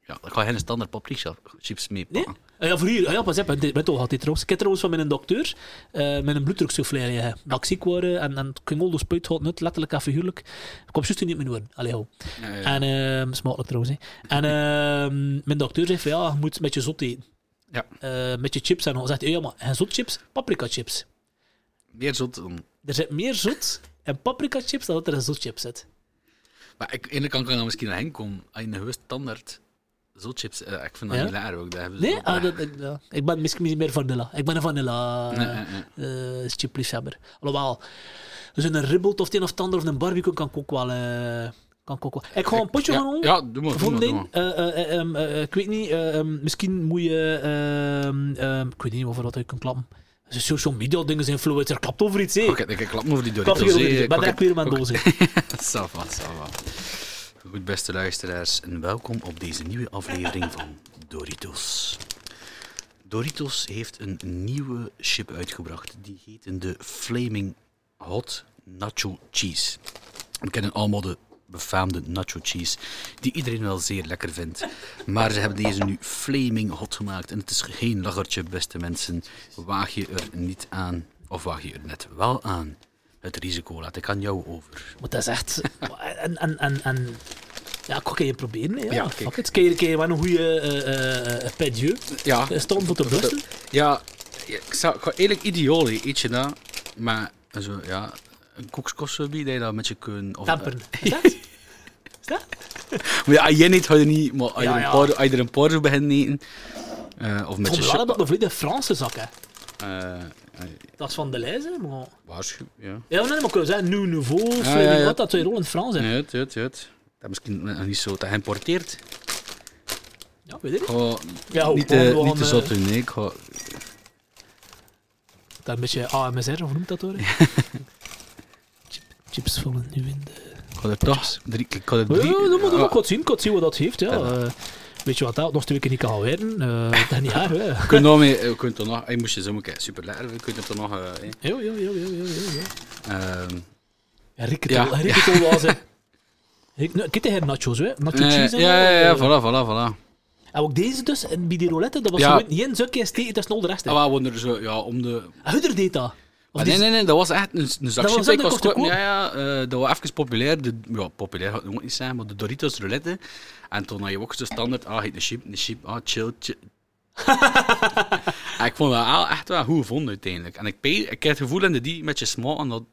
S2: ja, ik ga geen standaard paprika chips mee
S1: Nee?
S2: pakken.
S1: Ah ja, voor hier, ah ja, pas op, hè, dit- weet al had dit trouwens. Ik heb trouwens van mijn dokter eh met een bloeddruksouffleur liggen. Dat ik ziek word en, en ik ging al de spuit houden, net letterlijk en figuurlijk. Ik kom juist niet meer doen. Allee, ho.
S2: Nee.
S1: En, ehm smakelijk trouwens, hè. En ehm, mijn dokter zei van, ja, je moet met je zot eten.
S2: Ja.
S1: Eh, met je chips en al. Zegt hij, ja, maar geen zotchips, paprika chips.
S2: meer zot dan.
S1: Er zit meer zot in paprika chips dan dat er in zotchips zit.
S2: Maar ik, aan de ene kant kan ik dan misschien naar hen komen. Als je een geweest standaard zot chips, eh, ik vind dat
S1: Ja?
S2: niet lekker ook. Dat hebben ze
S1: Nee,
S2: ook,
S1: ah,
S2: eh.
S1: dat, ik, ja. ik ben misschien meer vanilla. Ik ben een vanilla
S2: Nee, nee, nee.
S1: eh, eh, chipliefhebber. Alhoewel, zo'n ribbelt of het een of het ander of een barbecue kan ik ook wel... eh, kan ik, ook wel. ik ga een potje
S2: ja,
S1: gaan halen.
S2: Ja, doe maar. Doe maar, doe
S1: Vonden,
S2: maar.
S1: eh, eh, eh, ehm, eh, ik weet niet, eh, ehm, misschien moet je... ehm, ehm, ik weet niet over wat ik kan klappen. Zo'n Social media dingen zijn influencer, klapt over iets, hé.
S2: Oké, ik klap me over die
S1: Klapt
S2: Doritos.
S1: hier over
S2: hè.
S1: iets, maar
S2: Ik-
S1: daar weer mijn
S2: ik-
S1: doos in.
S2: Sava, sava. Goed, beste luisteraars, en welkom op deze nieuwe aflevering van Doritos. Doritos heeft een nieuwe chip uitgebracht. Die heet de Flaming Hot Nacho Cheese. We kennen allemaal de befaamde nacho cheese, die iedereen wel zeer lekker vindt. Maar ze hebben deze nu flaming hot gemaakt. En het is geen lachertje, beste mensen. Waag je er niet aan, of waag je er net wel aan. Het risico laat ik aan jou over.
S1: Maar dat is echt... en, en, en, en, ja, ik kan je proberen, hè. Ja,
S2: Ja,
S1: fuck
S2: kijk.
S1: it. Kan je, kan je wel een goede eh eh pet
S2: Ja.
S1: Staan voor de bussen.
S2: Ja, ik zou ik ga eigenlijk ideaal hè, eet je dat, maar zo, ja, een koekskossubie dat je dat met je kunt... Of, eh,
S1: Tamperen. Is dat? Is dat?
S2: Maar ja, als jij niet, ga je niet, maar als
S1: Ja,
S2: je er een
S1: ja.
S2: paar- als je er een paar zo begint eten, eh, of met
S1: Van
S2: je...
S1: Blaren dat nog vliegen Franse zakken.
S2: eh, eh,
S1: Dat is van de lijst, hè. Maar...
S2: waarschuw, ja.
S1: Ja, maar nee, maar ik wil zeggen, New Nouveau,
S2: ja,
S1: Flaming
S2: ja.
S1: Hot, dat twee rollen in het Frans zijn.
S2: Nee, het, het, het. Dat misschien nog niet zo, dat geïmporteerd.
S1: Ja, weet ik
S2: Ik
S1: niet.
S2: ga
S1: Ja, ook
S2: niet,
S1: gewoon-
S2: te,
S1: gewoon,
S2: niet te
S1: eh,
S2: zot doen, nee. Ik ga,
S1: Dat een beetje AMSR, of noemt dat hoor? Chip, chips vallen nu in de...
S2: ik ga er toch drie... Ik ga er
S1: Ja,
S2: drie...
S1: dat moet ik
S2: ah,
S1: ook wat zien, ik kan zien wat dat heeft, ja.
S2: Ja.
S1: Eh, weet je wat, dat nog twee keer niet kan gaan werken. eh, dat is niet erg, hè.
S2: je kunt nog mee, je kunt er nog... Je moest je zo moeten super lekker, je kunt er toch nog... eh, hè.
S1: Jo, jo, jo, jo, jo, jo, jo.
S2: Ehm,
S1: Ja, Rick het
S2: Ja.
S1: al, Rick het al was, hè. Rick, nou, kijk hier nachos, hè. Nacho
S2: eh,
S1: cheese en
S2: ja, ja,
S1: al,
S2: ja,
S1: eh.
S2: voilà, voilà, voilà.
S1: En ook deze dus, en bij die roulette, dat was
S2: Ja.
S1: gewoon geen zakje en steek, dat is nog de rest, hè.
S2: Ah, wel, want er zo, ja, om de...
S1: Hudder deed dat. Of
S2: Ah,
S1: die-
S2: nee, nee, nee, dat was echt een, een zak
S1: Dat
S2: chips.
S1: was
S2: Ik
S1: ook
S2: was
S1: nog te
S2: kort- ja, ja, eh, dat was even populair. De, ja, populair gaat het nog niet zijn, maar de Doritos roulette. En toen had je ook zo standaard, ah, heet een chip, een chip, ah, chill, chill. En ik vond dat wel echt wel goed gevonden uiteindelijk. En ik, pij- ik heb het gevoel dat die met je smaak en dat,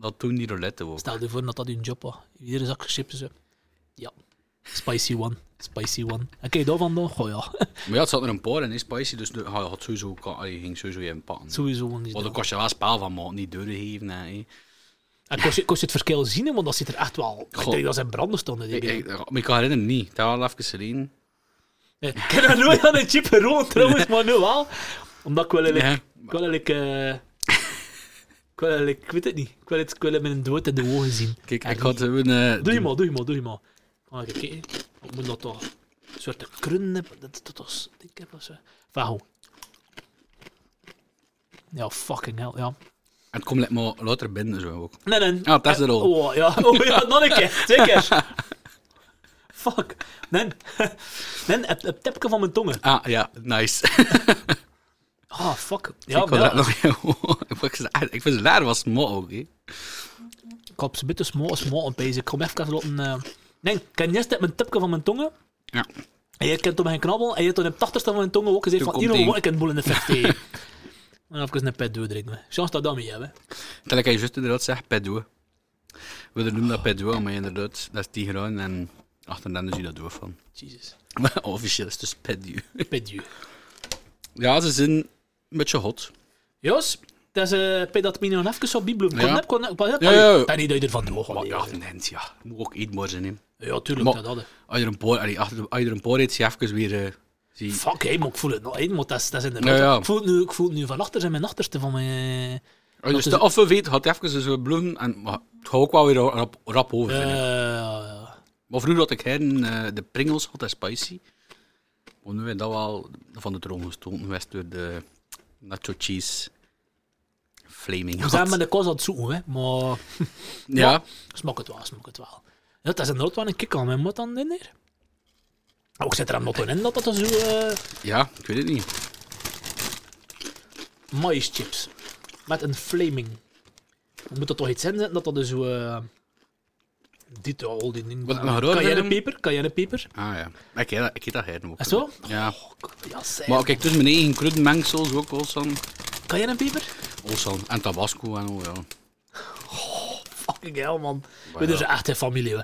S2: dat toen die roulette was.
S1: Stel je voor dat dat hun job was. Iedere zak chips. dus, Hè. Ja. Spicy one. Spicy one. En kijk daarvan dan? Goh ja.
S2: Maar ja, het zat er een paar in, hè, spicy, dus de- ja, je, had sowieso, kan- allee, je ging sowieso even pakken.
S1: Sowieso wel niet.
S2: Maar dan
S1: doen.
S2: kost je wel spaal van maken, niet doorgeven. hè, hè.
S1: En kost je, kost je het verschil zien, hè, want dat zit er echt wel. Ik
S2: Goh.
S1: denk dat ze in branden stonden. Die
S2: Ik,
S1: beelden.
S2: ik, maar ik kan herinneren niet. Dat was wel even geleden.
S1: Eh, Ik heb nog nooit aan een chip geroond trouwens, maar nu wel. Omdat ik wel eigenlijk...
S2: Ja.
S1: Ik wil eigenlijk... eh, ik wil eigenlijk... Ik weet het niet. Ik wil het, ik wil het met een dood in de ogen zien.
S2: Kijk,
S1: En
S2: ik
S1: niet-
S2: had een. eh,
S1: Doe je maar, doe je maar, doe je maar. Ah, kijk, hè. ik moet dat toch... Een soort krun hebben. Dat dat was... Ik heb dat zo... Wauw. Ja, fucking hell, ja.
S2: Het komt net maar later binnen zo ook.
S1: Nee, nee.
S2: Ah, dat is de
S1: Eh,
S2: rol.
S1: Oh, ja. Oh, ja, nog een keer. Zeker. Fuck. Nee. Nee, het, het tipje van mijn tongen.
S2: Ah ja, nice.
S1: Ah, fuck. Ja,
S2: ik, kon
S1: maar ja.
S2: dat nog, ik, was, ik vind het daar was mo ook. hè.
S1: Ik had een beetje smal, smal op bezig. Ik kom even laten... eh Nee, ik heb eerst met mijn tipje van mijn tongen.
S2: Ja.
S1: En je kent op mijn knabbel en je hebt op de tachtigste van mijn tongen ook gezegd
S2: Toen
S1: van
S2: komt
S1: hier
S2: die.
S1: hoor ik een boel in de fik tegen. En even een pet doordrinken. Chance dat dat mee hebben.
S2: Tel ik je juist inderdaad zegt, pedoe. We noemen dat pedoe, maar inderdaad, dat is Tigraan en achter dan is je dat doof van.
S1: Jesus.
S2: Maar officieel is het dus pedoe.
S1: Pet you.
S2: Ja, ze zijn een beetje hot.
S1: Jos, dat is eh pet dat mij nog even op bibloem. Kon
S2: Ja.
S1: heb, kon heb, kon heb.
S2: Ja, ja, ja.
S1: En niet dat je ervan droog
S2: Maar
S1: had.
S2: ja,
S1: Ja,
S2: mens, ja. Moet ook iets morgen in.
S1: tuurlijk,
S2: Maar-
S1: dat hadden.
S2: Als je er een paar, allee, achter de- als je er een paar eet, zie je even weer... eh, zie...
S1: Fuck, hé, maar ik voel het nog één, want dat is, dat is inderdaad...
S2: Ja, ja.
S1: Ik, voel het nu, ik voel het nu van achter zijn mijn achterste van mijn...
S2: Als je
S1: is-
S2: de afweet weet, gaat even zo bloemen en maar het gaat ook wel weer rap, rap over.
S1: eh
S2: vind ik.
S1: ja.
S2: Maar vroeger had ik her de Pringles hot en spicy. Maar nu is dat wel van de troon gestoten geweest door de nacho cheese flaming
S1: we
S2: hot.
S1: zijn met de kost aan het zoeken, hè. Maar
S2: Ja,
S1: smak het wel, smak het wel. Ja, dat is inderdaad wel een kik aan mijn mot aan in hier. Ook zit er hem nog in dat dat zo... eh
S2: ja, ik weet het niet.
S1: maïschips. Met een flaming. Er Moet dat toch iets in zitten dat dat dus zo... eh, dit oh, al die dingen.
S2: Wat- maar rood-
S1: Cayennepeper, cayennepeper.
S2: Ah ja, ik eet dat, ik eet dat her ook.
S1: Is zo? Oh,
S2: Ja.
S1: Ja, zeg.
S2: Maar kijk, dus mijn eigen kruidenmengsels ook al staan.
S1: Cayennepeper?
S2: Olsan en tabasco en al, ja.
S1: Fucking hell, man. We
S2: ja.
S1: doen ze echt in familie, hè.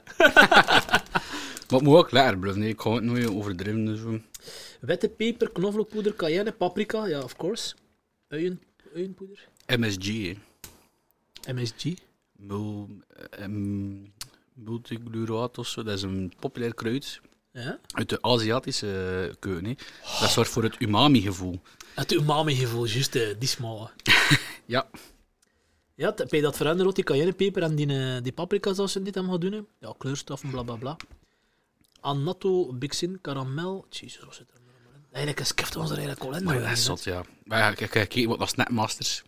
S2: Maar het moet ook lekker blijven, nee. ik ga het nooit overdrijven. Dus. zo.
S1: Witte peper, knoflookpoeder, cayenne, paprika, ja, of course. Uien, uienpoeder.
S2: MSG, hè.
S1: MSG.
S2: Mul, ehm, multigluuraat of zo, dat is een populair kruid
S1: Ja.
S2: uit de Aziatische eh, keuken. hè. Dat zorgt voor het umami-gevoel.
S1: Het umami-gevoel, juist, eh, die smalle.
S2: Ja.
S1: Ja, t- heb je dat veranderd, die cayennepeper en die, eh, die paprika zoals ze dit hem gaan doen? hè? Ja, kleurstoffen, bla bla bla. Anatto, bixin, karamel. Jezus, wat zit er allemaal in? Eigenlijk is keft ons er eigenlijk al in.
S2: Maar
S1: hoor,
S2: dat is
S1: hè.
S2: zot, ja. Maar ja, kijk, kijk, kijk, wat was Snapmasters?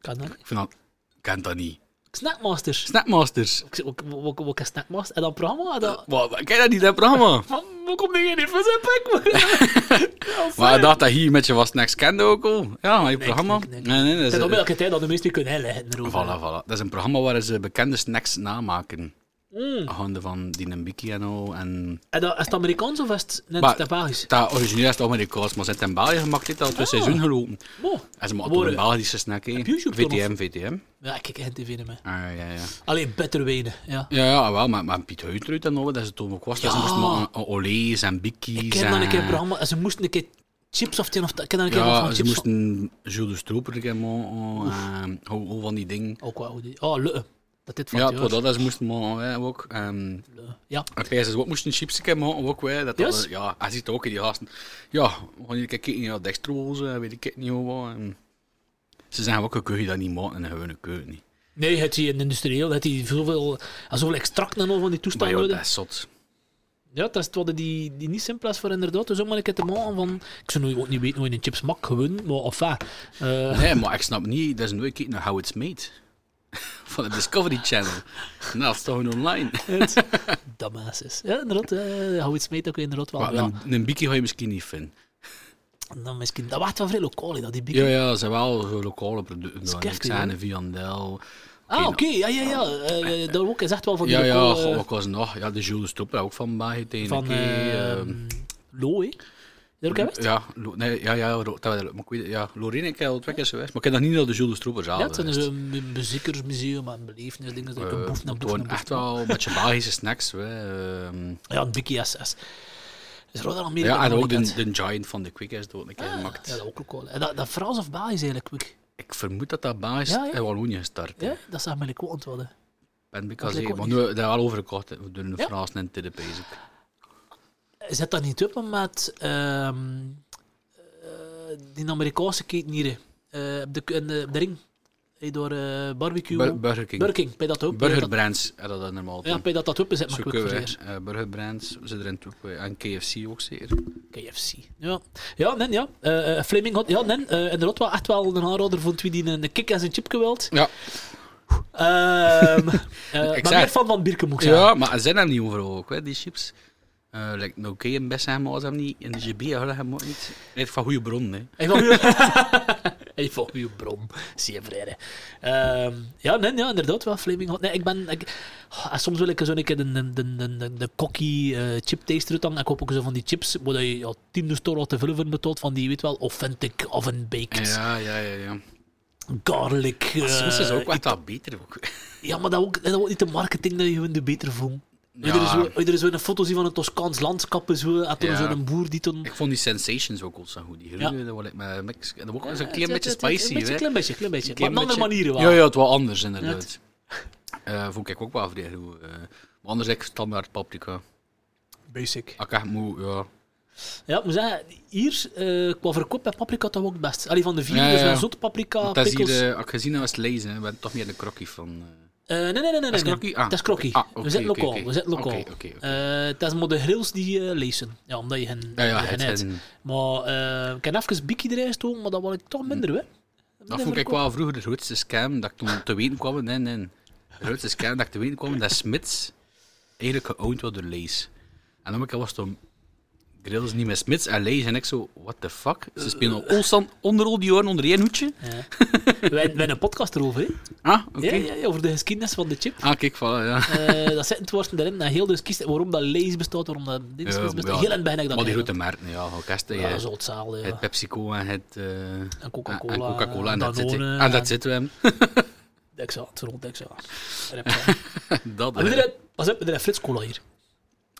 S1: Kan dat?
S2: Ik vind dat... Ik ken dat niet.
S1: Snackmasters.
S2: Snapmasters!
S1: Ik zeg, wat- wat- Wat wat is Snackmasters? En dat programma? En dat...
S2: Wat, wat- ken je dat niet, dat programma?
S1: Wat, hoe komt die hier niet van zijn plek?
S2: Maar ik dacht dat hier met je was Next Kende ook al. Ja, maar je programma.
S1: nee, nee.
S2: Nee, nee, dat
S1: Het
S2: is...
S1: is op
S2: eh,
S1: welke tijd dat de meesten kunnen herleiden erover.
S2: Voilà, voilà. Dat is een programma waar ze bekende snacks namaken.
S1: Mm.
S2: Gaande van Dinambiki en al. En
S1: En dat, is het Amerikaans of is het net
S2: Maar-
S1: het Belgisch?
S2: Dat origineel is het Amerikaans, maar ze hebben het in België gemaakt. Dit al
S1: Ah.
S2: twee seizoenen gelopen.
S1: Mooi.
S2: En ze maken
S1: Worden-
S2: toch een Belgische snack, hè?
S1: Op YouTube dan,
S2: VTM, VTM.
S1: Ja, ik kijk geen tv meer.
S2: Ah, ja, ja.
S1: Alleen beter wenen, ja.
S2: Ja, ja, ah, wel, maar, maar Piet Huytruid en al, dat is het toen ook was. Dat ze
S1: Ja.
S2: moesten maken aan Olé's en
S1: Ik
S2: Bikkies.
S1: ken dan een keer een
S2: en-
S1: programma, en ze moesten een keer chips of tien of... Ik ken dan een keer een
S2: Ja,
S1: van
S2: ze
S1: chips van-
S2: moesten Jules de Stroper een keer maken. eh, Hoe hoe van die dingen.
S1: Ook wel goed. Oh, Lutte. Dat dit van
S2: Ja,
S1: het jaar
S2: het
S1: is.
S2: dat, dat ze moesten maken hè, ook. ehm,
S1: Lutte. Ja.
S2: En Pijs ook moesten chips een keer maken, ook wij. Dat dat-
S1: Yes?
S2: ja, hij ziet ook in die gasten. Ja, we gaan hier een keer kijken naar dextrose, en weet ik het niet hoe wat. En ze zeggen, welke kun je dat niet maken en een gewone keuken niet.
S1: Nee, het hier in industrieel, dat die zoveel, en zoveel extracten en al van die
S2: Maar
S1: toestanden
S2: joh,
S1: worden.
S2: dat is zot.
S1: Ja, dat is het wat die, die niet simpel is voor inderdaad. Dus ook maar een keer te maken van... Ik zou nu ook niet weten hoe je een chips mak gewoon, maar enfin. eh,
S2: Nee, maar ik snap niet, dat is nooit kijken naar How It's Made. Van de Discovery Channel. Nou, dat is toch gewoon online.
S1: het dumbasses. Ja, inderdaad. eh, hou iets mee, dat kun je inderdaad wel.
S2: Maar
S1: ja.
S2: een, een bikkie ga je misschien niet vinden.
S1: En dan misschien... Dat wacht van vrij lokaal, hè, dat die big...
S2: Ja, ja, ze zijn wel zo lokale producten. dan. Ik
S1: Skefty,
S2: zei
S1: hè?
S2: een viandel.
S1: ah, oké, ja, ja, ja. eh, eh, dat ook is echt wel van die
S2: Ja, ja,
S1: lokale,
S2: god,
S1: eh,
S2: wat was er nog? Ja, de Jules Stroper, ook van België tegen
S1: van
S2: een keer,
S1: eh,
S2: ehm.
S1: Lo, hè. Is dat ook geweest?
S2: Ja, Lo- nee, ja, ja, Ro- dat, wel, maar ik weet, het, ja, Lorraine ik heb al twee keer geweest, maar ik heb nog niet naar de Jules de Stroeper zaal
S1: Ja, het zijn dus
S2: geweest.
S1: een mu- muziekersmuseum en belevenisdingen. Dat je
S2: Eh,
S1: een boef naar
S2: het
S1: boef
S2: waren
S1: naar boef.
S2: echt wel een beetje Belgische snacks. hè, ehm.
S1: Ja, een bikkie SS. Is er ook al meer
S2: ja, en ook de, de Giant van de Quick is dat een keer gemaakt.
S1: Ah, Ja, dat ook lokaal. En dat, dat Frans of Belgisch eigenlijk, ook.
S2: Ik vermoed dat dat Belgisch
S1: Ja,
S2: ja,
S1: ja.
S2: in Wallonië gestart
S1: Ja, dat zag mij ook ontwillen.
S2: Ben ik
S1: Dat
S2: al
S1: lijkt
S2: zeker.
S1: ook
S2: Maar nu, dat is wel overgekocht hè, door de
S1: Ja.
S2: Fransen en de Pezen.
S1: Zet dat niet op met ehm, eh, die Amerikaanse keten hier eh, op de, in de, op de ring. Hey, door eh, barbecue.
S2: Bur- Burger King.
S1: Burger King, bij dat ook. bij
S2: Burger
S1: dat-
S2: Brands hadden dat normaal.
S1: Ja,
S2: toen.
S1: bij dat dat op is, maar
S2: Zo
S1: ik ook
S2: kunnen we,
S1: verkeerd.
S2: eh, Burger Brands, ze erin toe. eh, En KFC ook zeer.
S1: KFC. Ja, ja nee, ja. Eh, eh, Flaming Hot, ja, nee. eh inderdaad, wel echt wel een aanrader voor wie die een, een kick en zijn chip wilt.
S2: Ja,
S1: Ehm eh, maar
S2: Ik zeg-
S1: meer van Van Birken moet ik zeggen.
S2: Ja, maar ze zijn er niet overal ook, hè, die chips. Eh like, nou, oké, en best hebben ze hem niet. En de GB hebben ze hem ook niet. Echt van goede bron, hè.
S1: En van- En Even op uw bron, zeer vrede. Ehm, ja, nee, ja, inderdaad, wel Flaming Hot. Nee, ik ben... Ik, ah, soms wil ik zo een keer de, de, de, de, de, de cocky eh, chip taster dan. Ik koop ook zo van die chips, waar je ja, tien de store al te vullen voor betaalt, van die, weet wel, authentic oven baked
S2: Ja, ja, ja. ja.
S1: garlic.
S2: Maar soms is
S1: eh,
S2: ook wat dat beter. Ook.
S1: Ja, maar dat ook, dat ook niet de marketing dat je hun de beter voelt. Ja. Er is
S2: Ja.
S1: zo- er is zo een foto zien van een Toscaans landschap en zo. En toen
S2: Ja.
S1: zo'n boer die toen...
S2: Ik vond die sensations ook al zo goed. Die groene, dat was ik met Mex. Dat was ook wel zo'n klein
S1: Ja,
S2: beetje
S1: het- het- het-
S2: spicy.
S1: Een beetje,
S2: hè.
S1: klein beetje, klein beetje. Maar
S2: Klein
S1: op een andere
S2: beetje-
S1: manieren wel.
S2: Ja, ja, het was anders inderdaad. Eh vond ik ook wel vrij goed. eh. maar anders heb ik standaard paprika.
S1: Basic.
S2: Als ik echt moe, ja.
S1: Ja, ik moet zeggen, hier eh, qua verkoop bij paprika toch ook het best. Allee, van de vier,
S2: Ja, ja,
S1: dus
S2: ja.
S1: wel zoete paprika,
S2: Want dat is hier,
S1: pickles...
S2: eh, als ik gezien heb, is het lezen. hè. We hebben toch meer een krokkie van... eh
S1: Eh, nee, nee, nee, nee.
S2: dat is
S1: nee.
S2: krokkie? Ah,
S1: dat is krokkie.
S2: oké. Ah, oké,
S1: we zitten
S2: oké,
S1: lokaal,
S2: oké.
S1: we zitten lokaal.
S2: Oké, oké, oké.
S1: Eh, het is maar de grills die eh, lezen. Ja, omdat je hen
S2: Ja, ja,
S1: je hen
S2: het
S1: eet.
S2: en-
S1: Maar eh, ik heb even Biki erin gestoken, maar dat was ik toch minder, hè. Minder
S2: Dat vond ik
S1: verkoop.
S2: wel vroeger de grootste scam dat ik toen te weten kwam. Nee, nee. De grootste scam dat ik te weten kwam, dat Smits eigenlijk geowned was door Lees. En dan was het om grills niet met Smits en Lees. En ik zo, what the fuck? Ze spelen
S1: Eh.
S2: constant onder al die jaren onder één hoedje.
S1: Ja. wij, wij hebben een podcast erover, hè.
S2: Ah, oké.
S1: Ja, ja, ja, over de geschiedenis van de chip.
S2: Ah, kijk, voilà, ja.
S1: Eh, dat zit het woord erin. Dat heel dus kiest waarom dat lees bestaat, waarom dat dit
S2: Ja,
S1: bestaat.
S2: ja,
S1: heel in het begin heb ik dat
S2: Maar die
S1: niet
S2: grote merken, ja. Ook eerst,
S1: gedaan.
S2: eh,
S1: Ja, zoutzaal, ja.
S2: het PepsiCo en het... eh,
S1: En Coca-Cola.
S2: En Coca-Cola, en
S1: en
S2: dat zitten
S1: Danone,
S2: en dat zitten we hem.
S1: Dexa, het is rond Dexa. Rep, hè.
S2: Dat,
S1: Maar
S2: eh,
S1: iedereen- Pas op, er is Frits Cola hier.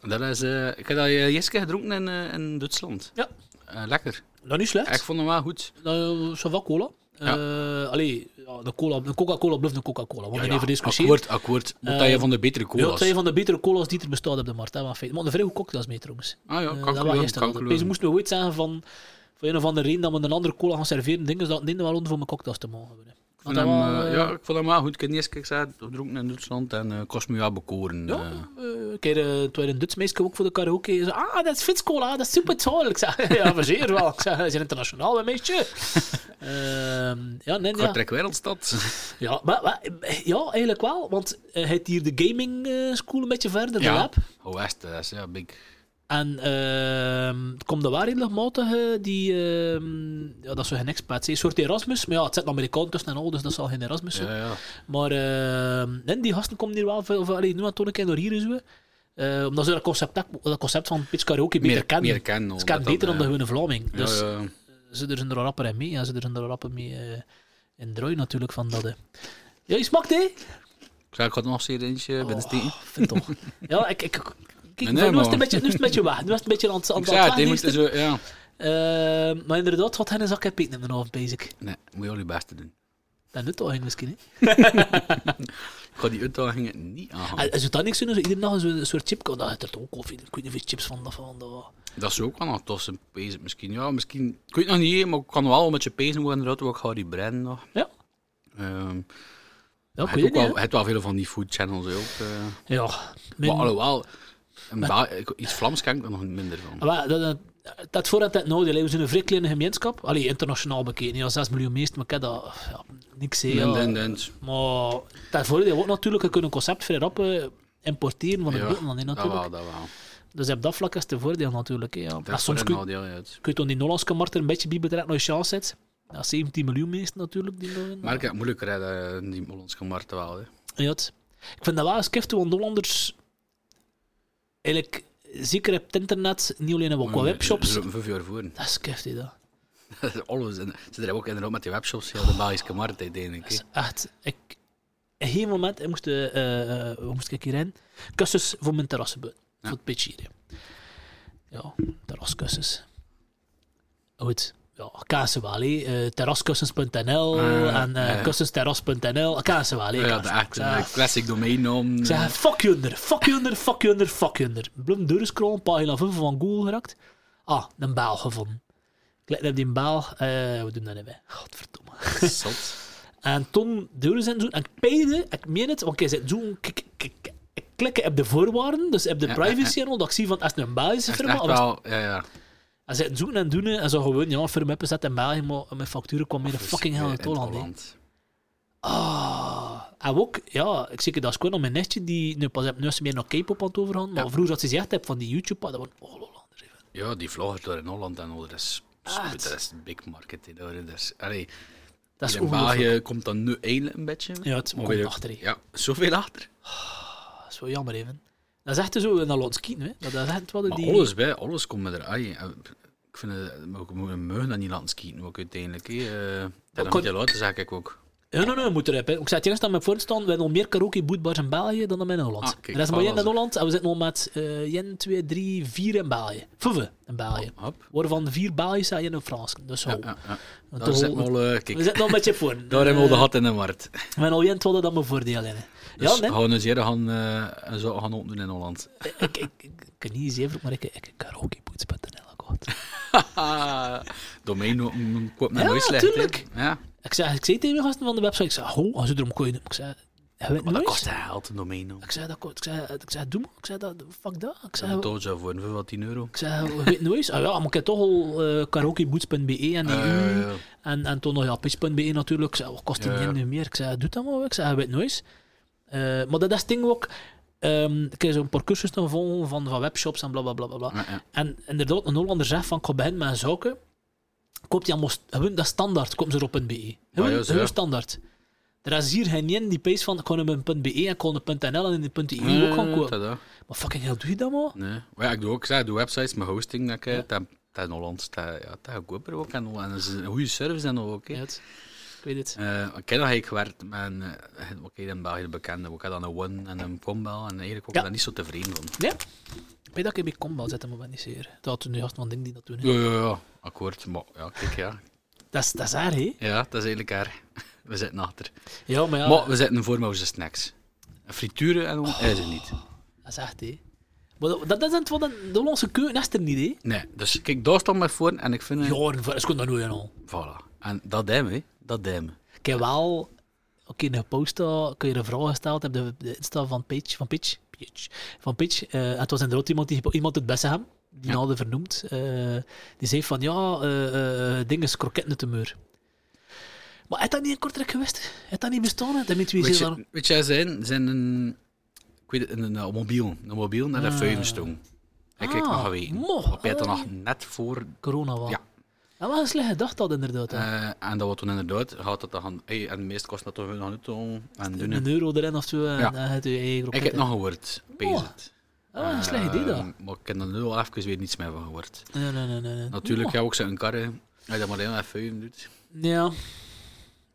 S2: dat is... eh, ik heb dat eh, Jeske gedronken in, eh, in Duitsland.
S1: Ja,
S2: Eh, lekker.
S1: dat niet slecht.
S2: Ik vond hem wel goed.
S1: Nou, ça va, cola.
S2: Ja.
S1: Eh, allee, ja, de, cola, de Coca-Cola blijft een Coca-Cola. Want
S2: Ja,
S1: we
S2: ja,
S1: hebben discussiëren.
S2: Akkoord, akkoord. Moet dat je van de betere
S1: Ja,
S2: colas.
S1: het zijn Eh, van de betere cola's die er bestaan op de markt. Hè, maar feit. Maar de vrije cocktails mee trouwens.
S2: Ah ja,
S1: Eh,
S2: kan
S1: dat
S2: ik
S1: was
S2: geloven,
S1: gisteren.
S2: kan ik
S1: al.
S2: geloven.
S1: Ze moesten we ooit zeggen van, van een of andere reden dat we een andere cola gaan serveren. Dingen dat nemen wel onder voor mijn cocktails te mogen hebben.
S2: Ik vond hem, eh, ja, ik vond hem wel goed. Ik heb niet eens ik zei, gedronken in Duitsland en eh kost me wel bekoren.
S1: Ja,
S2: eh.
S1: eh, kijk, eh, het was een Duits meisje ook voor de karaoke. Ze zei, ah, dat is Fitskola, dat is super toll. Ik zei, ja, verzeer wel. Ik zei, ze zijn internationaal, hè, meisje. Ehm, ja, nee, ja.
S2: Kortrijk Wereldstad.
S1: Ja, maar, maar, ja, eigenlijk wel. Want eh, hij had hier de gaming eh, school een beetje verder, de lab.
S2: Oh, echt, dat is ja, big.
S1: En ehm, het komt er wel redelijk matige, die, ehm, ja, dat is zo geen expat. Een soort Erasmus, maar ja, het zit een Amerikaan tussen en al, dus dat zal geen Erasmus zijn.
S2: Ja, ja.
S1: Maar ehm, nee, die gasten komen hier wel veel, veel allee, nu en toen een keer door hier en zo. Eh, omdat ze dat concept, dat concept van pitch karaoke beter
S2: Meer-
S1: kennen.
S2: meer kennen,
S1: Ze
S2: omdat
S1: kennen
S2: dat,
S1: beter dan de
S2: eh,
S1: gewone Vlaming. Dus
S2: ja, ja.
S1: ze er zijn er al rapper in mee. Ja, ze er zijn er al rapper mee eh, in drooi natuurlijk van dat. eh. Ja, je smaakt hè?
S2: Ik zei, ik had nog eens hier eentje bij de steen.
S1: Oh, vind toch. Ja, ik... ik Kijk,
S2: Nee, nee,
S1: nu, is het
S2: maar-
S1: een beetje, nu is het een beetje weg. Nu is het een beetje aan het aan
S2: Ik
S1: het
S2: zei, het, je moet
S1: wegneesten.
S2: zo, ja.
S1: Eh, maar inderdaad, wat hen een zak heb ik nemen af, basic.
S2: Nee, moet je al je best doen.
S1: Dat nut toch misschien, hè?
S2: Ik ga die uitdagingen niet aangaan.
S1: En zou dat niks doen? Zo Iedere dag zo'n soort chip. Oh, dat had er toch ook koffie. Ik weet niet of je chips van dat van dat.
S2: Dat is ook wel nog tof, een pezen misschien. Ja, misschien, ik weet het nog niet, maar ik kan wel met je pezen worden eruit, want ik ga die brand nog.
S1: Ja,
S2: Ehm
S1: ja ik
S2: het
S1: weet het
S2: ook wel,
S1: niet,
S2: het wel veel van die food channels ook. eh.
S1: hè. Ja,
S2: Maar
S1: mijn-
S2: alhoewel, een ba- ik- iets Vlaams kan ik er nog minder van.
S1: Maar dat, dat, dat voor en dat nodig. We zijn een vrij kleine gemeenschap. Allee, internationaal bekeken. Ja, 6 miljoen meest, maar ik heb dat ja, niks hè. ja.
S2: En, en, en.
S1: Maar dat voordeel ook natuurlijk, je kunt een concept vrij rap eh, importeren van het
S2: Ja,
S1: buitenland hè,
S2: Dat
S1: natuurlijk.
S2: wel, dat wel.
S1: Dus op dat vlak is het een voordeel natuurlijk. Hè, ja.
S2: Dat
S1: Maar
S2: is voor
S1: soms
S2: een
S1: kun,
S2: nadeel uit.
S1: kun je dan die Nollandse markt er een beetje bij betrekken als je chance zet. Dat is 17 miljoen meest natuurlijk. Die Nolland-
S2: Maar ik heb het moeilijk rijden, eh, die Hollandse markt wel. Hè.
S1: Ja, het- ik vind dat wel eens kift, want Hollanders eigenlijk zeker op het internet, niet alleen op qua webshops,
S2: Ze Eh, lopen vijf jaar voor.
S1: dat is kift, hè, dat.
S2: Alles. En ze drijven ook inderdaad met die webshops heel de Belgische markt uiteindelijk. hè.
S1: Dat is Dus echt... Ik, op een gegeven moment, ik moest, eh eh, eh, hoe moest ik hierheen? Kussens voor mijn terrassenbeurt. Voor het pitch hier. hè. Ja, terraskussens. Goed. Ja, Kaasewali, eh terraskussens.nl
S2: Ah,
S1: en eh
S2: ja.
S1: kussensterras.nl. Kaasewali.
S2: Ja, de echte classic domeinnaam.
S1: Ik zeg, fuck you under, fuck you under, fuck you under, fuck you under. Blum doorscrollen, pagina 5 van Google gerakt. Ah, een baal gevonden. Ik let op die baal. eh, we doen dat niet bij. Godverdomme.
S2: eh, zot.
S1: En toen deuren zijn zo. En ik peide, ik meen het, want ik zei zo. Ik, ik, ik, ik klik op de voorwaarden, dus op de
S2: Ja,
S1: privacy
S2: ja, ja.
S1: channel, dat ik zie van als het een Belgische
S2: Dat is
S1: firma
S2: echt
S1: of als-
S2: wel, ja, ja.
S1: en ze zoeken en doen en zo gewoon, ja, firma hebben zet in België, maar mijn facturen kwam meer de fucking hell
S2: Dus, eh, In
S1: uit
S2: het
S1: Holland. hè.
S2: Holland.
S1: Ah, en ook, ja, ik zeg het, dat is gewoon aan mijn nestje die nu pas heb, nu is ze meer naar K-pop aan het overgaan, maar vroeger had ze gezegd heb van die YouTube, dat was oh, Hollanders. even.
S2: Ja, die vloggers door in Holland en al, dat is,
S1: Ah,
S2: dat is big market. hè. Dat is, allee,
S1: Dat is
S2: in
S1: ongelooflijk.
S2: België komt dat nu eindelijk een beetje.
S1: Ja, het
S2: Maar
S1: komt
S2: weer-
S1: achter. hè.
S2: Ja, zoveel achter.
S1: Dat is wel jammer even. Dat is echt zo een Alonskien, hè. Dat is echt wel
S2: Maar
S1: die...
S2: alles bij, alles komt met eruit. hè. Ik vind het, we moeten muggen dat niet laten skieten ook uiteindelijk. hè. Eh, dat
S1: kon-
S2: kan... niet laten, zeg ik ook.
S1: Ja, nee, nee, moet erop. hè. Ik zei het eerst aan mijn voorstaan, we hebben al meer karaoke bootbars in België dan dat we in Holland.
S2: Ah, kijk,
S1: er is maar één in
S2: voilà,
S1: Holland en we zitten al met eh 1, 2, 3, 4 in België. Vijf in België.
S2: Hop.
S1: Waarvan vier Belgische en één Frans. Dus
S2: Ah. Ja,
S1: zo.
S2: ja, ja.
S1: Dat
S2: Daar
S1: is
S2: zit
S1: al-
S2: al, eh, kijk,
S1: We zitten nog met je voor. Eh,
S2: daar hebben we al de gat in de markt.
S1: We hebben al één twaalfde dat mijn voordeel in.
S2: Dus
S1: ja, nee.
S2: we gaan eens eerder gaan, eh, en zo gaan opdoen in Holland.
S1: ik, ik, ik, ik kan niet zeven, maar ik ik karaokeboots.nl gekocht.
S2: Domein noemen, koopt mij
S1: Ja,
S2: nooit slecht. hè.
S1: tuurlijk.
S2: Ja,
S1: Ik zei, ik zei tegen de gasten van de website, ik zei, ho, als je erom kon je doen. Ik zei, je weet
S2: maar dat
S1: nooit.
S2: kost geld, een domein. noemen.
S1: Ik zei, dat, ko- ik zei, ik zei, doe maar. Ik zei, dat, fuck dat. Ik zei,
S2: Een doja voor een wat 10 euro.
S1: Ik zei, we weten nooit. Ah ja, maar ik heb toch al eh karaokeboots.be E en EU.
S2: Eh, ja.
S1: en, en toen nog ja, pitch.be E natuurlijk. Ik zei, wat kost die
S2: Ja, ja.
S1: niet meer? Ik zei, doe dat maar. Ik zei, je weet nooit. Eh, maar dat is het ding ook. ehm ik heb zo'n paar cursussen te volgen van, van webshops en bla bla bla bla, bla.
S2: Ja, ja.
S1: En inderdaad, een Hollander zegt van, ik ga beginnen met een zaken. Koopt die allemaal, st- gewoon dat standaard, komt ze erop een BE. Gewoon,
S2: Ah, ja, zo,
S1: gewoon
S2: ja.
S1: standaard. Er is hier geen één die pees van, ik kan hem een .be E en ik kan een .nl en een .eu ook gaan
S2: Eh,
S1: kopen.
S2: tada.
S1: Maar fucking hell, doe je dat maar?
S2: Nee. Maar ja, ik doe ook, ik zeg, doe websites, mijn hosting, dat ik, eh, dat, dat in Holland, dat, ja, dat goedkoper ook. En, en dat is een goede service dan ook. hè.
S1: Ja, het- ik weet het.
S2: Eh, ik heb nog eigenlijk gewerkt met een, eh, oké, in België bekende, ook dan een One en een Combel. En eigenlijk ook
S1: Ja.
S2: daar niet zo tevreden van.
S1: Nee. Ik weet dat ik bij combo zet, maar ik ben niet zeer. Dat toen de gast van ding die dat doen. hè.
S2: Ja, ja, ja, akkoord. Maar ja, kijk, ja.
S1: Dat is, dat is haar, hè?
S2: Ja, dat is eigenlijk haar. We zitten achter.
S1: Ja, maar ja,
S2: Maar we zitten voor met onze snacks. Frituren en oh. is er niet.
S1: dat is echt, hè? Maar dat, dat is het wat een, de Hollandse keuken is er niet, hè?
S2: Nee, dus kijk, daar stond mij voor en ik vind...
S1: Ja, dat is gewoon dat doen al.
S2: Voilà. En dat deem, hè. Dat deem.
S1: Ik heb wel, oké, in de post daar kun je eh, een vraag gesteld hebben, de, de Insta van Pitch, van Pitch, Pitch, van Pitch. eh, het was inderdaad iemand, die, iemand uit Bessenham, die
S2: Ja.
S1: hadden vernoemd, eh, die zei van, ja, eh eh dingen, kroketten uit de muur. Maar had dat niet in Kortrijk geweest? Had dat niet bestaan? hè? Dat met wie
S2: Weet
S1: zit dan?
S2: je, weet je, zijn, zijn een... Ik weet het, een, een, een mobiel. Een mobiel naar de
S1: Ah.
S2: vuilnisstong. Ik kijk nog
S1: Ah,
S2: geweten.
S1: mo.
S2: Op het
S1: Ah.
S2: nog net voor
S1: corona was.
S2: Ja.
S1: Dat was een slechte dag dat inderdaad. hè.
S2: Eh, en dat wordt toen inderdaad, gaat dat dan, hey, en de meest kost dat toch hun aan doen en doen.
S1: een euro erin of zo. En
S2: Ja.
S1: dan had je eigen
S2: Ik
S1: kroket
S2: heb
S1: in.
S2: nog gehoord, pees
S1: Oh,
S2: het.
S1: Dat was een slecht idee dat.
S2: Eh, Maar ik heb er nu al even weer niets meer van gehoord.
S1: Nee, nee, nee, nee, nee.
S2: Natuurlijk, ja, ook zo'n kar, hè. Als je dat maar helemaal even vuilen doet.
S1: Oh.
S2: Dus
S1: Ja.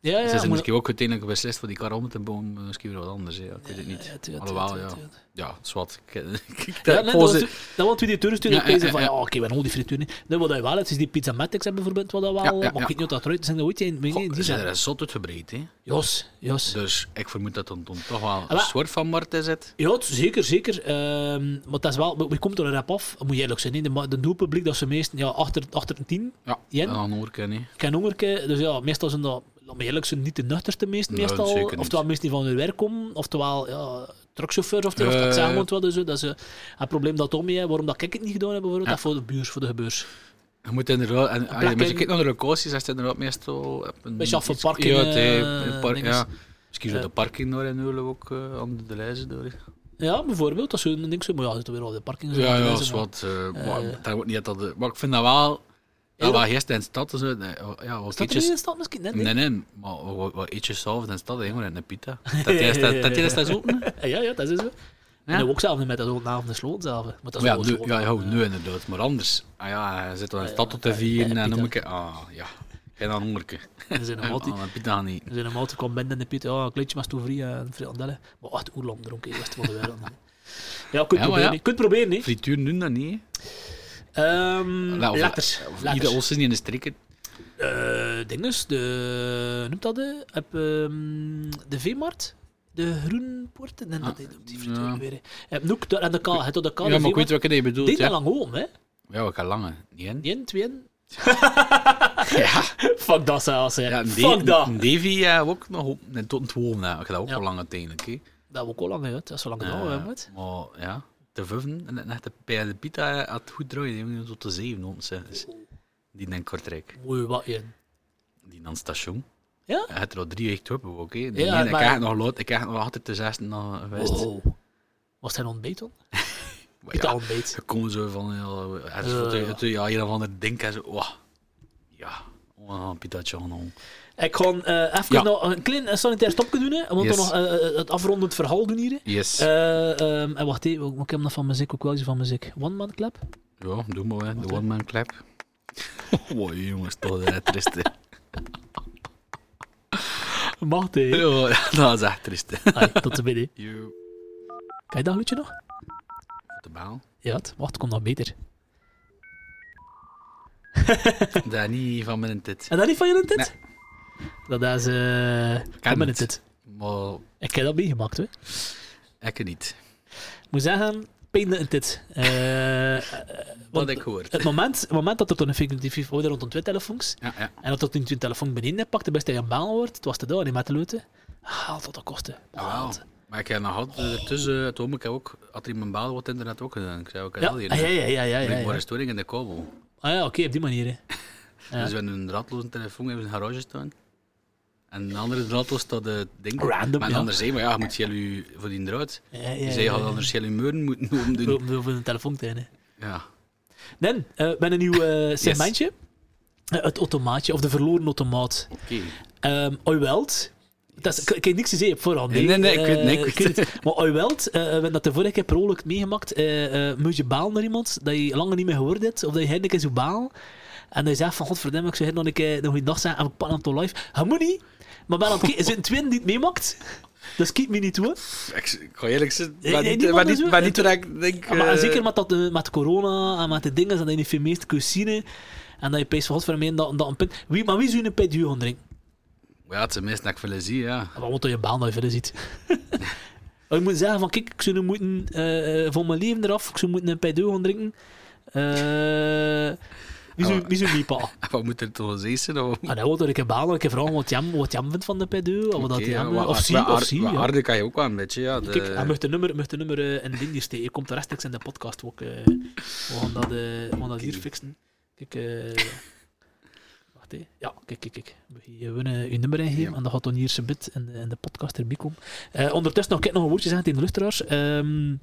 S1: Ja, ja.
S2: Ze zijn
S1: maar-
S2: misschien ook uiteindelijk beslist voor die kar om te bomen, eh, misschien weer wat anders, hè. ik weet het
S1: Ja,
S2: niet.
S1: tuurlijk, tuurlijk,
S2: Alhoewel, ja.
S1: tuurlijk, tuurlijk.
S2: Ja, zwart. Ik, ik,
S1: Eh, Ja,
S2: dat
S1: nee,
S2: volgens-
S1: dat was- dat want we die toeristen sturen
S2: Ja,
S1: en
S2: ja,
S1: van
S2: ja,
S1: ja,
S2: ja.
S1: oké, we hebben al die frituur niet. Nee, wat dat wel is, is die pizza matics hebben bijvoorbeeld wat dat wel,
S2: Ja, ja,
S1: maar ik
S2: ja.
S1: weet niet of dat eruit is. Dat ooit in, weet
S2: Goh,
S1: niet,
S2: ze
S1: die
S2: zijn
S1: zijn.
S2: er zot uitgebreid, hè.
S1: Jos, Jos.
S2: Dus ik vermoed dat dan dan toch wel een
S1: maar-
S2: soort van markt is het.
S1: Ja, het- zeker, zeker. Ehm, maar dat is wel, we- we komt er een rap af, moet je eerlijk zijn. hè. De, ma- de doelpubliek, dat ze meestal ja, achter, achter een tien,
S2: Ja,
S1: Jen?
S2: dat gaan we ook kennen, hè.
S1: geen hongerke. Dus ja, meestal zijn dat, laat me eerlijk zijn, niet de nuchterste meest,
S2: Nee,
S1: meestal.
S2: zeker niet.
S1: Oftewel mensen die van hun werk komen, oftewel ja, truckchauffeurs, of, of dat
S2: Eh.
S1: zeggen wat wel. Zo. Dat is eh, een probleem dat Tommy, hè, waarom dat ik het niet gedaan heb, bijvoorbeeld,
S2: Ja.
S1: dat voor de buurs, voor de gebeurs.
S2: Je moet inderdaad, en, als je
S1: plek
S2: mensen
S1: in-
S2: kijkt naar de locaties, dan staat inderdaad meestal... op Een
S1: Beetje af voor
S2: iets-
S1: parking,
S2: Ja, het, eh,
S1: eh,
S2: een park,
S1: dinges.
S2: ja. Misschien zo
S1: Ja.
S2: de parking door en Ulm ook eh, aan de lijzen door.
S1: Ja, bijvoorbeeld, als je een ding zo, maar ja, zit weer op de parking. zo,
S2: Ja,
S1: dat
S2: ja,
S1: is
S2: is
S1: een-
S2: wat. eh, maar
S1: Eh.
S2: daar wordt niet dat dat... Maar ik vind dat wel...
S1: Ja,
S2: Ja, wel gisteren in de stad, dus, eh, ja, wat
S1: Staat er niet in
S2: ietsjes...
S1: de stad misschien? Nee, nee.
S2: Nee, nee, maar wat- wat- wat ietsjes zelf in de stad, hè, gewoon in de pita. Dat jij staat- dat jij staat open. hè?
S1: Ja, ja, dat is zo. En ook zelf niet met dat ook naam de sloot zelf. hè. Maar dat is
S2: Maar Ja,
S1: wel
S2: nu,
S1: zo.
S2: ja, ja, nu inderdaad, maar anders. Ah ja, hij zit dan in de stad tot de
S1: ja,
S2: vier
S1: ja,
S2: en dan
S1: Pita.
S2: moet ik... Ah, ja. Geen aan hongerke.
S1: Er zijn nog altijd-
S2: Aan een pita gaan niet.
S1: er zijn normaal te komen binnen in de pit. Ja, een kleedje was toen vrij eh, en frikandellen. Maar echt, hoe lang dronken eerst van de wereld. man. Ja, kunt
S2: Ja, maar
S1: proberen.
S2: ja.
S1: hè. Kunt proberen, hè.
S2: Frituur doen dat niet, hè.
S1: Ehm
S2: La- Nou, of-
S1: letters.
S2: Of
S1: Letters.
S2: ieder ons niet in de strikken.
S1: Eh, ding is, de, noemt dat de, heb, ehm, de Veemarkt, de Groenpoort, en dat
S2: Ah,
S1: die noemt die
S2: ja.
S1: frituur weer. hè. Je hebt ook daar aan de kaal, het tot de kaal,
S2: Ja, maar ik weet wat je bedoelt.
S1: Dit
S2: Ja,
S1: lang home, hè?
S2: ja we gaan lange. Niet in?
S1: Eén, twee.
S2: Ja,
S1: Fuck dat zelfs, hè?
S2: ja een
S1: Fuck
S2: D-
S1: dat.
S2: een Davy eh, ook nog op. En tot een twaalf, hè. Ik ga dat ook
S1: Ja.
S2: wel lang uiteindelijk. hè.
S1: Dat we ook al lang uit, dat is zo lang gedaan,
S2: Eh,
S1: hè, moet.
S2: Maar ja, te vijven en net de, bij de Pita eh, had het goed draaien. Die hebben tot de zeven ons. hè. Dus die in Kortrijk.
S1: Mooi wat in.
S2: Die aan het station.
S1: Ja?
S2: Hij had er al drie echt op ook. hè. Die
S1: Ja,
S2: ene, ik
S1: maar- Oh.
S2: heb het nog laat, ik heb het nog altijd de zesde nog geweest.
S1: Wow. Was hij ontbeet dan?
S2: Maar
S1: Ik
S2: ja,
S1: ja. ontbeet.
S2: Ze komen zo van, ja, het is
S1: Ja,
S2: wat,
S1: ja.
S2: het- ja, een of ander ding en zo, wah. Ja, oh, een pitaatje aan, oh.
S1: Ik ga eh, even
S2: Ja.
S1: nog een klein eh, sanitair stopje doen, hè, want
S2: Yes.
S1: dan nog eh, eh, het afrondend verhaal doen hier. hè.
S2: Yes.
S1: Eh, ehm, en wacht even, ik heb nog van muziek, ook wel iets van muziek. One Man Club?
S2: ja, doe maar, hè. de one-man clap. Mooi jongens, toch eh, triest. hè.
S1: Mag die?
S2: Ja, dat is echt triest. hè.
S1: Ai, tot de binnen.
S2: Yo.
S1: Kan je dat liedje nog?
S2: De baal.
S1: Ja, het- wacht, komt nog beter.
S2: Daar niet van mijn tit.
S1: En dat niet van je dit? Dat is... eh
S2: Ken
S1: van mijn
S2: het.
S1: dit.
S2: Maar
S1: Ik heb dat meegemaakt, hè.
S2: ik niet.
S1: Ik moet zeggen, pijn in dit. Eh, eh,
S2: Wat
S1: want eh,
S2: ik hoor.
S1: Het moment, het moment dat er toen een figuratief order rondom twee telefoons
S2: Ja, ja.
S1: En dat tot in je telefoon beneden hebt, pakte best dat je een baan wordt. Het was te doen, niet met te leuten. Haal tot de kosten.
S2: Jawel.
S1: Haal.
S2: Ah, Maar ik heb nog altijd ertussen, het home, ik heb ook, had er in mijn baal wat internet ook gedaan. Ik zei ook, ik
S1: Ja, Ah,
S2: had
S1: ja, ja, ja. ja, ja,
S2: Maar
S1: ja.
S2: een storing in de kabel.
S1: Ah ja, oké, op die manier. hè. Ja.
S2: Dus we hebben een draadloze telefoon in een garage staan. En een andere draadloos staat de ding.
S1: Random,
S2: maar een
S1: ja.
S2: ander zei, maar ja, je moet heel je voor die draad.
S1: Ja, ja,
S2: Die
S1: ja,
S2: zei, je had
S1: ja. Oh.
S2: anders heel je muren moeten omdoen.
S1: Om om- om een telefoon te hebben.
S2: Ja.
S1: Dan, eh met een nieuw eh segmentje. Eh, het automaatje, of de verloren automaat.
S2: Oké.
S1: Ehm Oyweld. Dat is, ik, ik heb niks gezien op voorhand.
S2: Nee, nee, nee, ik
S1: Eh,
S2: weet- nee, ik weet-
S1: het. Maar Oyweld, eh we hebben dat de vorige keer per ongeluk meegemaakt. eh eh moet je baal naar iemand dat je langer niet meer gehoord hebt, of dat je hen een keer zo baal. En hij zegt van, godverdomme, ik zou hen nog een keer nog een dag zijn en ik pak hem toch live. Hij moet niet, maar ben aan het kijken. Er zitten twee die het meemaakt. Dus kiet me niet toe.
S2: Ik, ik ga eerlijk zijn,
S1: Nee,
S2: maar
S1: nee,
S2: niet,
S1: die
S2: maar
S1: man
S2: niet,
S1: is
S2: maar
S1: wel-
S2: niet toen ik denk...
S1: Ja, maar
S2: eh,
S1: zeker met, dat, eh, met corona en met de dingen, dat je niet veel meer kunt zien. En dat je pees van godverdomme, dat, dat een pint... Wie, maar wie zou een pint gaan drinken?
S2: Ja, het is meest dat ik veel zie, ja.
S1: Maar moet je baan dat je verder ziet. ik moet zeggen van, kijk, ik zou nu moeten eh, eh, van mijn leven eraf, ik zou moeten een pijdo gaan drinken. Eh, wie zou-
S2: Ah,
S1: wie zou niet pa?
S2: En Wat moet er toch eens eens zijn? Of...
S1: Ah, nou, dat ik een baan, ik heb vragen wat Jam, wat Jam vindt van de pijdo, of dat
S2: Oké,
S1: hij
S2: ja,
S1: hem-
S2: wat-
S1: of
S2: wat-
S1: zie,
S2: wat
S1: of
S2: aard-
S1: zie,
S2: wat
S1: ja.
S2: aardig kan je ook wel een beetje, ja. De...
S1: Kijk, hij mag de nummer, mag de nummer eh, in de ding steken. Je komt er rechtstreeks in de podcast ook. eh. we gaan dat, eh, we gaan dat hier fixen. Kijk, eh, wacht hè. Ja, kijk, kijk, kijk. We gaan Je winnen je nummer ingeven
S2: Ja.
S1: en dan gaat dan hier zijn bit in de, in de podcast erbij komen. Eh, ondertussen nog, kijk, nog een woordje zeggen tegen de luisteraars. Ehm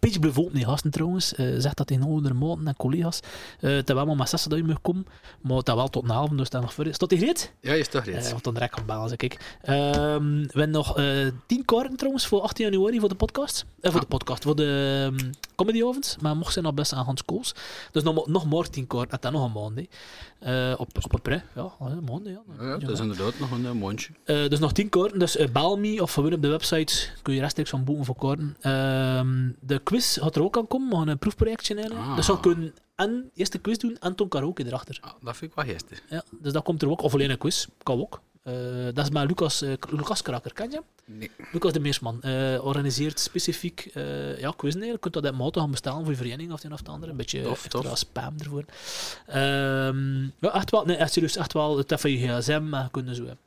S1: Pitch bleef ook niet gasten trouwens. Eh zegt dat tegen onder maten en collega's. Eh terwijl maar met zessen dat je mag komen. Maar dat wel tot een half, dus dat nog voor is. Tot die gereed?
S2: Ja, is toch
S1: Eh,
S2: reeds.
S1: want dan rek ik baan, zeg ik. Ehm, we hebben nog eh 10 kaarten trouwens voor 18 januari voor de podcast. Eh, voor
S2: Ah.
S1: de podcast, voor de ehm, comedy ovens. Maar mocht zijn nog best aan Hans Kools. Dus nog, maar- nog maar 10 kaarten. En dan nog een maand. hè. Eh, op, op een pre. Ja, eh, een maand. hè, Ja.
S2: Ja, dat is inderdaad nog een eh, mondje.
S1: Eh, dus nog 10 kaarten. Dus eh, bel me of gewoon op de website kun je rechtstreeks van boeken voor kaarten. Ehm, de quiz gaat er ook aan komen. We gaan een proefprojectje in.
S2: Ah.
S1: Dus we kunnen en eerst de quiz doen en toen karaoke erachter.
S2: Ah, dat vind ik wel gisteren.
S1: Ja, dus dat komt er ook. Of alleen een quiz, kan ook. Eh, dat is maar Lucas, eh, Lucas Kraker, ken je hem?
S2: Nee.
S1: Lucas de Meersman eh, organiseert specifiek eh ja, quizzen. Je kunt dat uit Malte gaan bestellen voor je vereniging of het een of het ander. Een beetje
S2: Tof,
S1: extra
S2: tof.
S1: spam ervoor. Ehm, ja, echt wel, nee, echt serieus, echt wel. Het heeft van je gsm, maar je kunt er zo hebben.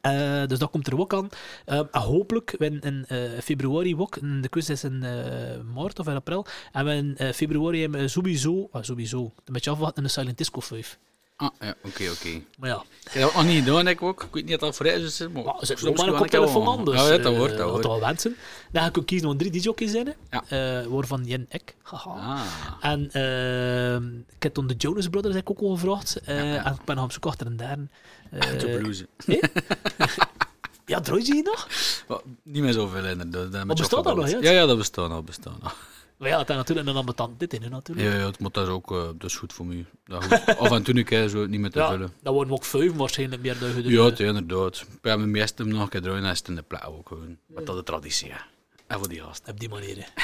S1: Eh, dus dat komt er ook aan. Ehm, en hopelijk, we hebben in eh, februari ook, en de quiz is in eh, maart of in april, en we in eh, februari hebben we sowieso, ah, sowieso, een beetje afwachten in de Silent Disco 5.
S2: Ah, ja, oké, oké.
S1: Maar ja,
S2: Ik heb dat nog niet gedaan, ik ook. Ik weet niet of dat voor is, maar
S1: Maar ze
S2: soms
S1: hebben Ah, maar
S2: doe
S1: een
S2: ik wel
S1: koptelefoon
S2: gewoon.
S1: anders.
S2: Ja, ja, dat
S1: eh,
S2: hoort, dat
S1: wat
S2: hoort.
S1: wel wensen. Dan ga ik ook kiezen van drie DJ's zijn.
S2: Ja.
S1: eh, waarvan Jen Ek. Haha.
S2: Ah,
S1: En eh, ik heb toen de Jonas Brothers heb ik ook al gevraagd. eh,
S2: Ja, Ah, ja.
S1: En ik ben nog op zoek achter een derde. Eh,
S2: te bluesen.
S1: ja, draait je hier nog?
S2: Maar Niet meer zoveel inderdaad. Dat
S1: Maar bestaat dat nog,
S2: Ja,
S1: hè?
S2: ja, dat bestaat nog, bestaat nog.
S1: Maar ja, dat is natuurlijk een ambetant dit in, hè, natuurlijk.
S2: Ja, ja, het- maar dat is ook eh, dat is goed voor mij. Dat is goed. Af en toe een keer zo niet meer te
S1: Ja, Dus, eh,
S2: vullen.
S1: dat worden we ook vijf waarschijnlijk meer dan je
S2: Ja, het, inderdaad. Ik heb mijn meeste nog een keer draaien, dat is het in de plaat ook gewoon. Maar dat is de traditie, ja. En voor die gasten.
S1: Op die manier. hè.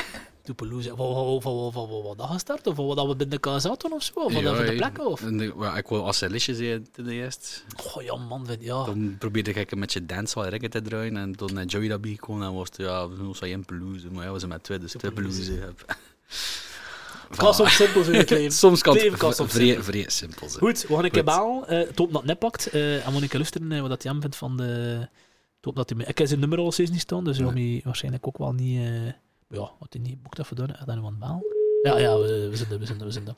S1: Toepeloes. hè. Van van- van- van- van wat dat gestart? Of van wat dat we binnen elkaar zaten of zo? Of wat dat
S2: Ja,
S1: van de
S2: ik-
S1: plekken? Of?
S2: en de- ja, ik wil als ze liedjes zeggen ten eerste.
S1: Goh, ja, man. Vind, ja.
S2: Dan probeerde ik een beetje dancehall reggae te draaien en toen eh, Joey daarbij kwam en was het, ja, we zijn één pelouse, maar ja, we zijn met twee, dus twee pelouses. ja.
S1: Het kan
S2: Voilà.
S1: soms simpel zijn in het leven.
S2: Soms kan
S1: Het
S2: het
S1: leven kan soms
S2: vrij-
S1: simpel.
S2: vrij simpel zijn.
S1: Goed, we gaan een keer
S2: Goed.
S1: bellen. eh het hoop dat het net pakt. eh, en we gaan een keer luisteren eh, wat dat Jan vindt van de... Het hoop dat hij... me- Ik heb zijn nummer al steeds niet staan, dus we gaan die waarschijnlijk ook wel niet... eh, Ja, wat hij niet boekt heeft gedaan, heeft dan iemand bellen. Ja, ja, we, we zijn er, we zijn er, we zijn er.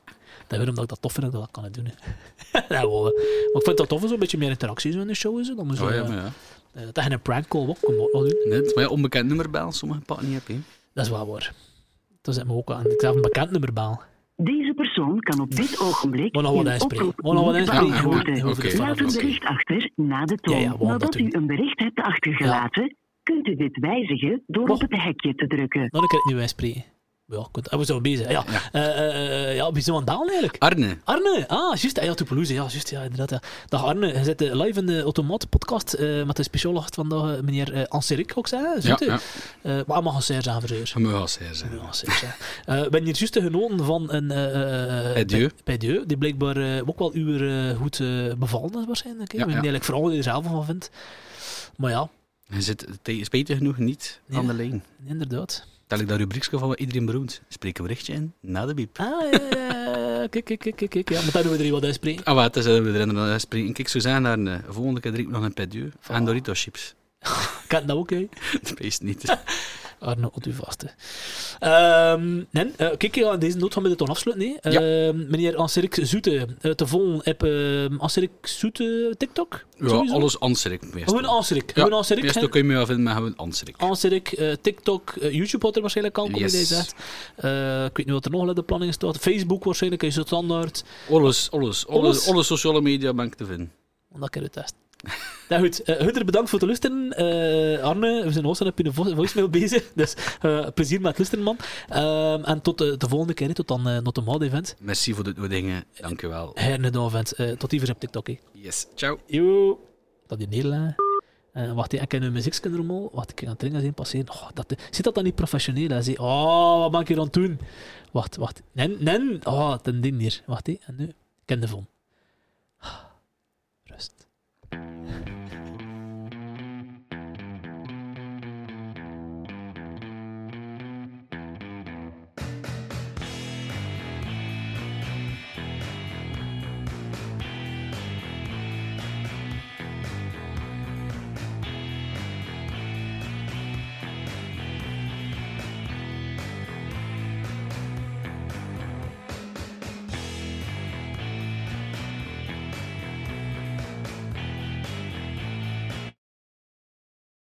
S1: Dat weer omdat ik dat tof vind dat ik dat kan doen. hè. ja, wel, hè. maar ik vind dat tof, zo'n beetje meer interactie zo in de show. en Zo. Dan moeten
S2: Oh,
S1: we,
S2: ja, maar ja.
S1: eh, dat je een prank call ook kan ook nog doen.
S2: Nee, het is maar ja, onbekend nummer bellen, sommige pakken niet heb je.
S1: Dat is wel waar. Toen zit me ook aan. Ik zelf een bekend nummer bellen.
S3: Deze persoon kan op dit ogenblik
S1: Moet nog wat
S3: uw
S1: inspreken.
S3: oproep
S1: Moet nog wat
S3: niet
S1: inspreken.
S3: beantwoorden.
S1: Ja,
S2: oké.
S3: Laat een
S2: Oké.
S3: bericht achter na de toon.
S1: Ja, ja, we gaan dat
S3: Nadat
S1: doen.
S3: u een bericht hebt achtergelaten, kunt u dit wijzigen door
S1: Wacht.
S3: op het hekje te drukken.
S1: Dan kan ik niet bij spreken. Ja, goed. Ah, We zijn bezig. Ja, Eh eh, eh, ja wie zijn we aan het bellen eigenlijk?
S2: Arne,
S1: Arne, ah, juist, ja, Toulouse, ja, juist, ja, inderdaad. Ja. Dag Arne, je zit eh, live in de Automaat-podcast eh, met de speciale gast vandaag, eh, meneer eh Anserik, ook zeggen,
S2: Ja,
S1: zit
S2: ja.
S1: Eh, Maar hij mag een zeer zijn verzeer.
S2: je moet wel zijn. zijn.
S1: Ja, zeer zijn. Eh, ben hier juist genoten van een... eh, eh,
S2: Bij Dieu.
S1: Bij Dieu, die blijkbaar eh, ook wel uw eh, goed eh, bevallen is waarschijnlijk. hè.
S2: Ja,
S1: ik ben
S2: ja.
S1: eigenlijk vooral wat je er zelf van vindt. Maar ja,
S2: Je zit te- spijtig genoeg niet
S1: Ja.
S2: aan de lijn.
S1: inderdaad.
S2: Tel ik dat rubriekje van wat iedereen beroemd. Spreek een berichtje in, na de biep.
S1: Ah, ja, ja, ja, kijk, kijk, kijk, kijk, kijk, ja, maar daar doen we er hier wat uitspreken.
S2: Ah, wat, dan zijn we er inderdaad springen. Kijk, zo zijn daar een volgende keer drink ik nog een pedieu
S1: Voilà.
S2: en Dorito chips.
S1: Kan dat ook, hè?
S2: Dat beest niet.
S1: Arne, op u vast. hè. Ehm, nee, eh, kijk, ja, deze noot gaan we dit dan afsluiten. hè.
S2: Ja.
S1: Ehm, meneer Anserik Zoete, eh, te volgen op ehm Anserik Zoete TikTok?
S2: Ja,
S1: sowieso?
S2: alles Anserik. meestal.
S1: Gewoon Anserik.
S2: Ja,
S1: Gewoon Anserik.
S2: meestal
S1: hè.
S2: kun je me wel vinden, maar gewoon Anserik.
S1: Anserik, eh, TikTok, eh, YouTube had er waarschijnlijk al, kom je
S2: Yes.
S1: deze uit. Eh, ik weet niet wat er nog in de planning staat. Facebook waarschijnlijk is het standaard.
S2: Alles,
S1: Alles?
S2: alles, alles, alle sociale media ben ik te vinden.
S1: Want dat kan je testen. Nou goed, eh, Hunter, bedankt voor het luisteren. Eh, Arne, we zijn ook op je vo- voicemail bezig. Dus eh, plezier met het luisteren, man. Ehm, en tot eh, de volgende keer, hè. tot dan eh Not a Mod event.
S2: Merci voor de nieuwe dingen. Dankjewel.
S1: Hernedon vent. Eh, tot die op TikTok. hè.
S2: Yes, ciao.
S1: Yo. Dat die Nederlander. Eh wacht, ik ken hun muziekskinder om al. Wacht, ik ga het erin zien passeren. Oh, dat, zit dat dan niet professioneel? Hij zei, oh, wat ben ik hier aan het doen? Wacht, wacht. Nen, nen. Oh, ten ding hier. Wacht, hè. en nu. Ik ken de von. Ah, Rust.